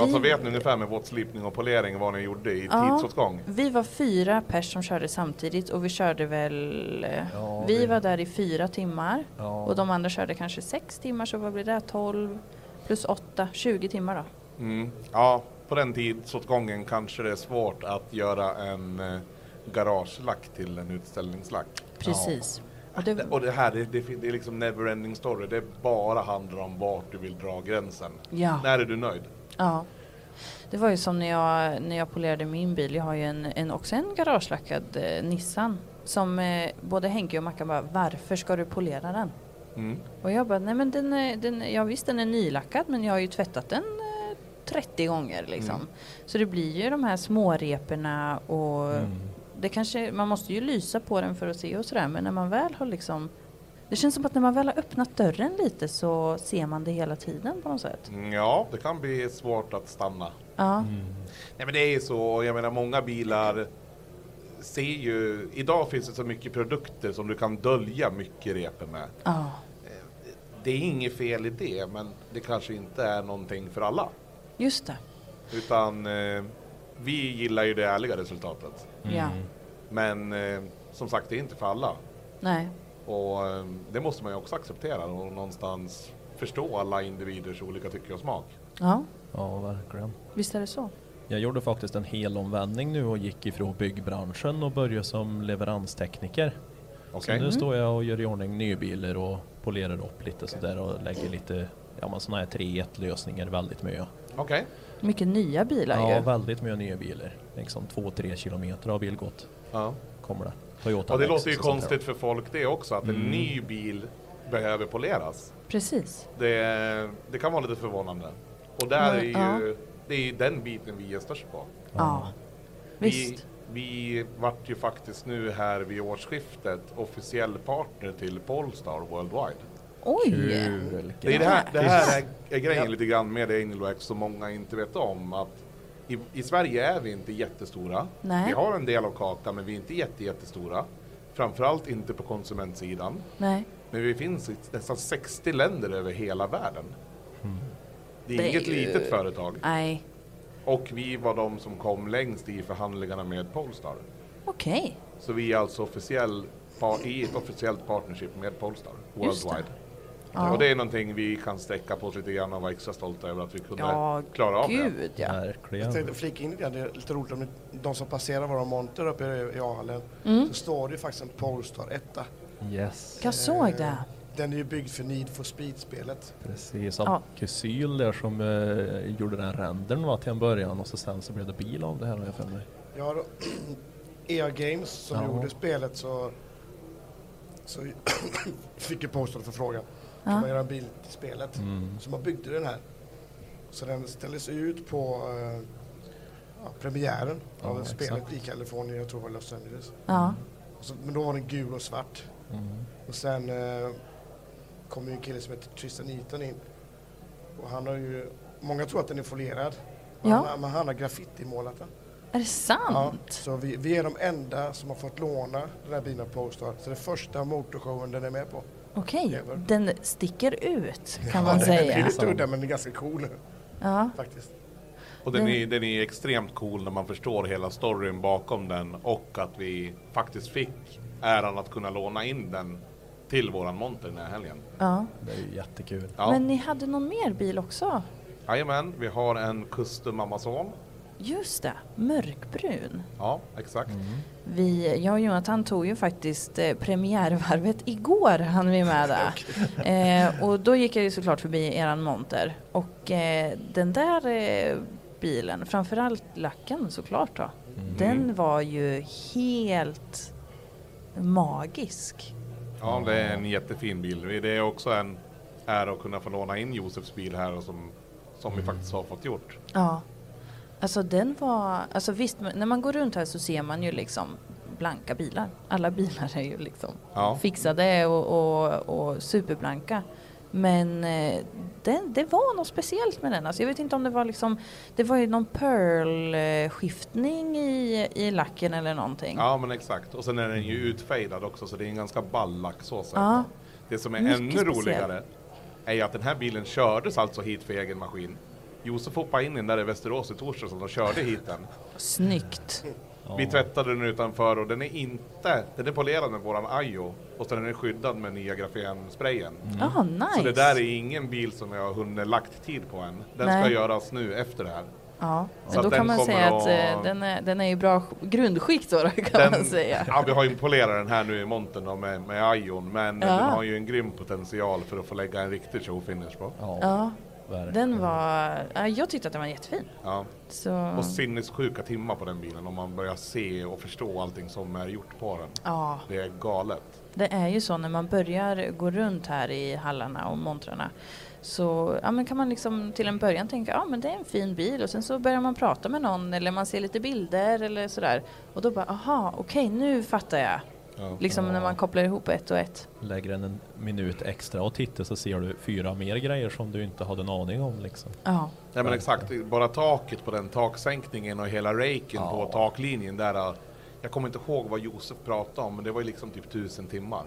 Speaker 9: Alltså vet ni ungefär med våtslipning och polering vad ni gjorde i tidsåtgång?
Speaker 1: vi var fyra pers som körde samtidigt och vi körde väl... eh,
Speaker 9: Ja,
Speaker 1: vi
Speaker 9: vi-
Speaker 1: var där i fyra timmar
Speaker 9: Ja.
Speaker 1: och de andra körde kanske sex timmar så vad blir det? 12 plus 8, 20 timmar då.
Speaker 9: Mm. Ja, på den tidsåtgången kanske det är svårt att göra en eh, garagelack till en utställningslack.
Speaker 1: Precis.
Speaker 9: Och det, och det här det, det, fin- det är liksom neverending story. Det bara handlar om vart du vill dra gränsen.
Speaker 1: Ja.
Speaker 9: När är du nöjd?
Speaker 1: Ja. Det var ju som när jag, när jag polerade min bil. Jag har ju en, en, också en garagelackad eh, Nissan. Som eh, både Henke och Mackan bara, varför ska du polera den?
Speaker 9: Mm.
Speaker 1: Och jag bara, nej men den är, den, ja visst den är nylackad men jag har ju tvättat den eh, 30 gånger liksom.
Speaker 8: Mm.
Speaker 1: Så det blir ju de här småreporna och det kanske, man måste ju lysa på den för att se och sådär men när man väl har liksom det känns som att när man väl har öppnat dörren lite så ser man det hela tiden på något sätt.
Speaker 9: Mm, Ja, det kan bli svårt att stanna.
Speaker 1: Ja.
Speaker 9: Nej men det är ju så, jag menar många bilar ser ju, idag finns det så mycket produkter som du kan dölja mycket repor med.
Speaker 1: Ja.
Speaker 9: Det är inget fel i det, men det kanske inte är någonting för alla.
Speaker 1: Just det.
Speaker 9: Utan eh, vi gillar ju det ärliga resultatet.
Speaker 1: Ja.
Speaker 9: Men eh, som sagt, det är inte för alla.
Speaker 1: Nej.
Speaker 9: Och eh, det måste man ju också acceptera och någonstans förstå alla individers olika tycke och smak.
Speaker 1: Ja.
Speaker 15: Ja, verkligen.
Speaker 1: Visst är det så.
Speaker 15: Jag gjorde faktiskt en hel omvändning nu och gick ifrån byggbranschen och började som leveranstekniker. Så
Speaker 9: Okej.
Speaker 15: nu
Speaker 9: Mm.
Speaker 15: står jag och gör i ordning nybilar och polerar upp lite sådär och lägger lite ja, men såna här 3-1 lösningar väldigt mycket.
Speaker 9: Okej.
Speaker 1: Mycket nya bilar
Speaker 15: Ja,
Speaker 1: ju.
Speaker 15: väldigt mycket nya bilar. Liksom 2-3 kilometer har bil gått.
Speaker 9: Ja.
Speaker 15: Kommer det. Toyota
Speaker 9: Och det
Speaker 15: Lexus
Speaker 9: låter ju
Speaker 15: och sånt där.
Speaker 9: konstigt för folk det också, att en
Speaker 15: Mm.
Speaker 9: ny bil behöver poleras.
Speaker 1: Precis.
Speaker 9: Det, det kan vara lite förvånande. Och där är
Speaker 1: Men, ja.
Speaker 9: ju, det är ju den biten vi är störst på.
Speaker 1: Ja.
Speaker 9: Vi, vi vart ju faktiskt nu här vid årsskiftet officiell partner till Polestar Worldwide.
Speaker 1: Oj!
Speaker 9: Det, är det, här, det här är, är grejen lite grann med det Angel-Wax som många inte vet om. Att i, I Sverige är vi inte jättestora.
Speaker 1: Nej.
Speaker 9: Vi har en del av kakan men vi är inte jätte, jättestora. Framförallt inte på konsumentsidan.
Speaker 1: Nej.
Speaker 9: Men vi finns i nästan 60 länder över hela världen. Det är
Speaker 1: Det är
Speaker 9: inget
Speaker 1: ju-
Speaker 9: litet företag.
Speaker 1: Nej.
Speaker 9: Och vi var de som kom längst i förhandlingarna med Polestar.
Speaker 1: Okej.
Speaker 9: Så vi är alltså officiell, pa- i ett officiellt partnership med Polestar
Speaker 1: Just det.
Speaker 9: worldwide.
Speaker 1: Ja.
Speaker 9: Och det är någonting vi kan sträcka på oss lite grann och vara extra stolta över att vi kunde
Speaker 10: Ja,
Speaker 9: klara av
Speaker 10: gud,
Speaker 9: det.
Speaker 10: ja.
Speaker 15: Verkligen.
Speaker 10: Jag tänkte flika in lite grann, det är lite roligt om de som passerar våra monter uppe i- i A-hallen.
Speaker 1: Mm.
Speaker 10: Så står det ju faktiskt en Polestar 1.
Speaker 15: Yes.
Speaker 10: Eh,
Speaker 1: Jag såg det.
Speaker 10: Den är ju byggd för Need for Speed-spelet.
Speaker 15: Precis, av
Speaker 10: Ja.
Speaker 15: Kusyl där som eh, gjorde den rendern va, till en början och så sen så blev det bil av det här har jag för mig.
Speaker 10: Ja, då, EA E Games som
Speaker 15: Ja.
Speaker 10: gjorde spelet så, så fick ju Polestar förfrågan. Kan
Speaker 6: Ja.
Speaker 10: man göra en bil till spelet?
Speaker 6: Mm.
Speaker 10: Så man byggde den här. Så den ställdes ut på eh, ja, premiären
Speaker 6: Ja,
Speaker 10: av
Speaker 6: exakt.
Speaker 10: spelet i Kalifornien, jag tror det var Los Angeles.
Speaker 6: Ja.
Speaker 10: Och så, men då var den gul och svart.
Speaker 6: Mm.
Speaker 10: Och sen eh, kom ju en kille som heter Tristan Eaton in. Och han har ju, många tror att den är folierad. Men
Speaker 1: Ja.
Speaker 10: han, men han har graffitimålat den.
Speaker 1: Är det sant?
Speaker 10: Ja, så vi, vi är de enda som har fått låna den här bilen av Polestar. Så det är första motorshowen den är med på.
Speaker 1: Okej. Den sticker ut kan man
Speaker 10: Ja,
Speaker 1: säga.
Speaker 10: Den är lite udda men den är ganska cool.
Speaker 1: Ja.
Speaker 10: Faktiskt.
Speaker 9: Och den är, den är extremt cool när man förstår hela storyn bakom den och att vi faktiskt fick äran att kunna låna in den till våran monter den här helgen.
Speaker 1: Ja.
Speaker 15: Det är ju jättekul.
Speaker 9: Ja.
Speaker 1: Men ni hade någon mer bil också?
Speaker 9: Jajamän, vi har en Custom Amazon.
Speaker 1: Just det, mörkbrun.
Speaker 9: Ja, exakt.
Speaker 15: Mm.
Speaker 1: Vi, jag och Jonathan tog ju faktiskt eh, premiärvarvet igår, han vi med det. eh, och då gick jag ju såklart förbi eran monter. Och eh, den där eh, bilen, framförallt lacken såklart då,
Speaker 10: Mm.
Speaker 1: den var ju helt magisk.
Speaker 9: Ja, det är en jättefin bil. Det är också en ära att kunna få låna in Josefs bil här och som, som vi
Speaker 1: Mm.
Speaker 9: faktiskt har fått gjort.
Speaker 1: Ja. Alltså den var, alltså visst men när man går runt här så ser man ju liksom blanka bilar. Alla bilar är ju liksom
Speaker 9: Ja.
Speaker 1: fixade och, och, och superblanka. Men eh, den, det var något speciellt med den. Alltså jag vet inte om det var liksom, det var ju någon pearl-skiftning i, i lacken eller någonting.
Speaker 9: Ja, men exakt. Och sen är den ju utfejdad också så det är en ganska ball lack så sett.
Speaker 1: Ja.
Speaker 9: Det som är
Speaker 1: Mycket
Speaker 9: ännu
Speaker 1: speciell.
Speaker 9: roligare är ju att den här bilen kördes alltså hit för egen maskin. Josef hoppade in i den där i Västerås i torsdags och de körde hit den.
Speaker 1: Snyggt.
Speaker 9: Vi tvättade den utanför och den är inte, den är polerad med våran Ajo och sen är den skyddad med nya grafensprayen.
Speaker 1: Ah, nice.
Speaker 9: Så det där är ingen bil som jag har hunnit lagt tid på än. Den
Speaker 1: Nej.
Speaker 9: ska göras nu efter det här.
Speaker 1: Ja,
Speaker 9: Så
Speaker 1: men då
Speaker 9: att den
Speaker 1: kan man
Speaker 9: kommer
Speaker 1: säga att
Speaker 9: att-
Speaker 1: eh, den är, den är i bra sk- grundskikt då, kan man säga.
Speaker 9: ja, vi har ju polerat den här nu i montern då med, med Ajon men
Speaker 1: Ja.
Speaker 9: den har ju en grym potential för att få lägga en riktig showfinish på.
Speaker 1: Ja, den var... ja, Jag tyckte att den var jättefin.
Speaker 9: Ja.
Speaker 1: Så-
Speaker 9: Och sinnessjuka timmar på den bilen om man börjar se och förstå allting som är gjort på den.
Speaker 1: Ja.
Speaker 9: Det är galet.
Speaker 1: Det är ju så när man börjar gå runt här i hallarna och montrarna så ja, men kan man liksom till en början tänka ja men det är en fin bil och sen så börjar man prata med någon eller man ser lite bilder eller sådär och då bara aha okej nu fattar jag.
Speaker 15: Ja.
Speaker 1: Liksom
Speaker 15: Ja.
Speaker 1: när man kopplar ihop ett och ett.
Speaker 15: Lägger den en minut extra och tittar så ser du fyra mer grejer som du inte hade en aning om liksom.
Speaker 1: Ja.
Speaker 9: Ja men exakt, bara taket på den taksänkningen och hela raken på taklinjen där. äh, Jag kommer inte ihåg vad Josef pratade om men det var ju liksom typ tusen timmar.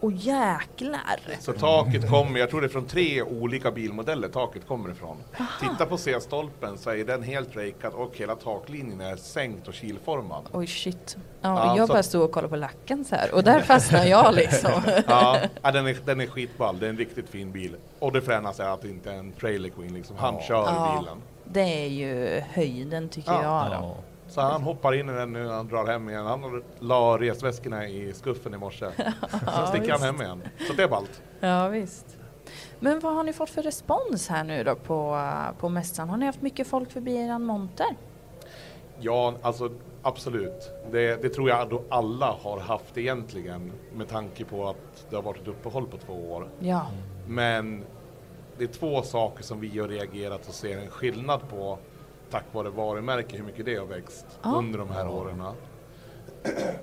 Speaker 1: Och jäklar!
Speaker 9: Så
Speaker 1: Mm.
Speaker 9: taket kommer, jag tror det är från tre olika bilmodeller taket kommer ifrån. Titta på C-stolpen så är den helt rakead och hela taklinjen är sänkt och kilformad.
Speaker 1: Oj shit.
Speaker 9: Ja,
Speaker 1: Ja, jag
Speaker 9: så-
Speaker 1: bara stod och kollade på lacken så här och där fastnade jag liksom.
Speaker 9: ja, ja, den är, den är skitball. Det är en riktigt fin bil. Och det fränaste är att det inte är en trailer queen liksom. Han kör
Speaker 1: Ja,
Speaker 9: bilen.
Speaker 1: Det är ju höjden tycker jag. Då.
Speaker 9: Så han hoppar in i den nu när han drar hem igen. Han la resväskorna i skuffen i morse. Sen sticker han
Speaker 1: visst.
Speaker 9: hem igen. Så det är ballt.
Speaker 1: Ja visst. Men vad har ni fått för respons här nu då på, eh, på mässan? Har ni haft mycket folk förbi eran monter?
Speaker 9: Ja, alltså absolut. Det, det tror jag då alla har haft egentligen med tanke på att det har varit ett uppehåll på två år.
Speaker 1: Ja.
Speaker 9: Men det är två saker som vi har reagerat och ser en skillnad på tack vare varumärke, hur mycket det har växt
Speaker 1: Ja.
Speaker 9: under de här åren.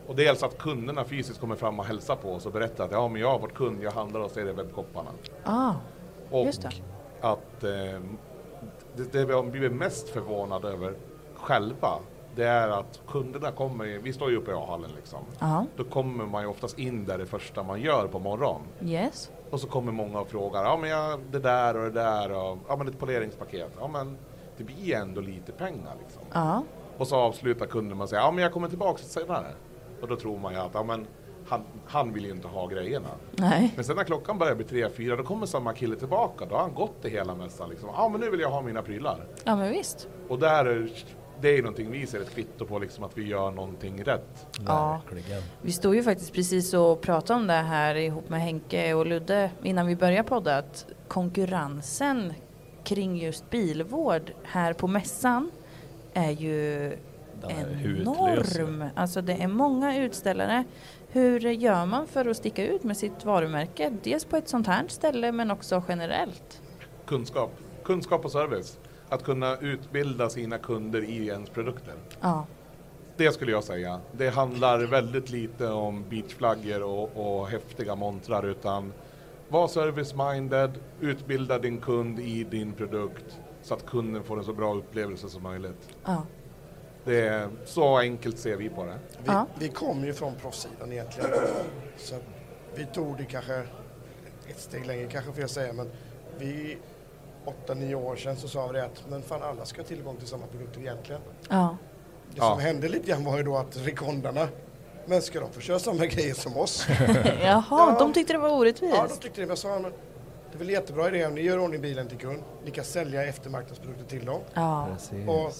Speaker 9: Och dels att kunderna fysiskt kommer fram och hälsar på oss och berättar att ja, men jag har varit kund, jag handlar hos er i webbkopparna.
Speaker 1: Ah,
Speaker 9: Och
Speaker 1: just det.
Speaker 9: att eh, det, det vi har blivit mest förvånade över själva, det är att kunderna kommer, ju- vi står ju uppe i A-hallen liksom,
Speaker 1: Ja.
Speaker 9: då kommer man ju oftast in där det första man gör på morgonen.
Speaker 1: Yes.
Speaker 9: Och så kommer många och frågar, ja men jag, det där och det där och ja men ett poleringspaket. Ja men det blir ju ändå lite pengar liksom.
Speaker 1: Ja.
Speaker 9: Och så avslutar kunden med att säga, ja men jag kommer tillbaka senare. Och då tror man ju att, ja men han, han vill ju inte ha grejerna.
Speaker 1: Nej.
Speaker 9: Men sen när klockan börjar bli tre, fyra, då kommer samma kille tillbaka. Då har han gått i hela mässan liksom. Ja men nu vill jag ha mina prylar.
Speaker 1: Ja men visst.
Speaker 9: Och där, är- det är ju någonting vi ser ett kvitto på liksom att vi gör någonting rätt.
Speaker 1: Ja. Vi stod ju faktiskt precis och pratade om det här ihop med Henke och Ludde innan vi började podda att konkurrensen kring just bilvård här på mässan är ju
Speaker 15: Den är hutlös.
Speaker 1: enorm. Alltså det är många utställare. Hur gör man för att sticka ut med sitt varumärke? Dels på ett sånt här ställe men också generellt.
Speaker 9: Kunskap. Kunskap och service. Att kunna utbilda sina kunder i ens produkter.
Speaker 1: Ja.
Speaker 9: Det skulle jag säga. Det handlar väldigt lite om beachflaggor och, och häftiga montrar utan var service-minded, utbilda din kund i din produkt så att kunden får en så bra upplevelse som möjligt.
Speaker 1: Ja.
Speaker 9: Det är, så enkelt ser vi på det.
Speaker 10: Vi, vi kom ju från proffssidan egentligen. Så att vi tog det kanske ett steg längre kanske får jag säga men vi åtta, nio år sedan så sa vi det att men fan alla ska ha tillgång till samma produkter egentligen.
Speaker 1: Ja.
Speaker 10: Det
Speaker 9: Ja.
Speaker 10: som hände lite grann var ju då att rekondarna men ska de få köra samma grejer som oss?
Speaker 1: Jaha, de tyckte det var orättvist.
Speaker 10: Ja, de tyckte det. Men jag sa, men det är väl jättebra idé om ni gör i ordning bilen till kund. Ni kan sälja eftermarknadsprodukter till dem.
Speaker 1: Ja.
Speaker 15: Precis.
Speaker 10: Och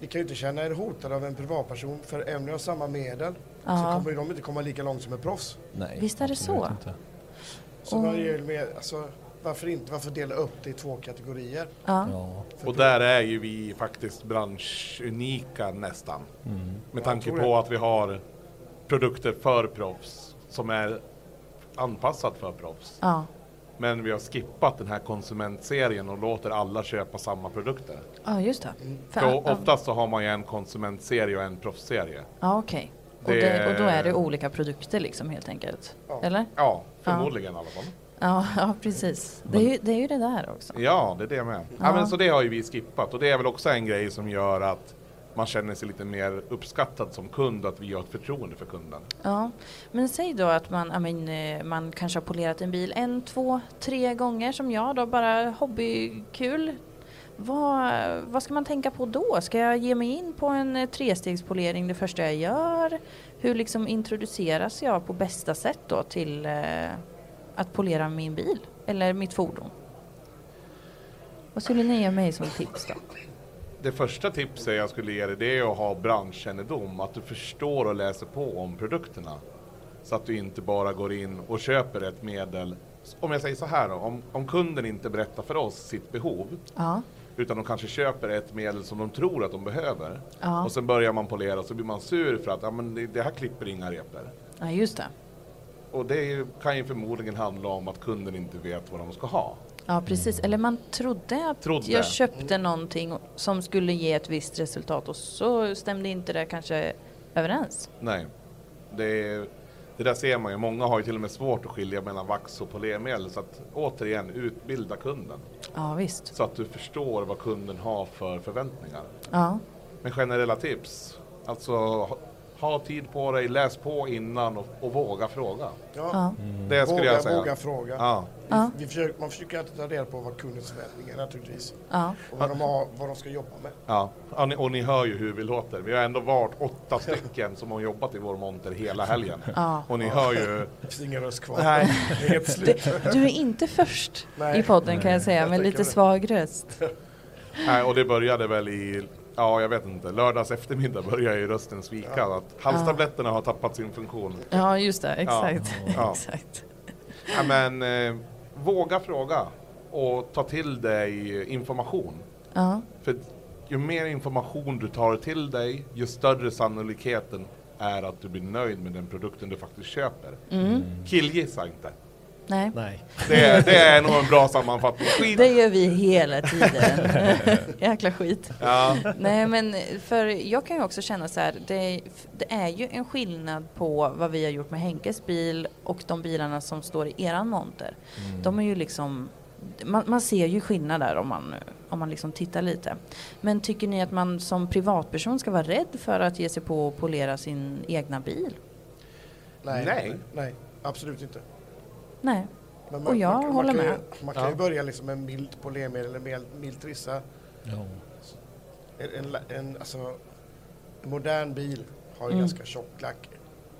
Speaker 10: ni kan ju inte känna er hotade av en privatperson för även om ni har samma medel så
Speaker 1: Ja.
Speaker 10: kommer ju de inte komma lika långt som ett proffs.
Speaker 15: Nej,
Speaker 1: Visst är det absolut så? inte.
Speaker 10: Så
Speaker 1: Och-
Speaker 10: man gör ju mer, alltså, varför inte? Varför dela upp det i två kategorier?
Speaker 1: Ja.
Speaker 9: Och där är ju vi faktiskt bransch-unika nästan.
Speaker 1: Mm.
Speaker 9: Med tanke
Speaker 10: tror
Speaker 9: på
Speaker 10: det.
Speaker 9: att vi har produkter för proffs som är anpassad för proffs.
Speaker 1: Ja.
Speaker 9: Men vi har skippat den här konsumentserien och låter alla köpa samma produkter.
Speaker 1: ja, just det. För-
Speaker 9: För oftast så har man ju en konsumentserie och en proffsserie.
Speaker 1: Ja, okej.
Speaker 9: Det-
Speaker 1: Och, det, och då är det olika produkter liksom helt enkelt? Eller?
Speaker 9: Ja, förmodligen i alla fall.
Speaker 1: Ja, ja precis. Det är, ju, det är ju det där också.
Speaker 9: Ja, det är det med. Ja.
Speaker 1: Ja.
Speaker 9: men så det har ju vi skippat och det är väl också en grej som gör att man känner sig lite mer uppskattad som kund, att vi har ett förtroende för kunden.
Speaker 1: Ja. Men säg då att man, ja, men, eh, man kanske har polerat en bil en, två, tre gånger som jag då, bara hobbykul. Vad, vad ska man tänka på då? Ska jag ge mig in på en eh, trestegspolering det första jag gör? Hur liksom introduceras jag på bästa sätt då till eh, att polera min bil eller mitt fordon? Vad skulle ni ge mig som tips då?
Speaker 9: Det första tipset jag skulle ge dig det är att ha branschkännedom, att du förstår och läser på om produkterna. Så att du inte bara går in och köper ett medel. Om jag säger så här då, om, om kunden inte berättar för oss sitt behov,
Speaker 1: Ja.
Speaker 9: utan de kanske köper ett medel som de tror att de behöver.
Speaker 1: Ja.
Speaker 9: Och sen börjar man polera och så blir man sur för att ja, men det, det här klipper inga repor.
Speaker 1: ja, just det.
Speaker 9: Och det är ju- kan ju förmodligen handla om att kunden inte vet vad de ska ha.
Speaker 1: Ja, precis. Eller man trodde att
Speaker 9: Trodde.
Speaker 1: jag köpte någonting som skulle ge ett visst resultat och så stämde inte det kanske överens.
Speaker 9: Nej, det, är, det där ser man ju. Många har ju till och med svårt att skilja mellan vax och polermedel. Så att återigen, utbilda kunden.
Speaker 1: Ja, visst.
Speaker 9: Så att du förstår vad kunden har för förväntningar.
Speaker 1: Ja.
Speaker 9: Men generella tips. Alltså, ha, ha tid på dig, läs på innan och, och våga fråga.
Speaker 10: Ja.
Speaker 9: Det skulle
Speaker 10: våga,
Speaker 9: jag säga.
Speaker 10: Våga fråga.
Speaker 9: Ja.
Speaker 1: Ja.
Speaker 10: Vi, vi försöker, man försöker alltid ta reda på vad kundens förväntningar är naturligtvis.
Speaker 1: Ja.
Speaker 10: Och vad de, har, vad de ska jobba med.
Speaker 9: Ja, och ni, och ni hör ju hur vi låter. Vi har ändå varit åtta stycken som har jobbat i vår monter hela helgen.
Speaker 1: Ja.
Speaker 9: Och ni hör ju...
Speaker 10: Det finns ingen röst kvar.
Speaker 9: Nej.
Speaker 10: Det är helt slut.
Speaker 1: Du- du är inte först
Speaker 10: Nej.
Speaker 1: i podden kan jag
Speaker 10: Nej.
Speaker 1: säga,
Speaker 10: Jag
Speaker 1: med
Speaker 10: tänker
Speaker 1: lite
Speaker 10: det.
Speaker 1: svag röst.
Speaker 9: Nej, och det började väl i, ja jag vet inte, lördags eftermiddag började ju rösten svika. Att halstabletterna har tappat sin funktion.
Speaker 1: Ja, just det.
Speaker 9: Ja.
Speaker 1: Exakt.
Speaker 9: Ja.
Speaker 1: exakt.
Speaker 9: Ja, men eh, våga fråga och ta till dig information.
Speaker 1: Ja.
Speaker 9: För ju mer information du tar till dig, ju större sannolikheten är att du blir nöjd med den produkten du faktiskt köper.
Speaker 1: Mm.
Speaker 9: Killgissa inte.
Speaker 1: Nej.
Speaker 9: Det, är- det är nog en bra sammanfattning. Skit.
Speaker 1: Det gör vi hela tiden. Jäkla skit.
Speaker 9: Ja.
Speaker 1: Nej, men för jag kan ju också känna så här, det, det är ju en skillnad på vad vi har gjort med Henkes bil och de bilarna som står i eran monter.
Speaker 16: Mm.
Speaker 1: De är ju liksom, man, man ser ju skillnad där om man, om man liksom tittar lite. Men tycker ni att man som privatperson ska vara rädd för att ge sig på och polera sin egna bil?
Speaker 10: Nej.
Speaker 9: Nej.
Speaker 10: Nej, absolut inte.
Speaker 1: Nej.
Speaker 10: Men
Speaker 1: Och jag
Speaker 10: man,
Speaker 1: håller
Speaker 10: man kan,
Speaker 1: med.
Speaker 10: Ju, man kan ju
Speaker 1: Ja.
Speaker 10: börja liksom med milt polermedel eller mild, mild trissa.
Speaker 15: Ja.
Speaker 10: En, en, la- en, alltså, en modern bil har ju
Speaker 1: Mm.
Speaker 10: ganska tjock lack.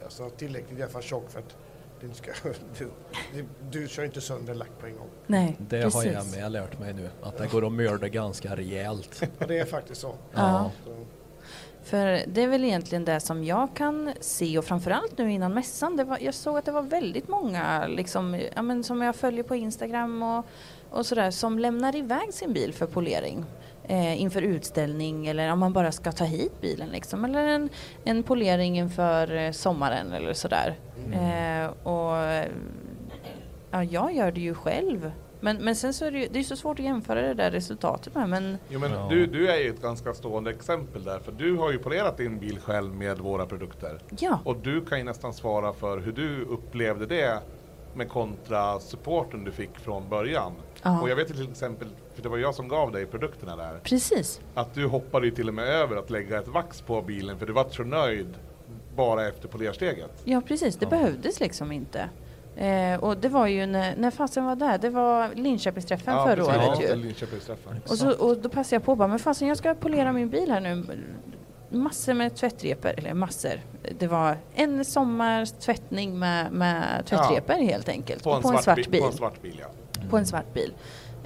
Speaker 10: Alltså tillräckligt i alla fall tjock för att du, inte ska, du, du, du kör inte sönder lack på en gång.
Speaker 1: Nej,
Speaker 15: Det har jag
Speaker 1: precis.
Speaker 15: med lärt mig nu, att det går att mörda ganska rejält.
Speaker 10: Ja, det är faktiskt så.
Speaker 15: Ja.
Speaker 10: Så-
Speaker 1: För det är väl egentligen det som jag kan se och framförallt nu innan mässan. Det var, jag såg att det var väldigt många liksom, ja, men som jag följer på Instagram och, och sådär som lämnar iväg sin bil för polering. Eh, inför utställning eller om man bara ska ta hit bilen liksom. Eller en, en polering inför eh, sommaren eller sådär. Eh, och eh, ja, jag gör det ju själv. Men, men sen så är det ju det är ju så svårt att jämföra det där resultatet med. Men
Speaker 9: Jo, men
Speaker 15: Ja.
Speaker 9: du, du är ju ett ganska stående exempel där, för du har ju polerat din bil själv med våra produkter.
Speaker 1: Ja.
Speaker 9: Och du kan ju nästan svara för hur du upplevde det med kontra supporten du fick från början.
Speaker 1: Ja.
Speaker 9: Och jag vet ju till exempel, för det var jag som gav dig produkterna där,
Speaker 1: precis.
Speaker 9: att du hoppade ju till och med över att lägga ett vax på bilen för du var så nöjd bara efter polersteget.
Speaker 1: Ja precis, det behövdes liksom inte. Eh, och det var ju när, när fasen var där, det var Linköpingsträffen förra
Speaker 9: precis.
Speaker 1: året
Speaker 9: Ja,
Speaker 1: ju.
Speaker 9: Linköpingsträffen.
Speaker 1: Och, så, och då passade jag på och bara, men fasen jag ska polera min bil här nu. Massor med tvättrepor, eller massor. Det var en sommars tvättning med, med tvättrepor helt enkelt.
Speaker 9: På en,
Speaker 1: Och
Speaker 9: svart, bi- På en svart bil, ja.
Speaker 1: på en svart bil.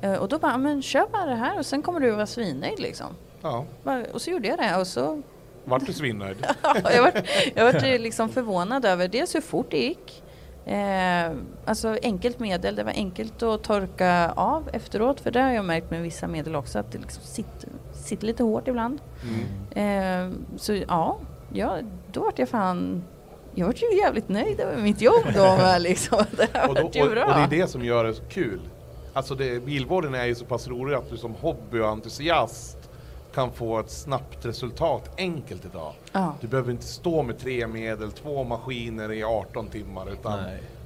Speaker 1: Eh, Och då bara, men köp bara det här och sen kommer du vara svinnöjd liksom.
Speaker 9: Ja.
Speaker 1: Bara- Och så gjorde jag det och så
Speaker 9: Vart du svinnöjd?
Speaker 1: Ja, jag var, jag var ju liksom förvånad över dels hur fort det gick. Eh, alltså enkelt medel, det var enkelt att torka av efteråt för det har jag märkt med vissa medel också att det liksom sitter, sitter lite hårt ibland.
Speaker 9: Mm.
Speaker 1: Eh, så ja, ja, då vart jag fan jag vart ju jävligt nöjd över mitt jobb då med liksom. Det har
Speaker 9: och, då,
Speaker 1: varit ju
Speaker 9: och, och det
Speaker 1: bra.
Speaker 9: är det som gör det så kul. Alltså det, bilvården är ju så pass rolig att du som hobby och entusiast kan få ett snabbt resultat enkelt idag.
Speaker 1: Ja.
Speaker 9: Du behöver inte stå med tre medel, två maskiner i 18 timmar utan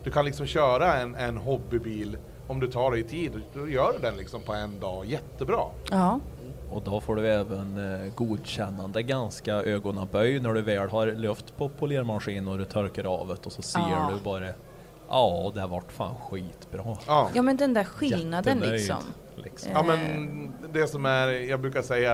Speaker 9: du kan liksom köra en, en hobbybil om du tar dig i tid. Då gör du den liksom på en dag jättebra.
Speaker 1: Ja,
Speaker 15: Och då får du även eh, godkännande ganska ögonaböj när du väl har luft på polermaskinen och du torkar av det och så ser
Speaker 1: Ja.
Speaker 15: du bara Ja, det vart fan skitbra.
Speaker 1: ja men den där skillnaden
Speaker 15: Jättenöjd,
Speaker 1: liksom.
Speaker 15: liksom.
Speaker 9: Ja
Speaker 1: Eh,
Speaker 9: men det som är, jag brukar säga,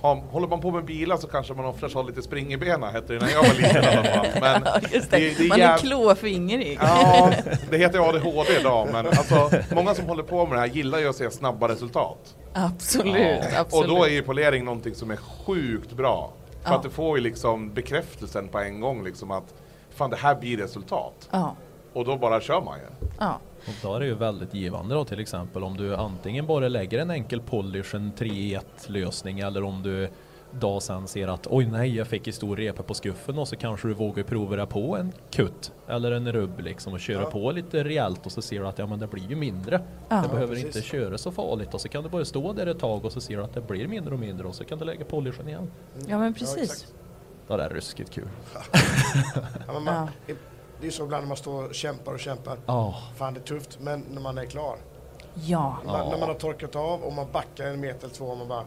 Speaker 9: ha, håller man på med bilar så kanske man offrar sig lite spring i benen, hette det när jag var liten i alla fall. Men
Speaker 1: Eh, Ja, just det.
Speaker 9: det- det
Speaker 1: Man är
Speaker 9: jäv-
Speaker 1: klåfingrig.
Speaker 9: Ja, det heter ju ADHD idag, men alltså, många som håller på med det här gillar ju att se snabba resultat.
Speaker 1: Absolut,
Speaker 9: Ja.
Speaker 1: absolut.
Speaker 9: Och då är ju polering någonting som är sjukt bra. För
Speaker 1: Ja.
Speaker 9: att du får ju liksom bekräftelsen på en gång liksom att fan det här blir resultat.
Speaker 1: Ja.
Speaker 9: Och då bara kör man ju.
Speaker 1: Ja.
Speaker 15: Och då är det ju väldigt givande då till exempel om du antingen bara lägger en enkel polish, en 3 i 1 lösning eller om du dag sen ser att oj nej jag fick i stor repa på skuffen och så kanske du vågar prova det på en kutt eller en rubb liksom och köra
Speaker 4: Ja.
Speaker 15: på lite rejält och så ser du att ja men det blir ju mindre.
Speaker 4: Ja.
Speaker 15: Det
Speaker 4: Ja,
Speaker 15: behöver
Speaker 4: precis.
Speaker 15: inte köra så farligt och så kan du bara stå där ett tag och så ser du att det blir mindre och mindre och så kan du lägga polishen igen.
Speaker 1: Ja, men precis.
Speaker 15: Det där är ruskigt kul.
Speaker 10: Ja, men man, Det är ju så ibland när man står och kämpar och kämpar.
Speaker 15: Ja.
Speaker 10: Fan det är tufft, men när man är klar.
Speaker 1: Ja.
Speaker 10: Man, när man har torkat av och man backar en meter eller två och man bara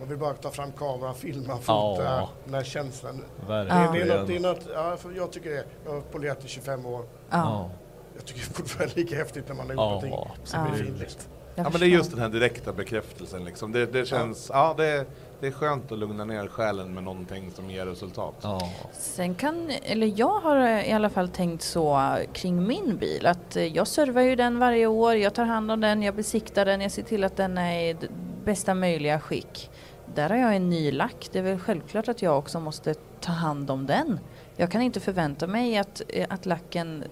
Speaker 10: man vill bara ta fram kameran, filma, fota,
Speaker 15: Ja.
Speaker 10: den här känslan.
Speaker 15: Verkligen.
Speaker 10: Det, det är något, det är något ja, för jag tycker det. Jag har polerat i 25 år.
Speaker 15: Ja.
Speaker 10: Jag tycker fortfarande det är lika häftigt när man har gjort
Speaker 9: Ja,
Speaker 10: någonting. Så blir det fint liksom.
Speaker 9: Ja, men det är just den här direkta bekräftelsen liksom. Det, det känns, ja, det, det är skönt att lugna ner själen med någonting som ger resultat.
Speaker 1: Sen kan, eller jag har eh, i alla fall tänkt så eh, kring min bil att eh, jag servar ju den varje år, jag tar hand om den, jag besiktar den, jag ser till att den är i d- bästa möjliga skick. Där har jag en ny lack, det är väl självklart att jag också måste ta hand om den. Jag kan inte förvänta mig att, eh, att lacken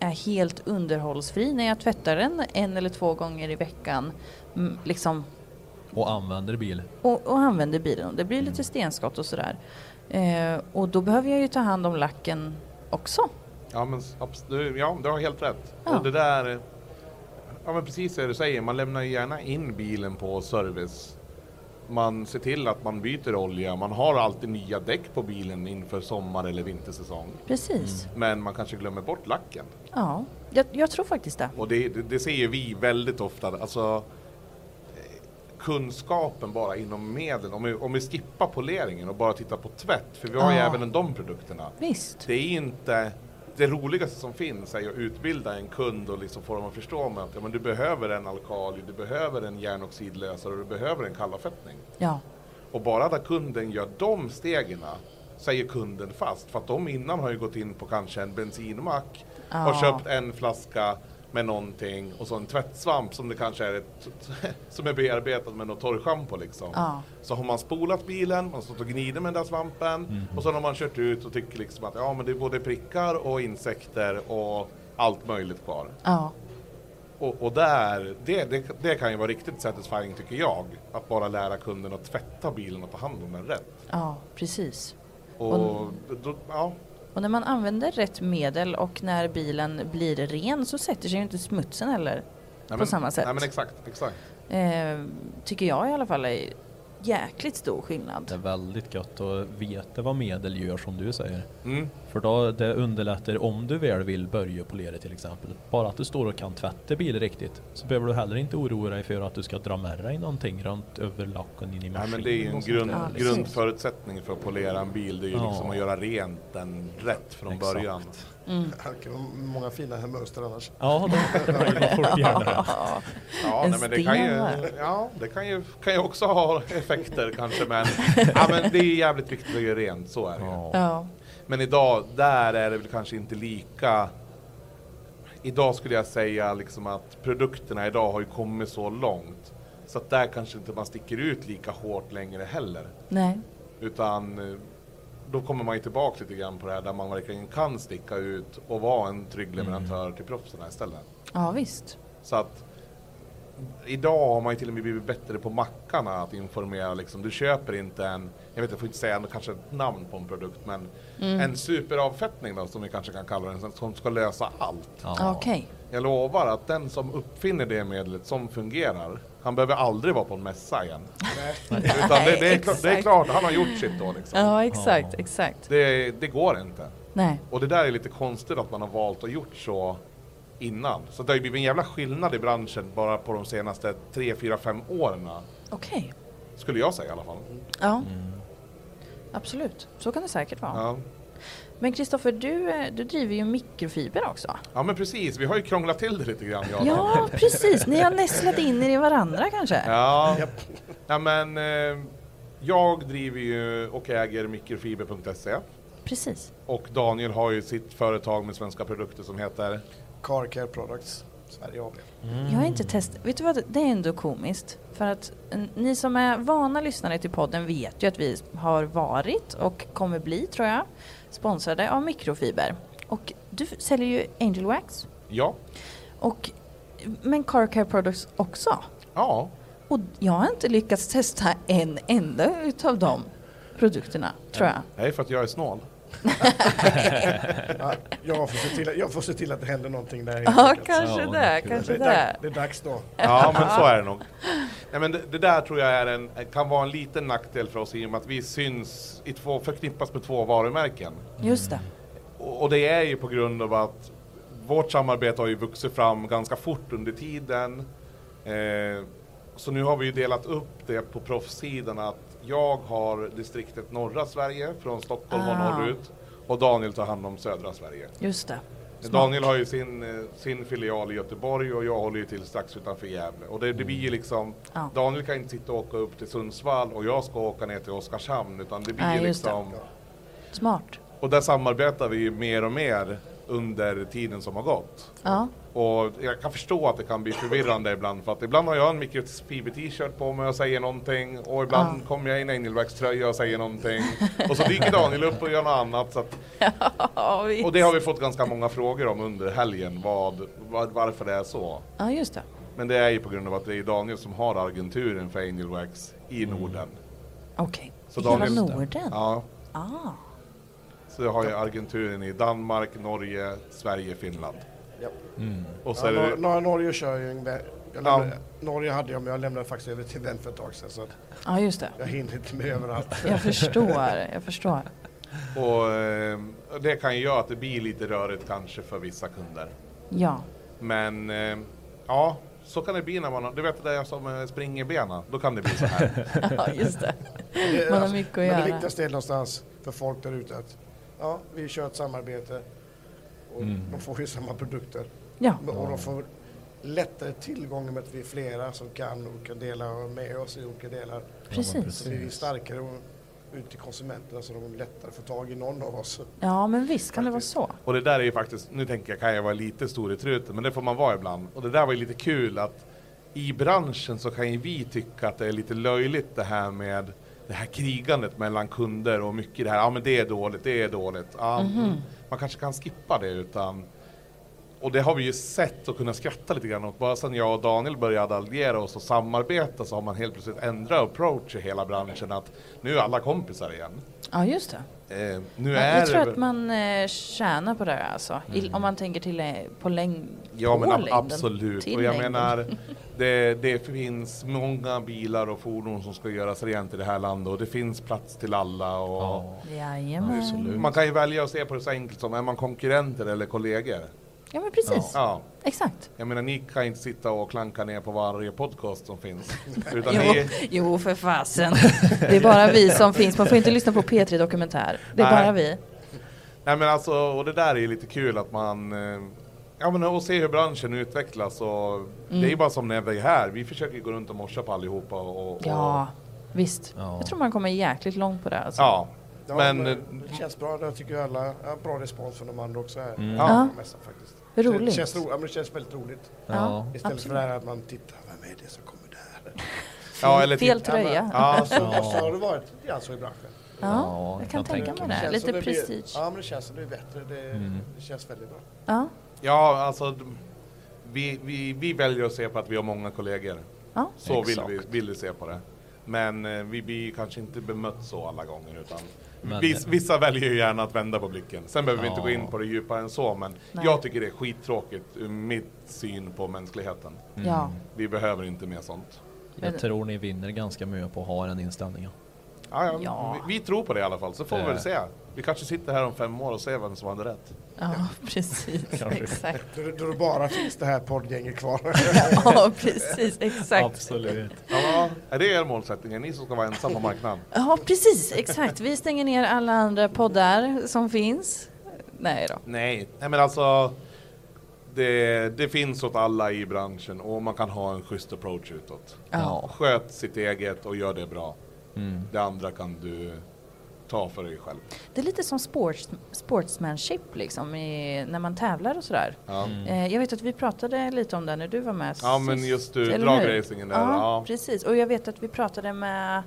Speaker 1: är helt underhållsfri när jag tvättar den en eller två gånger i veckan. Mm, liksom
Speaker 15: Och använder bil.
Speaker 1: och, och använder bilen. Det blir lite stenskott och sådär. Eh, och då behöver jag ju ta hand om lacken också.
Speaker 9: Ja, men abs- du, ja, du har helt rätt. Och det där, ja men precis det du säger, man lämnar ju gärna in bilen på service. Man ser till att man byter olja, man har alltid nya däck på bilen inför sommar eller vintersäsong.
Speaker 1: Precis.
Speaker 9: Men man kanske glömmer bort lacken.
Speaker 1: Ja, jag, jag tror faktiskt det.
Speaker 9: Och det, det, det ser ju vi väldigt ofta. Alltså, eh, kunskapen bara inom medel. Om vi, om vi skippar poleringen och bara tittar på tvätt, för vi har ju
Speaker 1: Ja.
Speaker 9: även de produkterna.
Speaker 1: Visst.
Speaker 9: Det är inte det roligaste som finns är ju att utbilda en kund och liksom få dem att förstå med att ja, men du behöver en alkali, du behöver en järnoxidlösare och du behöver en kallavfettning.
Speaker 1: Ja.
Speaker 9: Och bara där kunden gör de stegen säger kunden fast. För att de innan har ju gått in på kanske en bensinmack
Speaker 1: Ja.
Speaker 9: och köpt en flaska med någonting och så en tvättsvamp som det kanske är ett, som är bearbetad med något torrschampo liksom.
Speaker 1: Ja.
Speaker 9: Så har man spolat bilen, man har stått och gnider med den där svampen och sen har man kört ut och tycker liksom att ja men det är både prickar och insekter och allt möjligt kvar.
Speaker 1: Ja.
Speaker 9: Och, och där, det, det, det kan ju vara riktigt satisfying tycker jag. Att bara lära kunden att tvätta bilen och ta hand om den rätt.
Speaker 1: Ja, precis.
Speaker 9: Och, då, ja,
Speaker 1: Och när man använder rätt medel och när bilen blir ren så sätter sig ju inte smutsen heller på
Speaker 9: nej, men,
Speaker 1: samma sätt.
Speaker 9: Nej men exakt, exakt.
Speaker 1: eh, tycker jag i alla fall är jäkligt stor skillnad.
Speaker 15: Det är väldigt gött att veta vad medel gör som du säger.
Speaker 9: Mm.
Speaker 15: För då det underlättar om du väl vill börja polera till exempel. Bara att du står och kan tvätta bilen riktigt så behöver du heller inte oroa dig för att du ska dra med dig någonting runt över lacken in i
Speaker 9: Nej,
Speaker 15: maskinen.
Speaker 9: men det är ju en
Speaker 15: och sånt
Speaker 9: grund,
Speaker 15: där, liksom.
Speaker 9: grundförutsättning för att polera en bil. Det är ju
Speaker 15: Ja.
Speaker 9: liksom att göra rent den rätt från
Speaker 15: Exakt.
Speaker 9: början.
Speaker 10: Det kan vara många fina här mönster annars.
Speaker 15: Ja,
Speaker 9: det blir det fort gärna. Ja, nej, men det kan ju,
Speaker 10: sten.
Speaker 9: ja, det kan ju, kan ju också ha effekter kanske, men, ja, men det är ju jävligt viktigt att göra rent, så är det ju.
Speaker 1: Ja.
Speaker 9: Men idag, där är det väl kanske inte lika... Idag skulle jag säga liksom att produkterna idag har ju kommit så långt så att där kanske inte man sticker ut lika hårt längre heller.
Speaker 1: Nej.
Speaker 9: Utan eh, då kommer man ju tillbaka lite grann på det här där man verkligen kan sticka ut och vara en trygg leverantör till proffsen istället.
Speaker 1: Ja, visst.
Speaker 9: Så att idag har man ju till och med blivit bättre på mackarna att informera liksom. Du köper inte en, jag vet jag får inte säga en, kanske ett namn på en produkt men
Speaker 1: Mm.
Speaker 9: en superavfettning då som vi kanske kan kalla den som ska lösa allt.
Speaker 1: Okej.
Speaker 9: Jag lovar att den som uppfinner det medlet som fungerar, han behöver aldrig vara på en mässa igen. Utan det, det, är klart, det är
Speaker 1: exakt.
Speaker 9: klart, han har gjort sitt då liksom.
Speaker 1: Ja, exakt, exakt.
Speaker 9: Det, det går inte.
Speaker 1: Nej.
Speaker 9: Och det där är lite konstigt att man har valt att gjort så innan. Så det har ju blivit en jävla skillnad i branschen bara på de senaste 3, 4, 5 åren.
Speaker 1: Okej.
Speaker 9: Skulle jag säga i alla fall.
Speaker 1: Ja. Absolut, så kan det säkert vara.
Speaker 9: Ja.
Speaker 1: Men Kristoffer, du, eh, du driver ju mikrofiber också.
Speaker 9: Ja men precis, vi har ju krånglat till det lite grann. jag och
Speaker 1: Ja,
Speaker 9: Daniel.
Speaker 1: precis. Ni har nästlat in er i varandra kanske?
Speaker 9: Ja, Nej, men eh, jag driver ju och äger mikrofiber.se
Speaker 1: Precis.
Speaker 9: och Daniel har ju sitt företag med svenska produkter som heter
Speaker 10: Carcare Products Sverige AB.
Speaker 9: Mm.
Speaker 1: Jag har inte testat. Vet du vad, det är ändå komiskt. För att eh, ni som är vana lyssnare till podden vet ju att vi har varit och kommer bli, tror jag, sponsrade av mikrofiber. Och du f- säljer ju Angel Wax.
Speaker 9: Ja.
Speaker 1: Och, men Car Care Products också?
Speaker 9: Ja.
Speaker 1: Och jag har inte lyckats testa en enda utav de produkterna, tror jag.
Speaker 9: Det är för att jag är snål.
Speaker 10: ja, jag, får se till, att- jag får se till att det händer någonting där. helt
Speaker 1: Ja,
Speaker 10: enkelt.
Speaker 1: kanske Ja, det, kul. kanske
Speaker 10: är dags-
Speaker 1: det.
Speaker 10: Det är dags då.
Speaker 9: Ja, men så är det nog. Nej, men det, det där tror jag är en, kan vara en liten nackdel för oss i och med att vi syns i två, förknippas med två varumärken.
Speaker 1: Just det.
Speaker 9: Och, och det är ju på grund av att vårt samarbete har ju vuxit fram ganska fort under tiden. Eh, så nu har vi ju delat upp det på proffssidan att jag har distriktet norra Sverige från Stockholm och
Speaker 1: Ah.
Speaker 9: norrut och Daniel tar hand om södra Sverige.
Speaker 1: Just det. Smart.
Speaker 9: Daniel har ju sin, eh, sin filial i Göteborg och jag håller ju till strax utanför Gävle. Och det, det blir ju liksom,
Speaker 1: Mm. Ja.
Speaker 9: Daniel kan inte sitta och åka upp till Sundsvall och jag ska åka ner till Oskarshamn utan det blir
Speaker 1: Nej,
Speaker 9: ju
Speaker 1: just det.
Speaker 9: liksom,
Speaker 1: Smart.
Speaker 9: och där samarbetar vi ju mer och mer under tiden som har gått.
Speaker 1: Ja.
Speaker 9: Och jag kan förstå att det kan bli förvirrande ibland för att ibland har jag en mikrofiber-t-shirt på mig och säger någonting och ibland kommer jag i en Engelbrechtströja och säger någonting och så dyker Daniel upp och gör något annat. Så att
Speaker 1: Ja, visst.
Speaker 9: och det har vi fått ganska många frågor om under helgen, vad, vad, varför det är så.
Speaker 1: Ja, just det.
Speaker 9: Men det är ju på grund av att det är Daniel som har agenturen för Angel Wax i Norden.
Speaker 1: Mm. Okej.
Speaker 9: Så
Speaker 1: Hela
Speaker 9: Daniel-
Speaker 1: Norden?
Speaker 9: Ja,
Speaker 1: Ah.
Speaker 9: så jag har ju agenturen i Danmark, Norge, Sverige, Finland. Mm.
Speaker 10: Ja.
Speaker 9: Och så
Speaker 10: ja,
Speaker 9: är det,
Speaker 10: Nor- Nor- Norge kör ju en... vä- Jag
Speaker 9: Ja.
Speaker 10: lämnade, Norge hade jag, men jag lämnade faktiskt över till en vän för ett tag sedan. Så att
Speaker 1: Ja, just det.
Speaker 10: Jag hinner inte med överallt.
Speaker 1: Jag förstår, jag förstår.
Speaker 9: och ehm, det kan ju göra att det blir lite rörigt kanske för vissa kunder.
Speaker 1: Ja.
Speaker 9: Men ehm, ja, så kan det bli när man har, du vet det där som eh, springer benen, då kan det bli så här.
Speaker 1: Ja, just det.
Speaker 10: Det är
Speaker 1: Man har
Speaker 10: alltså-
Speaker 1: mycket att
Speaker 10: men
Speaker 1: göra.
Speaker 10: det viktigaste är någonstans för folk där ute att ja, vi kör ett samarbete och de får ju samma produkter.
Speaker 1: Mm. Ja.
Speaker 10: Men- Och de får lättare tillgång med att vi är flera som kan olika delar och med oss i olika delar.
Speaker 1: Precis.
Speaker 10: Så vi är starkare och ut till konsumenterna så de lättare får tag i någon av oss.
Speaker 1: Ja, men visst kan det vara så.
Speaker 9: Och det där är ju faktiskt, nu tänker jag kan jag vara lite stor i truten, men det får man vara ibland. Och det där var ju lite kul att i branschen så kan ju vi tycka att det är lite löjligt det här med det här krigandet mellan kunder och mycket det här, ja men det är dåligt, det är dåligt. Ja,
Speaker 14: Mhm.
Speaker 9: Man kanske kan skippa det utan och det har vi ju sett och kunnat skratta lite grann åt. Bara sedan jag och Daniel började alliera oss och samarbeta så har man helt plötsligt ändrat approach i hela branschen att nu är alla kompisar igen.
Speaker 1: Ja, just det.
Speaker 9: Eh, nu är
Speaker 1: Jag tror
Speaker 9: det- Mm.
Speaker 1: att man eh, tjänar på det här alltså. I, om man tänker till eh, på längd.
Speaker 9: Ja
Speaker 1: på
Speaker 9: men ab-
Speaker 1: längden.
Speaker 9: absolut,
Speaker 1: Till
Speaker 9: och jag
Speaker 1: längden.
Speaker 9: menar det, det finns många bilar och fordon som ska göras rent i det här landet och det finns plats till alla. Och
Speaker 1: Jajamän.
Speaker 9: Man kan ju välja att se på det så enkelt som, är man konkurrenter eller kollegor?
Speaker 1: Ja, men precis.
Speaker 9: Ja.
Speaker 1: Exakt.
Speaker 9: Jag menar ni kan inte sitta och klanka ner på varje podcast som finns. Utan
Speaker 1: Jo,
Speaker 9: ni,
Speaker 1: jo, för fasen. Det är bara vi som finns. Man får inte lyssna på P3 Dokumentär. Det är
Speaker 9: Nej.
Speaker 1: bara vi.
Speaker 9: nej men alltså, och det där är ju lite kul att man eh, Ja men och se hur branschen utvecklas och det är
Speaker 1: Mm.
Speaker 9: ju bara som när vi är här, vi försöker ju gå runt och morsa på allihopa och, och
Speaker 1: Ja, visst.
Speaker 9: Ja.
Speaker 1: Jag tror man kommer jäkligt långt på det här. Alltså.
Speaker 9: Ja,
Speaker 10: Ja,
Speaker 9: men,
Speaker 10: men det känns bra, jag tycker alla, ja, bra respons från de andra också här.
Speaker 9: Mm.
Speaker 1: Ja.
Speaker 10: på mässan faktiskt.
Speaker 1: Hur
Speaker 10: Så
Speaker 1: roligt.
Speaker 10: Det känns, ro, ja, men det känns väldigt roligt.
Speaker 1: Ja,
Speaker 10: Istället för
Speaker 1: absolut.
Speaker 10: det här att man tittar, vem är det som kommer där? typ-
Speaker 1: Ja, eller Fel titta- tröja.
Speaker 10: Ja, men-
Speaker 1: Ja.
Speaker 10: ja. Så, så har det varit lite grann så i branschen.
Speaker 1: Ja, Ja, jag kan jag tänka tänker mig mig. det.
Speaker 10: känns som
Speaker 1: Lite
Speaker 10: blir-
Speaker 1: prestige.
Speaker 10: Ja, men det känns som det är bättre. Det,
Speaker 9: Mm.
Speaker 10: det känns väldigt bra.
Speaker 1: Ja.
Speaker 9: Ja, alltså d- vi, vi, vi väljer att se på att vi har många kollegor.
Speaker 1: Ja.
Speaker 9: Så vill vi, vill vi se på det. Men eh, vi blir kanske inte bemött så alla gånger utan
Speaker 14: Men-
Speaker 15: eh,
Speaker 9: vis, vissa väljer ju gärna att vända på blicken. Sen behöver vi inte gå
Speaker 14: Ja.
Speaker 9: in på det djupare än så men
Speaker 14: Nej.
Speaker 9: jag tycker det är skittråkigt ur mitt syn på mänskligheten.
Speaker 15: Mm. Ja.
Speaker 9: Vi behöver inte mer sånt.
Speaker 15: Jag tror ni vinner ganska mycket på att ha den inställningen.
Speaker 9: Ja, ja,
Speaker 15: Ja.
Speaker 9: Vi, vi tror på det i alla fall så får vi
Speaker 15: Det-
Speaker 9: väl se. Vi kanske sitter här om fem år och ser vem som hade rätt.
Speaker 1: Ja, precis.
Speaker 9: Kanske.
Speaker 1: Exakt.
Speaker 10: Då, då det bara finns det här poddgänget kvar.
Speaker 1: Ja, precis. Exakt.
Speaker 9: Absolut. Ja, är det er målsättning? Är ni som ska vara ensam på marknaden?
Speaker 1: Ja, precis. Exakt. Vi stänger ner alla andra poddar som finns. Nej då.
Speaker 9: Nej, nej men alltså det, det finns åt alla i branschen och man kan ha en schysst approach utåt.
Speaker 1: Ja.
Speaker 9: Sköt sitt eget och gör det bra.
Speaker 15: Mm.
Speaker 9: Det andra kan du ta för dig själv.
Speaker 1: Det är lite som sports, sportsmanship liksom i, när man tävlar och sådär.
Speaker 9: Ja. Mm.
Speaker 1: Eh, jag vet att vi pratade lite om det när du var med
Speaker 9: Ja,
Speaker 1: sist,
Speaker 9: men just du,
Speaker 1: eller hur?
Speaker 9: dragracingen där.
Speaker 1: Ja,
Speaker 9: Ja.
Speaker 1: precis. Och jag vet att vi pratade med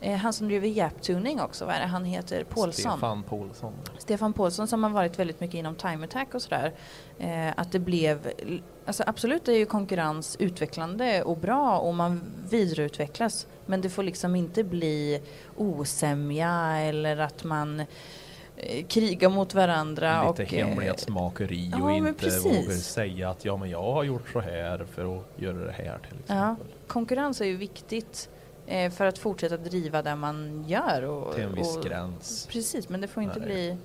Speaker 1: eh, han som driver Japtuning också, vad är det han heter? Paulsson.
Speaker 15: Stefan Paulsson.
Speaker 1: Stefan Paulsson som har varit väldigt mycket inom time attack och sådär. Eh, att det blev, alltså absolut är ju konkurrens utvecklande och bra och man vidareutvecklas. Men det får liksom inte bli osämja eller att man eh, krigar mot varandra.
Speaker 15: Lite
Speaker 1: och, eh,
Speaker 15: hemlighetsmakeri och
Speaker 1: ja, men
Speaker 15: inte
Speaker 1: precis.
Speaker 15: vågar säga att ja men jag har gjort så här för att göra det här till
Speaker 1: Ja, konkurrens är ju viktigt eh, för att fortsätta driva det man gör. Och,
Speaker 15: Till en viss
Speaker 1: och,
Speaker 15: gräns.
Speaker 1: Precis, men det får inte
Speaker 9: Nej.
Speaker 1: bli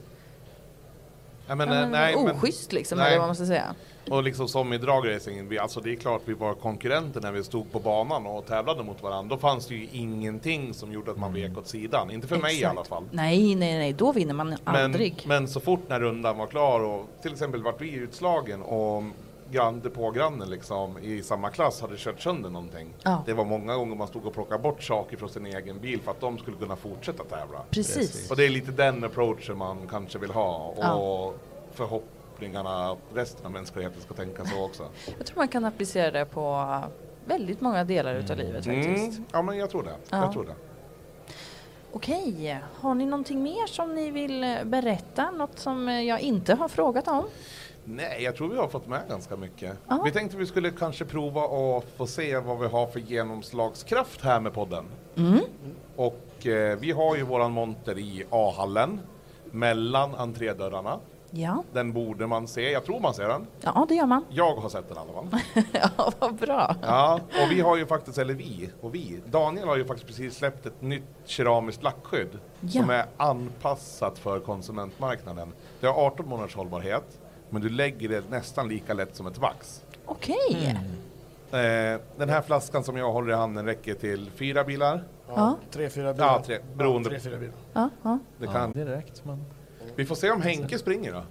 Speaker 9: Nej, men,
Speaker 1: Ja,
Speaker 9: eh,
Speaker 1: men oschysst liksom, eller vad man ska säga.
Speaker 9: Och liksom som i dragracingen, vi, alltså det är klart vi var konkurrenter när vi stod på banan och tävlade mot varandra. Då fanns det ju ingenting som gjorde att man vek åt sidan. Inte för mig i alla
Speaker 1: Exakt.
Speaker 9: fall.
Speaker 1: Nej, nej, nej, då vinner man
Speaker 9: Men,
Speaker 1: aldrig.
Speaker 9: men så fort när rundan var klar och till exempel vart vi utslagen och gran- depågrannen liksom i samma klass hade kört sönder någonting.
Speaker 1: Ja.
Speaker 9: Det var många gånger man stod och plockade bort saker från sin egen bil för att de skulle kunna fortsätta tävla.
Speaker 1: Precis. Precis.
Speaker 9: Och det är lite den approachen man kanske vill ha och
Speaker 1: Ja.
Speaker 9: förhoppningarna att resten av mänskligheten ska tänka så också.
Speaker 1: Jag tror man kan applicera det på väldigt många delar utav livet faktiskt.
Speaker 9: Mm. Ja men jag tror det.
Speaker 1: Ja.
Speaker 9: Jag tror det.
Speaker 1: Okej, har ni någonting mer som ni vill eh, berätta? Något som eh, jag inte har frågat om?
Speaker 9: Nej, jag tror vi har fått med ganska mycket.
Speaker 1: Ja.
Speaker 9: Vi tänkte vi skulle kanske prova och få se vad vi har för genomslagskraft här med podden.
Speaker 1: Mm.
Speaker 9: Och eh, vi har ju våran monter i A-hallen mellan entrédörrarna.
Speaker 1: Ja.
Speaker 9: Den borde man se. Jag tror man ser den.
Speaker 1: ja, det gör man.
Speaker 9: Jag har sett den i alla fall.
Speaker 1: Ja, vad bra.
Speaker 9: Ja, och vi har ju faktiskt, eller vi och vi, Daniel har ju faktiskt precis släppt ett nytt keramiskt lackskydd
Speaker 1: Ja.
Speaker 9: som är anpassat för konsumentmarknaden. Det har 18 månaders hållbarhet, men du lägger det nästan lika lätt som ett vax.
Speaker 1: Okej.
Speaker 9: Mm. Eh, den här flaskan som jag håller i handen räcker till fyra bilar.
Speaker 1: Ja.
Speaker 10: Tre, fyra bilar.
Speaker 9: Ja, tre, beroende.
Speaker 10: Ja, tre, fyra bilar.
Speaker 1: Ja, ja.
Speaker 9: Det kan.
Speaker 15: direkt, men...
Speaker 9: Vi får se om Henke springer då.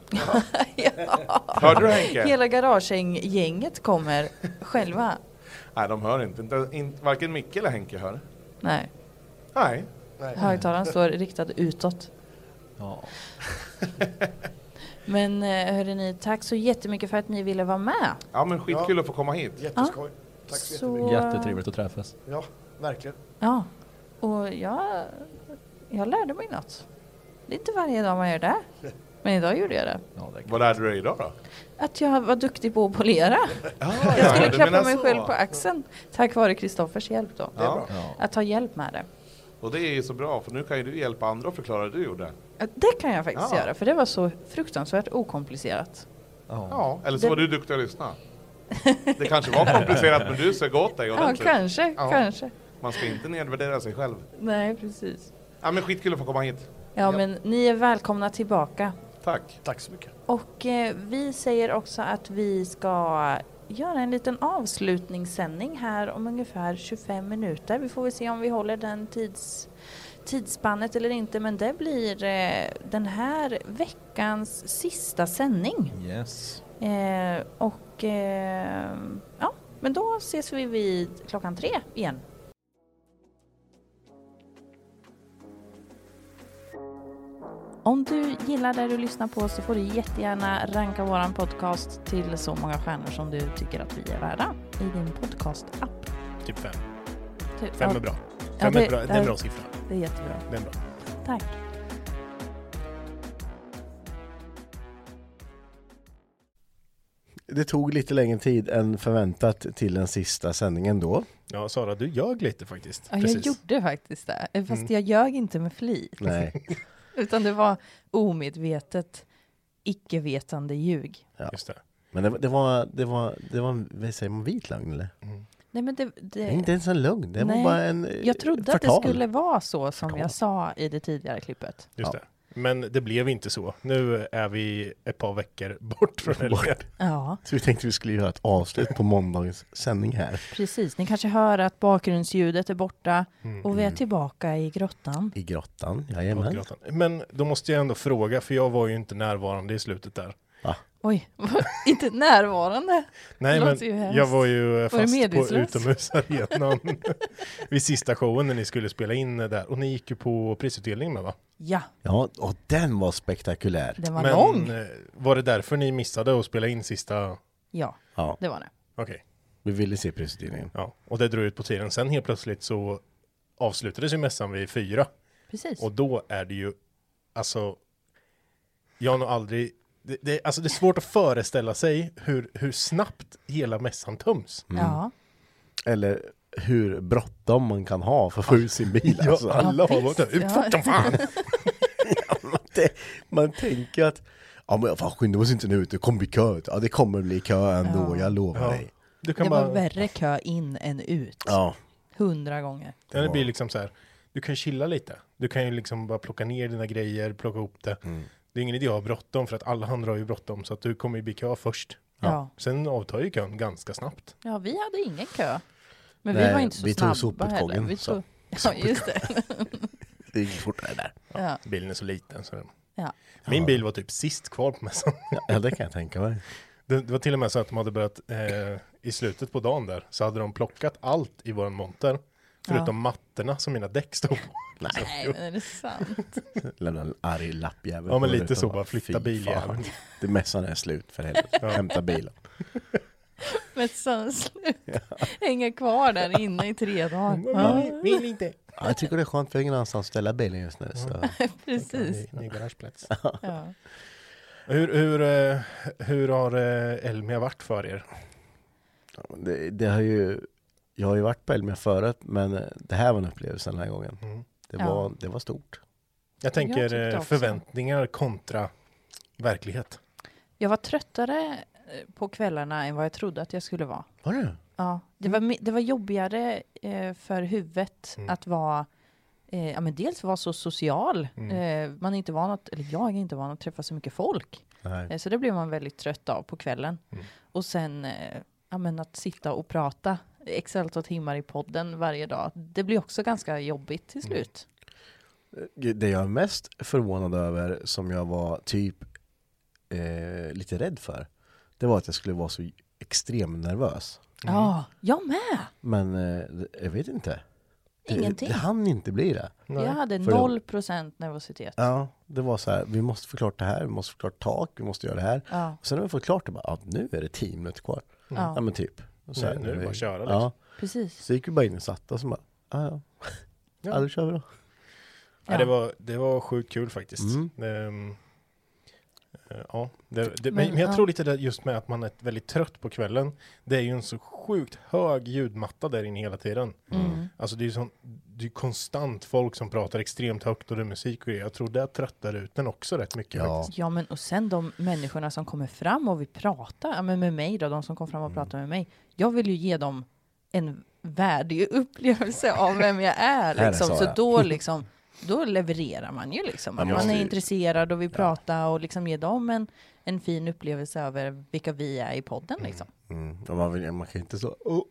Speaker 9: Hörde du Henke?
Speaker 1: Hela garagegänget kommer själva.
Speaker 9: Nej, de hör inte. inte, inte varken Micke eller Henke hör.
Speaker 1: Nej,
Speaker 9: Nej.
Speaker 1: högtalaren står riktad utåt.
Speaker 15: Ja.
Speaker 1: Men eh, hörrni, tack så jättemycket för att ni ville vara med.
Speaker 9: Ja, men skitkul att få komma hit.
Speaker 10: Jätteskoj. Tack så jättemycket.
Speaker 15: Jättetrevligt att träffas.
Speaker 10: Ja, verkligen.
Speaker 1: Ja, och jag, jag lärde mig något. Det är inte varje dag man gör det, men idag gjorde jag det.
Speaker 9: Vad lärde du dig idag då?
Speaker 1: Att jag var duktig på att polera.
Speaker 9: ja,
Speaker 1: jag skulle
Speaker 9: du
Speaker 1: klappa
Speaker 9: menar
Speaker 1: mig
Speaker 9: så.
Speaker 1: själv på axeln tack vare Kristoffers hjälp då.
Speaker 9: Det är bra.
Speaker 1: Att ta hjälp med det.
Speaker 9: Och det är ju så bra, för nu kan ju du hjälpa andra att förklara det du gjorde.
Speaker 1: Det kan jag faktiskt
Speaker 9: Ja.
Speaker 1: göra, för det var så fruktansvärt okomplicerat.
Speaker 9: Ja, eller så
Speaker 1: Det-
Speaker 9: var du duktig att lyssna. Det kanske var komplicerat, men du sög åt dig
Speaker 1: Ja,
Speaker 9: ordentligt.
Speaker 1: kanske,
Speaker 9: Ja.
Speaker 1: kanske.
Speaker 9: Man ska inte nedvärdera sig själv.
Speaker 1: Nej, precis.
Speaker 9: Ja, men skitkul att få komma hit.
Speaker 1: Ja, men ni är välkomna tillbaka.
Speaker 9: Tack.
Speaker 10: Tack så mycket.
Speaker 1: Och eh, vi säger också att vi ska göra en liten avslutningssändning här om ungefär 25 minuter. Vi får väl se om vi håller den tids, tidsspannet eller inte, men det blir eh, den här veckans sista sändning.
Speaker 15: Yes.
Speaker 1: Eh, och eh, ja, men då ses vi vid klockan tre igen. Om du gillar det du lyssnar på så får du jättegärna ranka våran podcast till så många stjärnor som du tycker att vi är värda i din podcast-app.
Speaker 5: Typ fem.
Speaker 1: Typ,
Speaker 5: Fem
Speaker 1: ja.
Speaker 5: är bra.
Speaker 1: Ja,
Speaker 5: Fem
Speaker 1: det-
Speaker 5: är bra. Det är en bra siffra.
Speaker 1: Det är jättebra.
Speaker 5: Det är en bra.
Speaker 1: Tack.
Speaker 2: Det tog lite längre tid än förväntat till den sista sändningen då.
Speaker 5: Ja, Sara, du ljög lite faktiskt.
Speaker 13: Ja, jag gjorde faktiskt det, Eh, fast
Speaker 5: Mm.
Speaker 13: jag ljög inte med flit.
Speaker 2: Nej.
Speaker 13: Utan det var omedvetet, icke-vetande ljug.
Speaker 2: Ja. Men det, var- det var, det var, det var, en- vad säger man, vit lögn eller?
Speaker 5: Mm.
Speaker 13: Nej, men det, det...
Speaker 2: Nej, inte ens en lögn, det var bara en eh,
Speaker 13: Jag trodde att
Speaker 2: förtal.
Speaker 13: det skulle vara så som jag sa i det tidigare klippet.
Speaker 5: Just
Speaker 2: Ja.
Speaker 5: det. Men det blev inte så. Nu är vi ett par veckor bort från helgen.
Speaker 1: Ja.
Speaker 2: Så vi tänkte vi skulle göra ett avslut på måndagens sändning här.
Speaker 1: Precis, ni kanske hör att bakgrundsljudet är borta
Speaker 5: Mm.
Speaker 1: och vi är tillbaka i grottan.
Speaker 2: I grottan,
Speaker 5: Mot
Speaker 2: jajamän.
Speaker 5: grottan. Men då måste jag ändå fråga, för jag var ju inte närvarande i slutet där.
Speaker 2: Ah.
Speaker 1: Oj,
Speaker 10: inte närvarande.
Speaker 5: Nej,
Speaker 10: Det
Speaker 5: men
Speaker 10: låter ju hemskt.
Speaker 5: jag var ju eh,
Speaker 10: Var du
Speaker 5: fast på
Speaker 10: medvetslös?
Speaker 5: utomhusarenan vid sista showen när ni skulle spela in eh, där. Och ni gick ju på prisutdelningen med va?
Speaker 1: Ja.
Speaker 2: Ja, och den var spektakulär.
Speaker 1: Den var lång.
Speaker 5: eh, Var det därför ni missade att spela in sista?
Speaker 1: Ja,
Speaker 2: Ja.
Speaker 1: det var det.
Speaker 5: Okej.
Speaker 2: Vi ville se prisutdelningen.
Speaker 5: Ja, och det drog ut på tiden. Sen helt plötsligt så avslutades ju mässan vid fyra.
Speaker 1: Precis.
Speaker 5: Och då är det ju, alltså, jag har nog aldrig, det, det, alltså det är svårt att föreställa sig hur, hur snabbt hela mässan töms.
Speaker 2: Mm.
Speaker 1: Ja.
Speaker 2: Eller hur bråttom man kan ha för att få ut sin bil.
Speaker 5: Ja,
Speaker 2: Alltså.
Speaker 5: alla har Ja, varit visst. där. Ut Ja. fort som fan!
Speaker 2: Ja, men det, man tänker att, ja men fan skynda oss inte nu, det kommer bli kö. Ja det kommer bli kö ändå, jag lovar
Speaker 5: Ja.
Speaker 2: dig.
Speaker 5: Du
Speaker 1: Det
Speaker 5: kan
Speaker 1: var
Speaker 5: bara-
Speaker 1: värre kö in än ut.
Speaker 2: Ja.
Speaker 1: Hundra gånger.
Speaker 5: Ja, det blir liksom så här, du kan ju chilla lite. Du kan ju liksom bara plocka ner dina grejer, plocka ihop det. Det är ingen idé att ha bråttom för att alla andra har ju bråttom så att du kommer ju bli kö först.
Speaker 1: Ja.
Speaker 5: Sen avtar ju kön ganska snabbt.
Speaker 1: Ja, vi hade ingen kö. Men vi
Speaker 5: Nej,
Speaker 1: var inte så
Speaker 5: vi tog
Speaker 1: snabba
Speaker 5: soputgången,
Speaker 1: heller. Vi
Speaker 5: så.
Speaker 1: tog... Ja, just det.
Speaker 2: Det gick fortare där.
Speaker 1: Ja.
Speaker 5: Bilen är så liten. Så...
Speaker 1: Ja.
Speaker 5: Min bil var typ sist kvar på mässan.
Speaker 2: Ja, det kan jag tänka mig.
Speaker 5: Det, det var till och med så att de hade börjat eh, i slutet på dagen där så hade de plockat allt i våran monter. Förutom
Speaker 1: Ja.
Speaker 5: mattorna som mina däck stod på. Så-
Speaker 1: Nej, men är det sant?
Speaker 2: Lämna en arg lappjävel.
Speaker 5: Ja, men
Speaker 2: på
Speaker 5: lite
Speaker 2: rutan.
Speaker 5: så bara, flytta
Speaker 2: Fy fan.
Speaker 5: biljäveln.
Speaker 2: Det mässan är slut för helvete.
Speaker 5: Ja.
Speaker 2: Hämta bilen.
Speaker 1: Med sanslöst. Hänga kvar där inne i tre
Speaker 5: Mm,
Speaker 1: dagar.
Speaker 2: Ja,
Speaker 1: Ja.
Speaker 5: vill inte.
Speaker 2: Ja, jag tycker det är skönt för jag har ingen annanstans att ställa bilen just nu. Så.
Speaker 1: Precis.
Speaker 5: Ny, ny garageplats.
Speaker 1: Ja.
Speaker 5: Hur, hur, eh, hur har eh, Elmia varit för er?
Speaker 2: Det, det har ju, jag har ju varit på Elmia förut men det här var en upplevelse den här gången. Det,
Speaker 5: Ja.
Speaker 2: var, det var stort.
Speaker 5: Jag tänker
Speaker 1: tyckte
Speaker 5: eh,
Speaker 1: också.
Speaker 5: förväntningar kontra verklighet.
Speaker 1: Jag var tröttare eh, på kvällarna än vad jag trodde att jag skulle vara.
Speaker 2: Var det?
Speaker 1: Ja, det var, mi- det var jobbigare eh, för huvudet att vara Eh, ja, men dels vara så social.
Speaker 10: Mm.
Speaker 1: Eh, man är inte van att, eller jag är inte van att träffa så mycket folk.
Speaker 10: Nej.
Speaker 1: Eh, så det blev man väldigt trött av på kvällen. Och sen eh, ja, men att sitta och prata x antal timmar i podden varje dag. Det blir också ganska jobbigt till slut.
Speaker 2: Det jag är mest förvånad över som jag var typ eh, lite rädd för. Det var att jag skulle vara så extremt nervös.
Speaker 1: Ja, jag med!
Speaker 2: Men eh, jag vet inte. Det,
Speaker 1: Ingenting.
Speaker 2: Det hann inte bli det.
Speaker 1: Jag hade
Speaker 2: För det-
Speaker 1: noll procent nervositet.
Speaker 2: Ja, det var så här, vi måste förklara det här, vi måste förklara tak, vi måste göra det här.
Speaker 1: Ja.
Speaker 2: Och sen när vi fått klart det, bara, ja, nu är det tio minuter kvar.
Speaker 1: Mm. Ja.
Speaker 2: Ja, men typ. Och
Speaker 5: Nu- nu är det bara att köra, liksom.
Speaker 2: Ja.
Speaker 1: Precis.
Speaker 2: Så gick vi bara in och satte oss och bara, ja, ja.
Speaker 5: Ja.
Speaker 2: ja, då kör vi då.
Speaker 5: Ja. det, var, det var sjukt kul faktiskt.
Speaker 2: Mm.
Speaker 5: Det, mm, eh, ja, det, det,
Speaker 1: Men,
Speaker 5: men, men jag
Speaker 1: ja.
Speaker 5: tror lite det just med att man är väldigt trött på kvällen. Det är ju en så sjukt hög ljudmatta där inne hela tiden.
Speaker 1: Mm.
Speaker 5: Alltså det är ju sån, det är konstant folk som pratar extremt högt och det är musik och det. Jag tror det tröttar ut den också rätt mycket. faktiskt.
Speaker 1: Ja, men och sen de människorna som kommer fram och vill prata, ja, men med mig då, de som kom fram
Speaker 10: Mm.
Speaker 1: och pratade med mig. Jag vill ju ge dem en värdig upplevelse av vem jag är,
Speaker 10: Här är
Speaker 1: liksom. så
Speaker 10: Sara.
Speaker 1: då liksom, då levererar man ju liksom.
Speaker 10: Man
Speaker 1: Att man
Speaker 10: måste
Speaker 1: är
Speaker 10: ju-
Speaker 1: intresserad och vill prata och liksom ge dem en, en fin upplevelse över vilka vi är i podden liksom.
Speaker 2: Mm. Och man, vill, man kan ju inte så, åh,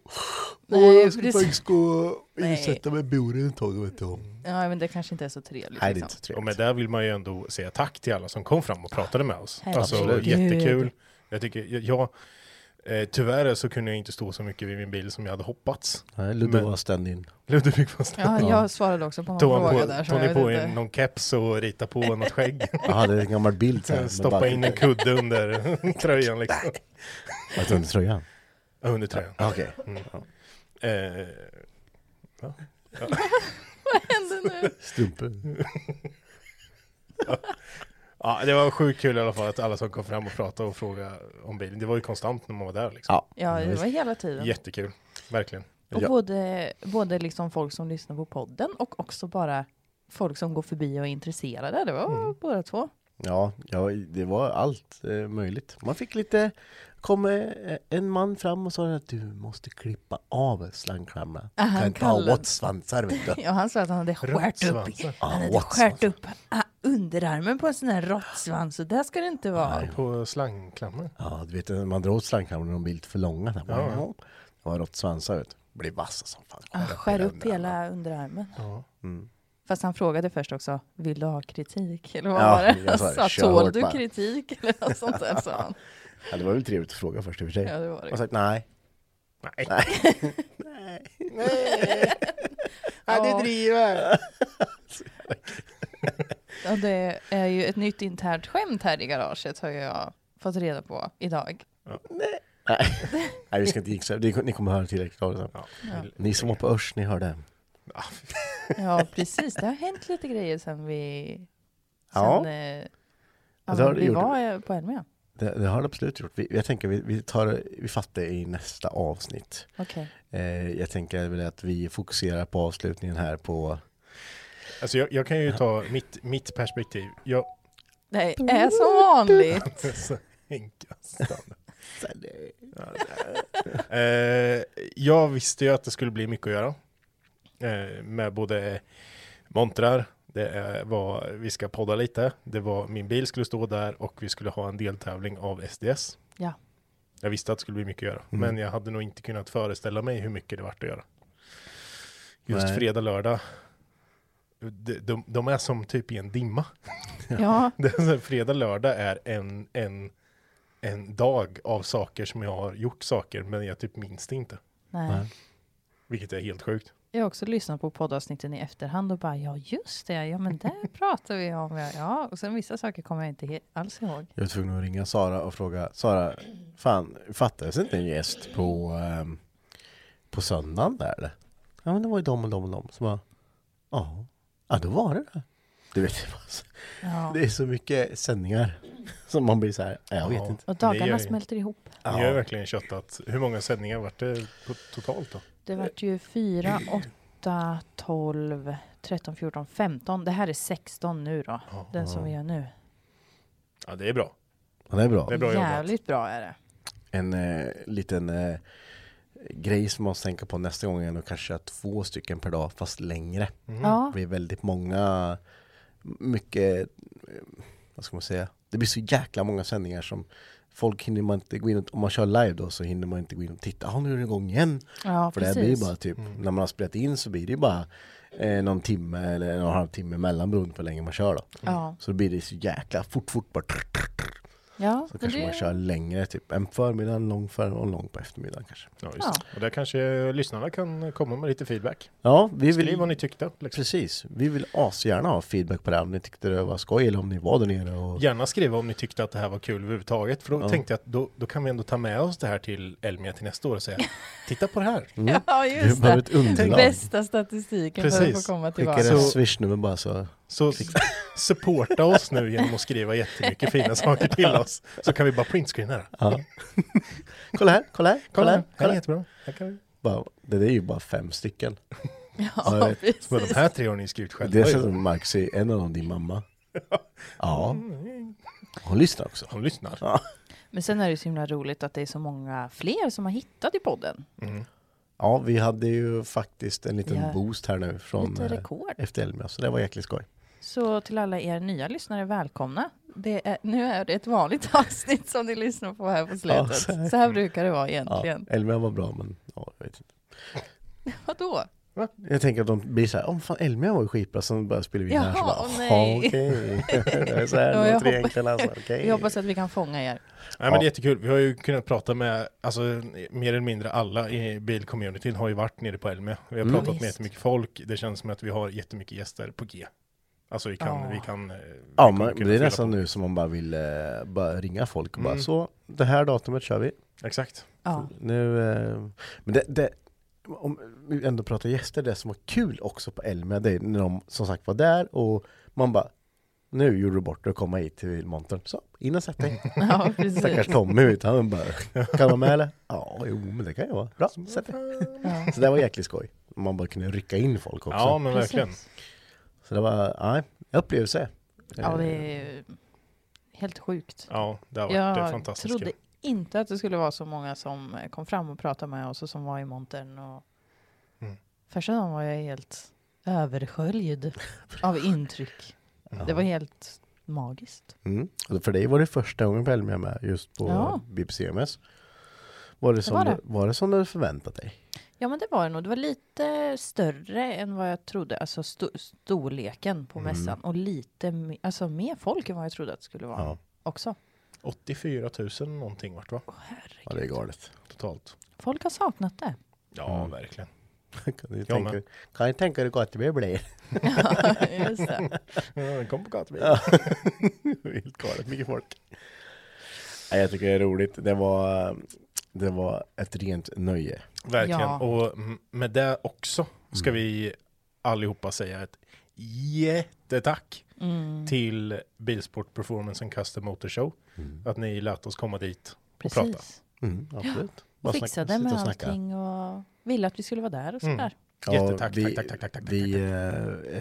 Speaker 1: Nej,
Speaker 2: Oh. åh, jag ska
Speaker 1: precis.
Speaker 2: faktiskt gå och
Speaker 1: Nej.
Speaker 2: sätta mig i buren ett tag, jag vet inte.
Speaker 1: Ja, men det kanske inte är så trevligt. liksom.
Speaker 5: Och med det vill man ju ändå säga tack till alla som kom fram och pratade med oss.
Speaker 1: Herregud.
Speaker 5: Alltså
Speaker 1: Absolut.
Speaker 5: jättekul. Jag tycker, jag, jag, eh, tyvärr så kunde jag inte stå så mycket vid min bil som jag hade hoppats.
Speaker 2: Nej, Ludde var stand-in.
Speaker 5: Ludde fick vara stand-in.
Speaker 1: Ja, jag svarade också på någon
Speaker 5: Tog han
Speaker 1: fråga
Speaker 5: på,
Speaker 1: där, så
Speaker 5: Tog
Speaker 1: jag
Speaker 5: ni på
Speaker 1: vet
Speaker 5: en,
Speaker 1: inte.
Speaker 5: någon keps och rita på något skägg?
Speaker 2: Jag hade en gammal bild så här,
Speaker 5: Sen
Speaker 2: med
Speaker 5: stoppa
Speaker 2: bara-
Speaker 5: in en kudde under tröjan liksom.
Speaker 2: Alltså under tröjan.
Speaker 5: Ja, Under tröjan.
Speaker 2: Ja, Ah, okej.
Speaker 5: Mm. Eh, ja. Ja.
Speaker 1: Vad hände nu?
Speaker 2: Strumpor.
Speaker 5: ja. ja, det var sjukt kul i alla fall att alla som kom fram och pratade och frågade om bilen. Det var ju konstant när man var där liksom.
Speaker 2: Ja,
Speaker 1: Ja, det var hela tiden.
Speaker 5: Jättekul, verkligen.
Speaker 1: Och både, både liksom folk som lyssnar på podden och också bara folk som går förbi och är intresserade. Det var båda två.
Speaker 2: Ja, ja, det var allt eh, möjligt. Man fick lite, kom eh, en man fram och sa att du måste klippa av slangklamrarna.
Speaker 1: Ah, han
Speaker 2: Kan inte ha
Speaker 1: kallade-
Speaker 2: åt svansar vet du.
Speaker 1: Ja, han sa att han hade skärt upp,
Speaker 2: Rotsvansar.
Speaker 1: han
Speaker 2: Ja,
Speaker 1: hade
Speaker 2: rotsvansar.
Speaker 1: skärt upp ah, underarmen på en sån här råttsvans, så där ska det inte vara.
Speaker 5: På slangklammer.
Speaker 2: Ja, du vet när man drar åt slangkamrarna de blir lite för långa. Där.
Speaker 5: Ja,
Speaker 2: Ja. Det var råttsvansar ut. Blir vassa som fan.
Speaker 1: Ah, skär upp hela underarmen.
Speaker 2: Mm.
Speaker 1: Fast han frågade först också, vill du ha kritik? Eller vad
Speaker 2: Ja,
Speaker 1: var det?
Speaker 2: jag
Speaker 1: Han
Speaker 2: sa det,
Speaker 1: sa,
Speaker 2: kör
Speaker 1: tål
Speaker 2: hårt
Speaker 1: du
Speaker 2: bara."
Speaker 1: kritik? Eller något sånt där sa han.
Speaker 2: Ja, det var väl trevligt att fråga först i och för sig.
Speaker 1: Ja, det var det.
Speaker 2: Jag har sagt nej.
Speaker 5: Nej.
Speaker 2: Nej.
Speaker 5: Nej.
Speaker 2: Ja, du driver.
Speaker 1: Ja, det är ju ett nytt internt skämt här i garaget har jag fått reda på idag.
Speaker 2: Nej. Nej, vi ska inte jinxa. Det- Ni kommer höra tillräckligt av det sen.
Speaker 1: Ja.
Speaker 2: Ni som var på Örs, ni hörde.
Speaker 1: Ja, precis. Det har hänt lite grejer sen vi... Sen,
Speaker 2: Ja.
Speaker 1: eh, ja,
Speaker 2: det har
Speaker 1: men
Speaker 2: det
Speaker 1: vi
Speaker 2: gjort.
Speaker 1: var eh, på Elmia.
Speaker 2: Det, det har det absolut gjort. Vi, jag tänker vi, vi, tar, det- vi fattar det i nästa avsnitt.
Speaker 1: Okej.
Speaker 2: Eh, jag tänker väl att vi fokuserar på avslutningen här på...
Speaker 5: Alltså jag, jag kan ju ta mitt, mitt perspektiv. Jag...
Speaker 1: Det är som vanligt.
Speaker 5: Så enkastande. Eh, jag visste ju att det skulle bli mycket att göra. Eh, med både montrar, det eh, var, vi ska podda lite, det var min bil skulle stå där och vi skulle ha en deltävling av SDS.
Speaker 1: Ja.
Speaker 5: Jag visste att det skulle bli mycket att göra,
Speaker 2: Mm.
Speaker 5: men jag hade nog inte kunnat föreställa mig hur mycket det vart att göra. Just
Speaker 2: Nej.
Speaker 5: fredag, lördag. De, de, de är som typ i en dimma.
Speaker 1: Ja.
Speaker 5: Det är så här, fredag, lördag är en, en, en dag av saker som jag har gjort saker, men jag typ minns det inte.
Speaker 1: Nej.
Speaker 5: Vilket är helt sjukt.
Speaker 1: Jag har också lyssnat på poddavsnitten i efterhand och bara, ja just det, ja men där pratar vi om, ja, ja. Och sen vissa saker kommer jag inte he- alls ihåg.
Speaker 2: Jag var tvungen att ringa Sara och fråga. Sara, fan, fattades inte en gäst på, ehm, på söndagen där eller? Ja, men det var ju de och de och de som var... Ja, ja då var det det. Du vet, det var så-
Speaker 1: Ja.
Speaker 2: det är så mycket sändningar som man blir så här, "Nej, jag vet
Speaker 5: Ja.
Speaker 2: inte.
Speaker 1: Och
Speaker 5: Det gör
Speaker 1: dagarna
Speaker 5: ju-
Speaker 1: smälter ihop.
Speaker 5: Ni har ju verkligen köttat. Hur många sändningar vart det på, totalt då?
Speaker 1: Det vart ju 4, 8, 12, 13, 14, 15. Det här är 16 nu då. Den som vi gör nu.
Speaker 5: Ja, det är bra.
Speaker 2: Ja, det är bra. Mm.
Speaker 5: Det är bra jobbat.
Speaker 1: Jävligt bra är det.
Speaker 2: en eh, liten eh, grej som man måste tänka på nästa gång är nog kanske att två stycken per dag fast längre.
Speaker 1: Ja.
Speaker 2: Det blir väldigt många, mycket, eh, vad ska man säga, det blir så jäkla många sändningar som folk hinner man inte gå in och, om man kör live då så hinner man inte gå in och titta, ah, nu är den igång igen.
Speaker 1: Ja,
Speaker 2: För det här blir ju
Speaker 1: precis.
Speaker 2: bara typ, när man har spelat in så blir det ju bara eh, någon timme eller en och en halv timme mellan beroende på hur länge man kör då.
Speaker 1: Ja.
Speaker 2: Så då blir det så jäkla fort, fort bara trrr, trrr, trrr.
Speaker 1: Ja,
Speaker 2: Så
Speaker 1: men
Speaker 2: kanske man
Speaker 1: det,
Speaker 2: kör längre, typ en förmiddag, en lång förmiddag och en lång på eftermiddagen kanske.
Speaker 5: Ja, just. det. Och där kanske lyssnarna kan komma med lite feedback.
Speaker 2: Ja, vi
Speaker 5: Skriv
Speaker 2: vill,
Speaker 5: vad ni tyckte. Liksom.
Speaker 2: precis. Vi vill asgärna ha feedback på det här om ni tyckte det var skoj eller om ni var där nere och...
Speaker 5: Gärna skriva om ni tyckte att det här var kul överhuvudtaget. För då
Speaker 2: Ja.
Speaker 5: tänkte jag att då, då kan vi ändå ta med oss det här till Elmia till nästa år och säga titta på det här.
Speaker 2: Mm.
Speaker 1: ja,
Speaker 2: Vi
Speaker 1: just
Speaker 2: behöver
Speaker 1: det.
Speaker 2: ett underlag.
Speaker 1: Bästa statistiken för att
Speaker 5: Precis.
Speaker 1: få komma
Speaker 2: Skicka
Speaker 1: tillbaka.
Speaker 2: ett
Speaker 5: Så-
Speaker 2: swishnummer bara så...
Speaker 5: Så s- supporta oss nu genom att skriva jättemycket fina saker till oss. Så kan vi bara printscreena det.
Speaker 2: Ja. kolla här, kolla här, kolla här,
Speaker 5: här är
Speaker 2: kolla här.
Speaker 5: jättebra. Här kan vi.
Speaker 2: Bara, det där är ju bara fem stycken.
Speaker 1: Ja,
Speaker 2: vet.
Speaker 1: precis.
Speaker 5: Men de här tre har ni skrivit själva.
Speaker 2: Det känns
Speaker 5: ju.
Speaker 2: som Marcus är en av dem, din mamma. Ja. Hon lyssnar också.
Speaker 5: Mm. Hon lyssnar.
Speaker 1: Men sen är det ju så himla roligt att det är så många fler som har hittat i podden.
Speaker 5: Mm.
Speaker 2: Ja, vi hade ju faktiskt en liten
Speaker 1: Ja.
Speaker 2: boost här nu från
Speaker 1: Lite
Speaker 2: eh,
Speaker 1: rekord.
Speaker 2: efter Elmia, så det var jäkligt skoj.
Speaker 1: Så till alla er nya lyssnare, välkomna. Det är, nu är det ett vanligt avsnitt som ni lyssnar på här på
Speaker 2: Ja,
Speaker 1: slutet.
Speaker 2: så här.
Speaker 1: Så här brukar det vara
Speaker 2: Ja,
Speaker 1: egentligen.
Speaker 2: Elmia var bra, men ja, jag vet inte.
Speaker 1: Vadå?
Speaker 2: Jag tänker att de blir så här, om fan Elmia var ju skitbra, sen börjar spela vi
Speaker 1: Jaha,
Speaker 2: här. så bara,
Speaker 1: åh, nej.
Speaker 2: "Jaha, okej. det är så här,
Speaker 1: Ja,
Speaker 2: ja,
Speaker 1: jag
Speaker 2: jag tre
Speaker 1: hoppas-
Speaker 2: enkla alltså, okej.
Speaker 1: Vi hoppas att vi kan fånga er.
Speaker 5: Nej, men Det är jättekul. Vi har ju kunnat prata med, alltså mer eller mindre alla i bilcommunityn har ju varit nere på Elmia. Vi har
Speaker 2: Mm.
Speaker 5: pratat
Speaker 1: Visst.
Speaker 5: med jättemycket folk. Det känns som att vi har jättemycket gäster på G. Alltså vi kan,
Speaker 1: Ja.
Speaker 5: vi kan... eh,
Speaker 2: Ja,
Speaker 5: vi kommer
Speaker 2: men
Speaker 5: kunna
Speaker 2: det är
Speaker 5: fylla
Speaker 2: nästan
Speaker 5: på.
Speaker 2: nu som man bara vill eh, bara ringa folk och bara
Speaker 5: Mm.
Speaker 2: så, det här datumet kör vi.
Speaker 5: Exakt.
Speaker 1: Ja.
Speaker 2: Nu, eh, men det, det, om vi ändå pratar gäster, det som var kul också på Elmia, det är när de som sagt var där och man bara, nu gjorde du bort det och komma hit till montern. Så, in och sätt dig.
Speaker 1: ja, precis.
Speaker 2: Stackars Tommy, vet du, han bara, kan vara med eller? Ja, jo, men det kan jag vara. Bra, sätt dig.
Speaker 1: Ja.
Speaker 2: Så det var jäkligt skoj. Man bara kunde rycka in folk också.
Speaker 5: Ja, men verkligen.
Speaker 1: Precis.
Speaker 2: Så det var, nej, upplevelse.
Speaker 1: Ja, det är helt sjukt.
Speaker 5: Ja, det har varit eh,
Speaker 1: Jag
Speaker 5: fantastiskt
Speaker 1: trodde
Speaker 5: kul.
Speaker 1: inte att det skulle vara så många som eh, kom fram och pratade med oss och som var i montern. Och...
Speaker 5: Mm.
Speaker 1: Första dagen var jag helt översköljd av intryck.
Speaker 13: Det var helt magiskt.
Speaker 2: Mm. Och För dig var det första gången på Elmia med just på
Speaker 1: Ja.
Speaker 2: BPCMS. Var det, som
Speaker 1: var
Speaker 2: var,
Speaker 1: det.
Speaker 2: det. var det som du förväntat dig?
Speaker 1: Ja, men det var det nog. Det var lite större än vad jag trodde, alltså sto storleken på
Speaker 2: Mm.
Speaker 1: mässan och lite me- alltså, mer folk än vad jag trodde att det skulle vara
Speaker 2: Ja.
Speaker 1: också.
Speaker 5: 84 000 någonting vart va?
Speaker 2: Ja, det är galet.
Speaker 5: Totalt.
Speaker 1: Folk har saknat det.
Speaker 5: Ja,
Speaker 1: Mm.
Speaker 5: verkligen.
Speaker 2: Kan du
Speaker 5: Jag
Speaker 2: tänka,
Speaker 5: med.
Speaker 2: kan du tänka dig gott det blir?
Speaker 1: Ja, just det.
Speaker 5: Ja, kom på gatubil.
Speaker 2: Ja. Helt galet mycket folk. Nej, jag tycker det är roligt. Det var, det var ett rent nöje.
Speaker 5: Verkligen.
Speaker 2: Ja.
Speaker 5: Och mm, med det också ska vi allihopa säga ett jättetack
Speaker 1: Mm.
Speaker 5: till Bilsport Performance and Custom Motor Show. Att ni lät oss komma dit och
Speaker 1: Precis.
Speaker 5: prata.
Speaker 2: Mm,
Speaker 1: Ja, och fixade med allting och ville att vi skulle vara där och sådär.
Speaker 2: Ja,
Speaker 5: Jättetack,
Speaker 2: vi,
Speaker 5: tack, tack, tack, tack, tack,
Speaker 2: Vi eh,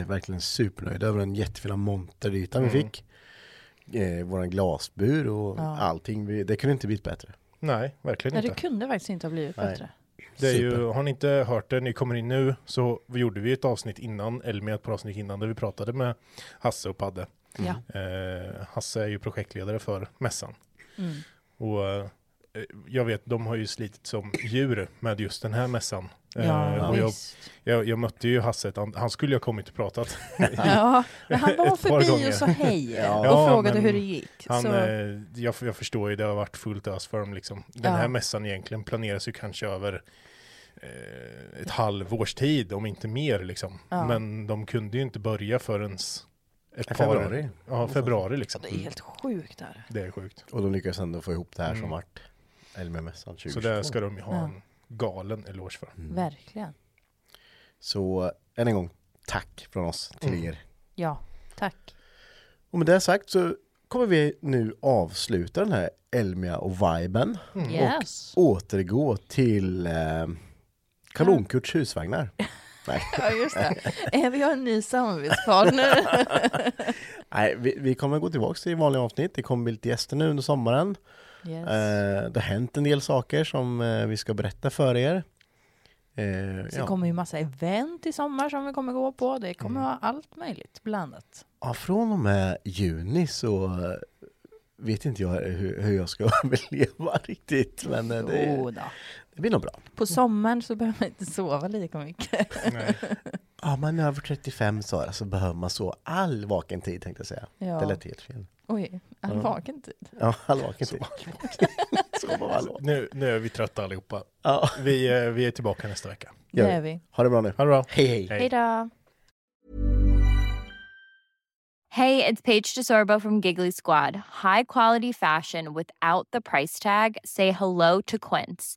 Speaker 2: är verkligen supernöjda över den jättefina monterytan vi
Speaker 5: Mm.
Speaker 2: fick. Eh, våran glasbur och
Speaker 1: Ja.
Speaker 2: allting. Vi, det kunde inte blivit bättre.
Speaker 5: Nej, verkligen
Speaker 1: Nej,
Speaker 5: inte.
Speaker 1: det kunde faktiskt inte ha blivit
Speaker 2: Nej.
Speaker 1: bättre.
Speaker 5: Det är ju,
Speaker 2: Super.
Speaker 5: har ni inte hört det, ni kommer in nu, så vi gjorde vi ett avsnitt innan, eller med ett par avsnitt innan, där vi pratade med Hasse och Padde.
Speaker 1: Ja.
Speaker 5: Eh, Hasse är ju projektledare för mässan.
Speaker 1: Mm.
Speaker 5: Och eh, jag vet, de har ju slitit som djur med just den här mässan. Eh,
Speaker 1: Ja,
Speaker 5: och jag,
Speaker 1: visst.
Speaker 5: jag, jag mötte ju Hasse, han, han skulle ju ha kommit och pratat.
Speaker 1: Ja, men han var
Speaker 5: Ett par
Speaker 1: förbi och
Speaker 5: gånger.
Speaker 1: sa hej och frågade
Speaker 5: men
Speaker 1: hur det gick,
Speaker 5: Han,
Speaker 1: så-
Speaker 5: eh, jag, jag förstår ju, det har varit fullt ös för dem liksom. Den
Speaker 1: Ja.
Speaker 5: här mässan egentligen planeras ju kanske över eh, ett halvårs tid, om inte mer liksom.
Speaker 1: Ja.
Speaker 5: Men de kunde ju inte börja förrän ett
Speaker 2: I
Speaker 5: par...
Speaker 2: februari.
Speaker 5: Ja, februari liksom.
Speaker 1: Det är helt sjukt där.
Speaker 5: Det är sjukt.
Speaker 2: Och de lyckades ändå få ihop det här som
Speaker 5: Mm.
Speaker 2: vart LMMS 2022.
Speaker 5: Så där ska de ju ha
Speaker 1: Ja.
Speaker 5: en galen eloge för.
Speaker 1: Verkligen.
Speaker 2: Mm. Så än en gång, tack från oss till
Speaker 5: Mm.
Speaker 2: er.
Speaker 1: Ja, tack.
Speaker 2: Och med det sagt så kommer vi nu avsluta den här Elmia och viben.
Speaker 1: Mm. Yes.
Speaker 2: Och återgå till eh, Kanonkurts husvagnar. Nej.
Speaker 1: Ja, just det. Eh, Vi har en ny samarbetspartner.
Speaker 2: Nej, vi, vi kommer gå tillbaka till vanliga avsnitt. Det kommer bli lite gäster nu under sommaren.
Speaker 1: Yes.
Speaker 2: Eh, det har hänt en del saker som eh, vi ska berätta för er. Eh,
Speaker 1: Så
Speaker 2: ja.
Speaker 1: kommer ju massa event i sommar som vi kommer gå på. Det kommer vara allt möjligt blandat.
Speaker 2: Ja, från och med juni så eh, vet inte jag hur, hur jag ska överleva riktigt. Men eh,
Speaker 1: Jo
Speaker 2: det,
Speaker 1: då.
Speaker 2: det blir nog bra.
Speaker 1: På sommaren så behöver man inte sova lika mycket.
Speaker 2: Ja, man är över 35 Sara så alltså, behöver man så all vaken tid tänkte jag säga.
Speaker 1: Ja.
Speaker 2: Det lät helt fel.
Speaker 1: Oj, all
Speaker 2: Ja.
Speaker 1: vaken tid.
Speaker 2: Ja, all vaken tid. Sova all vaken.
Speaker 5: Mm. Nu, nu är vi trötta allihopa.
Speaker 2: Ja.
Speaker 5: Vi, eh, vi är tillbaka nästa vecka.
Speaker 1: Det är vi.
Speaker 2: Ha det bra nu.
Speaker 5: Ha det bra.
Speaker 2: Hej, hej.
Speaker 16: Hej.
Speaker 1: Hej då.
Speaker 16: Hey, it's Paige DeSorbo from Giggly Squad. High quality fashion without the price tag. Say hello to Quince.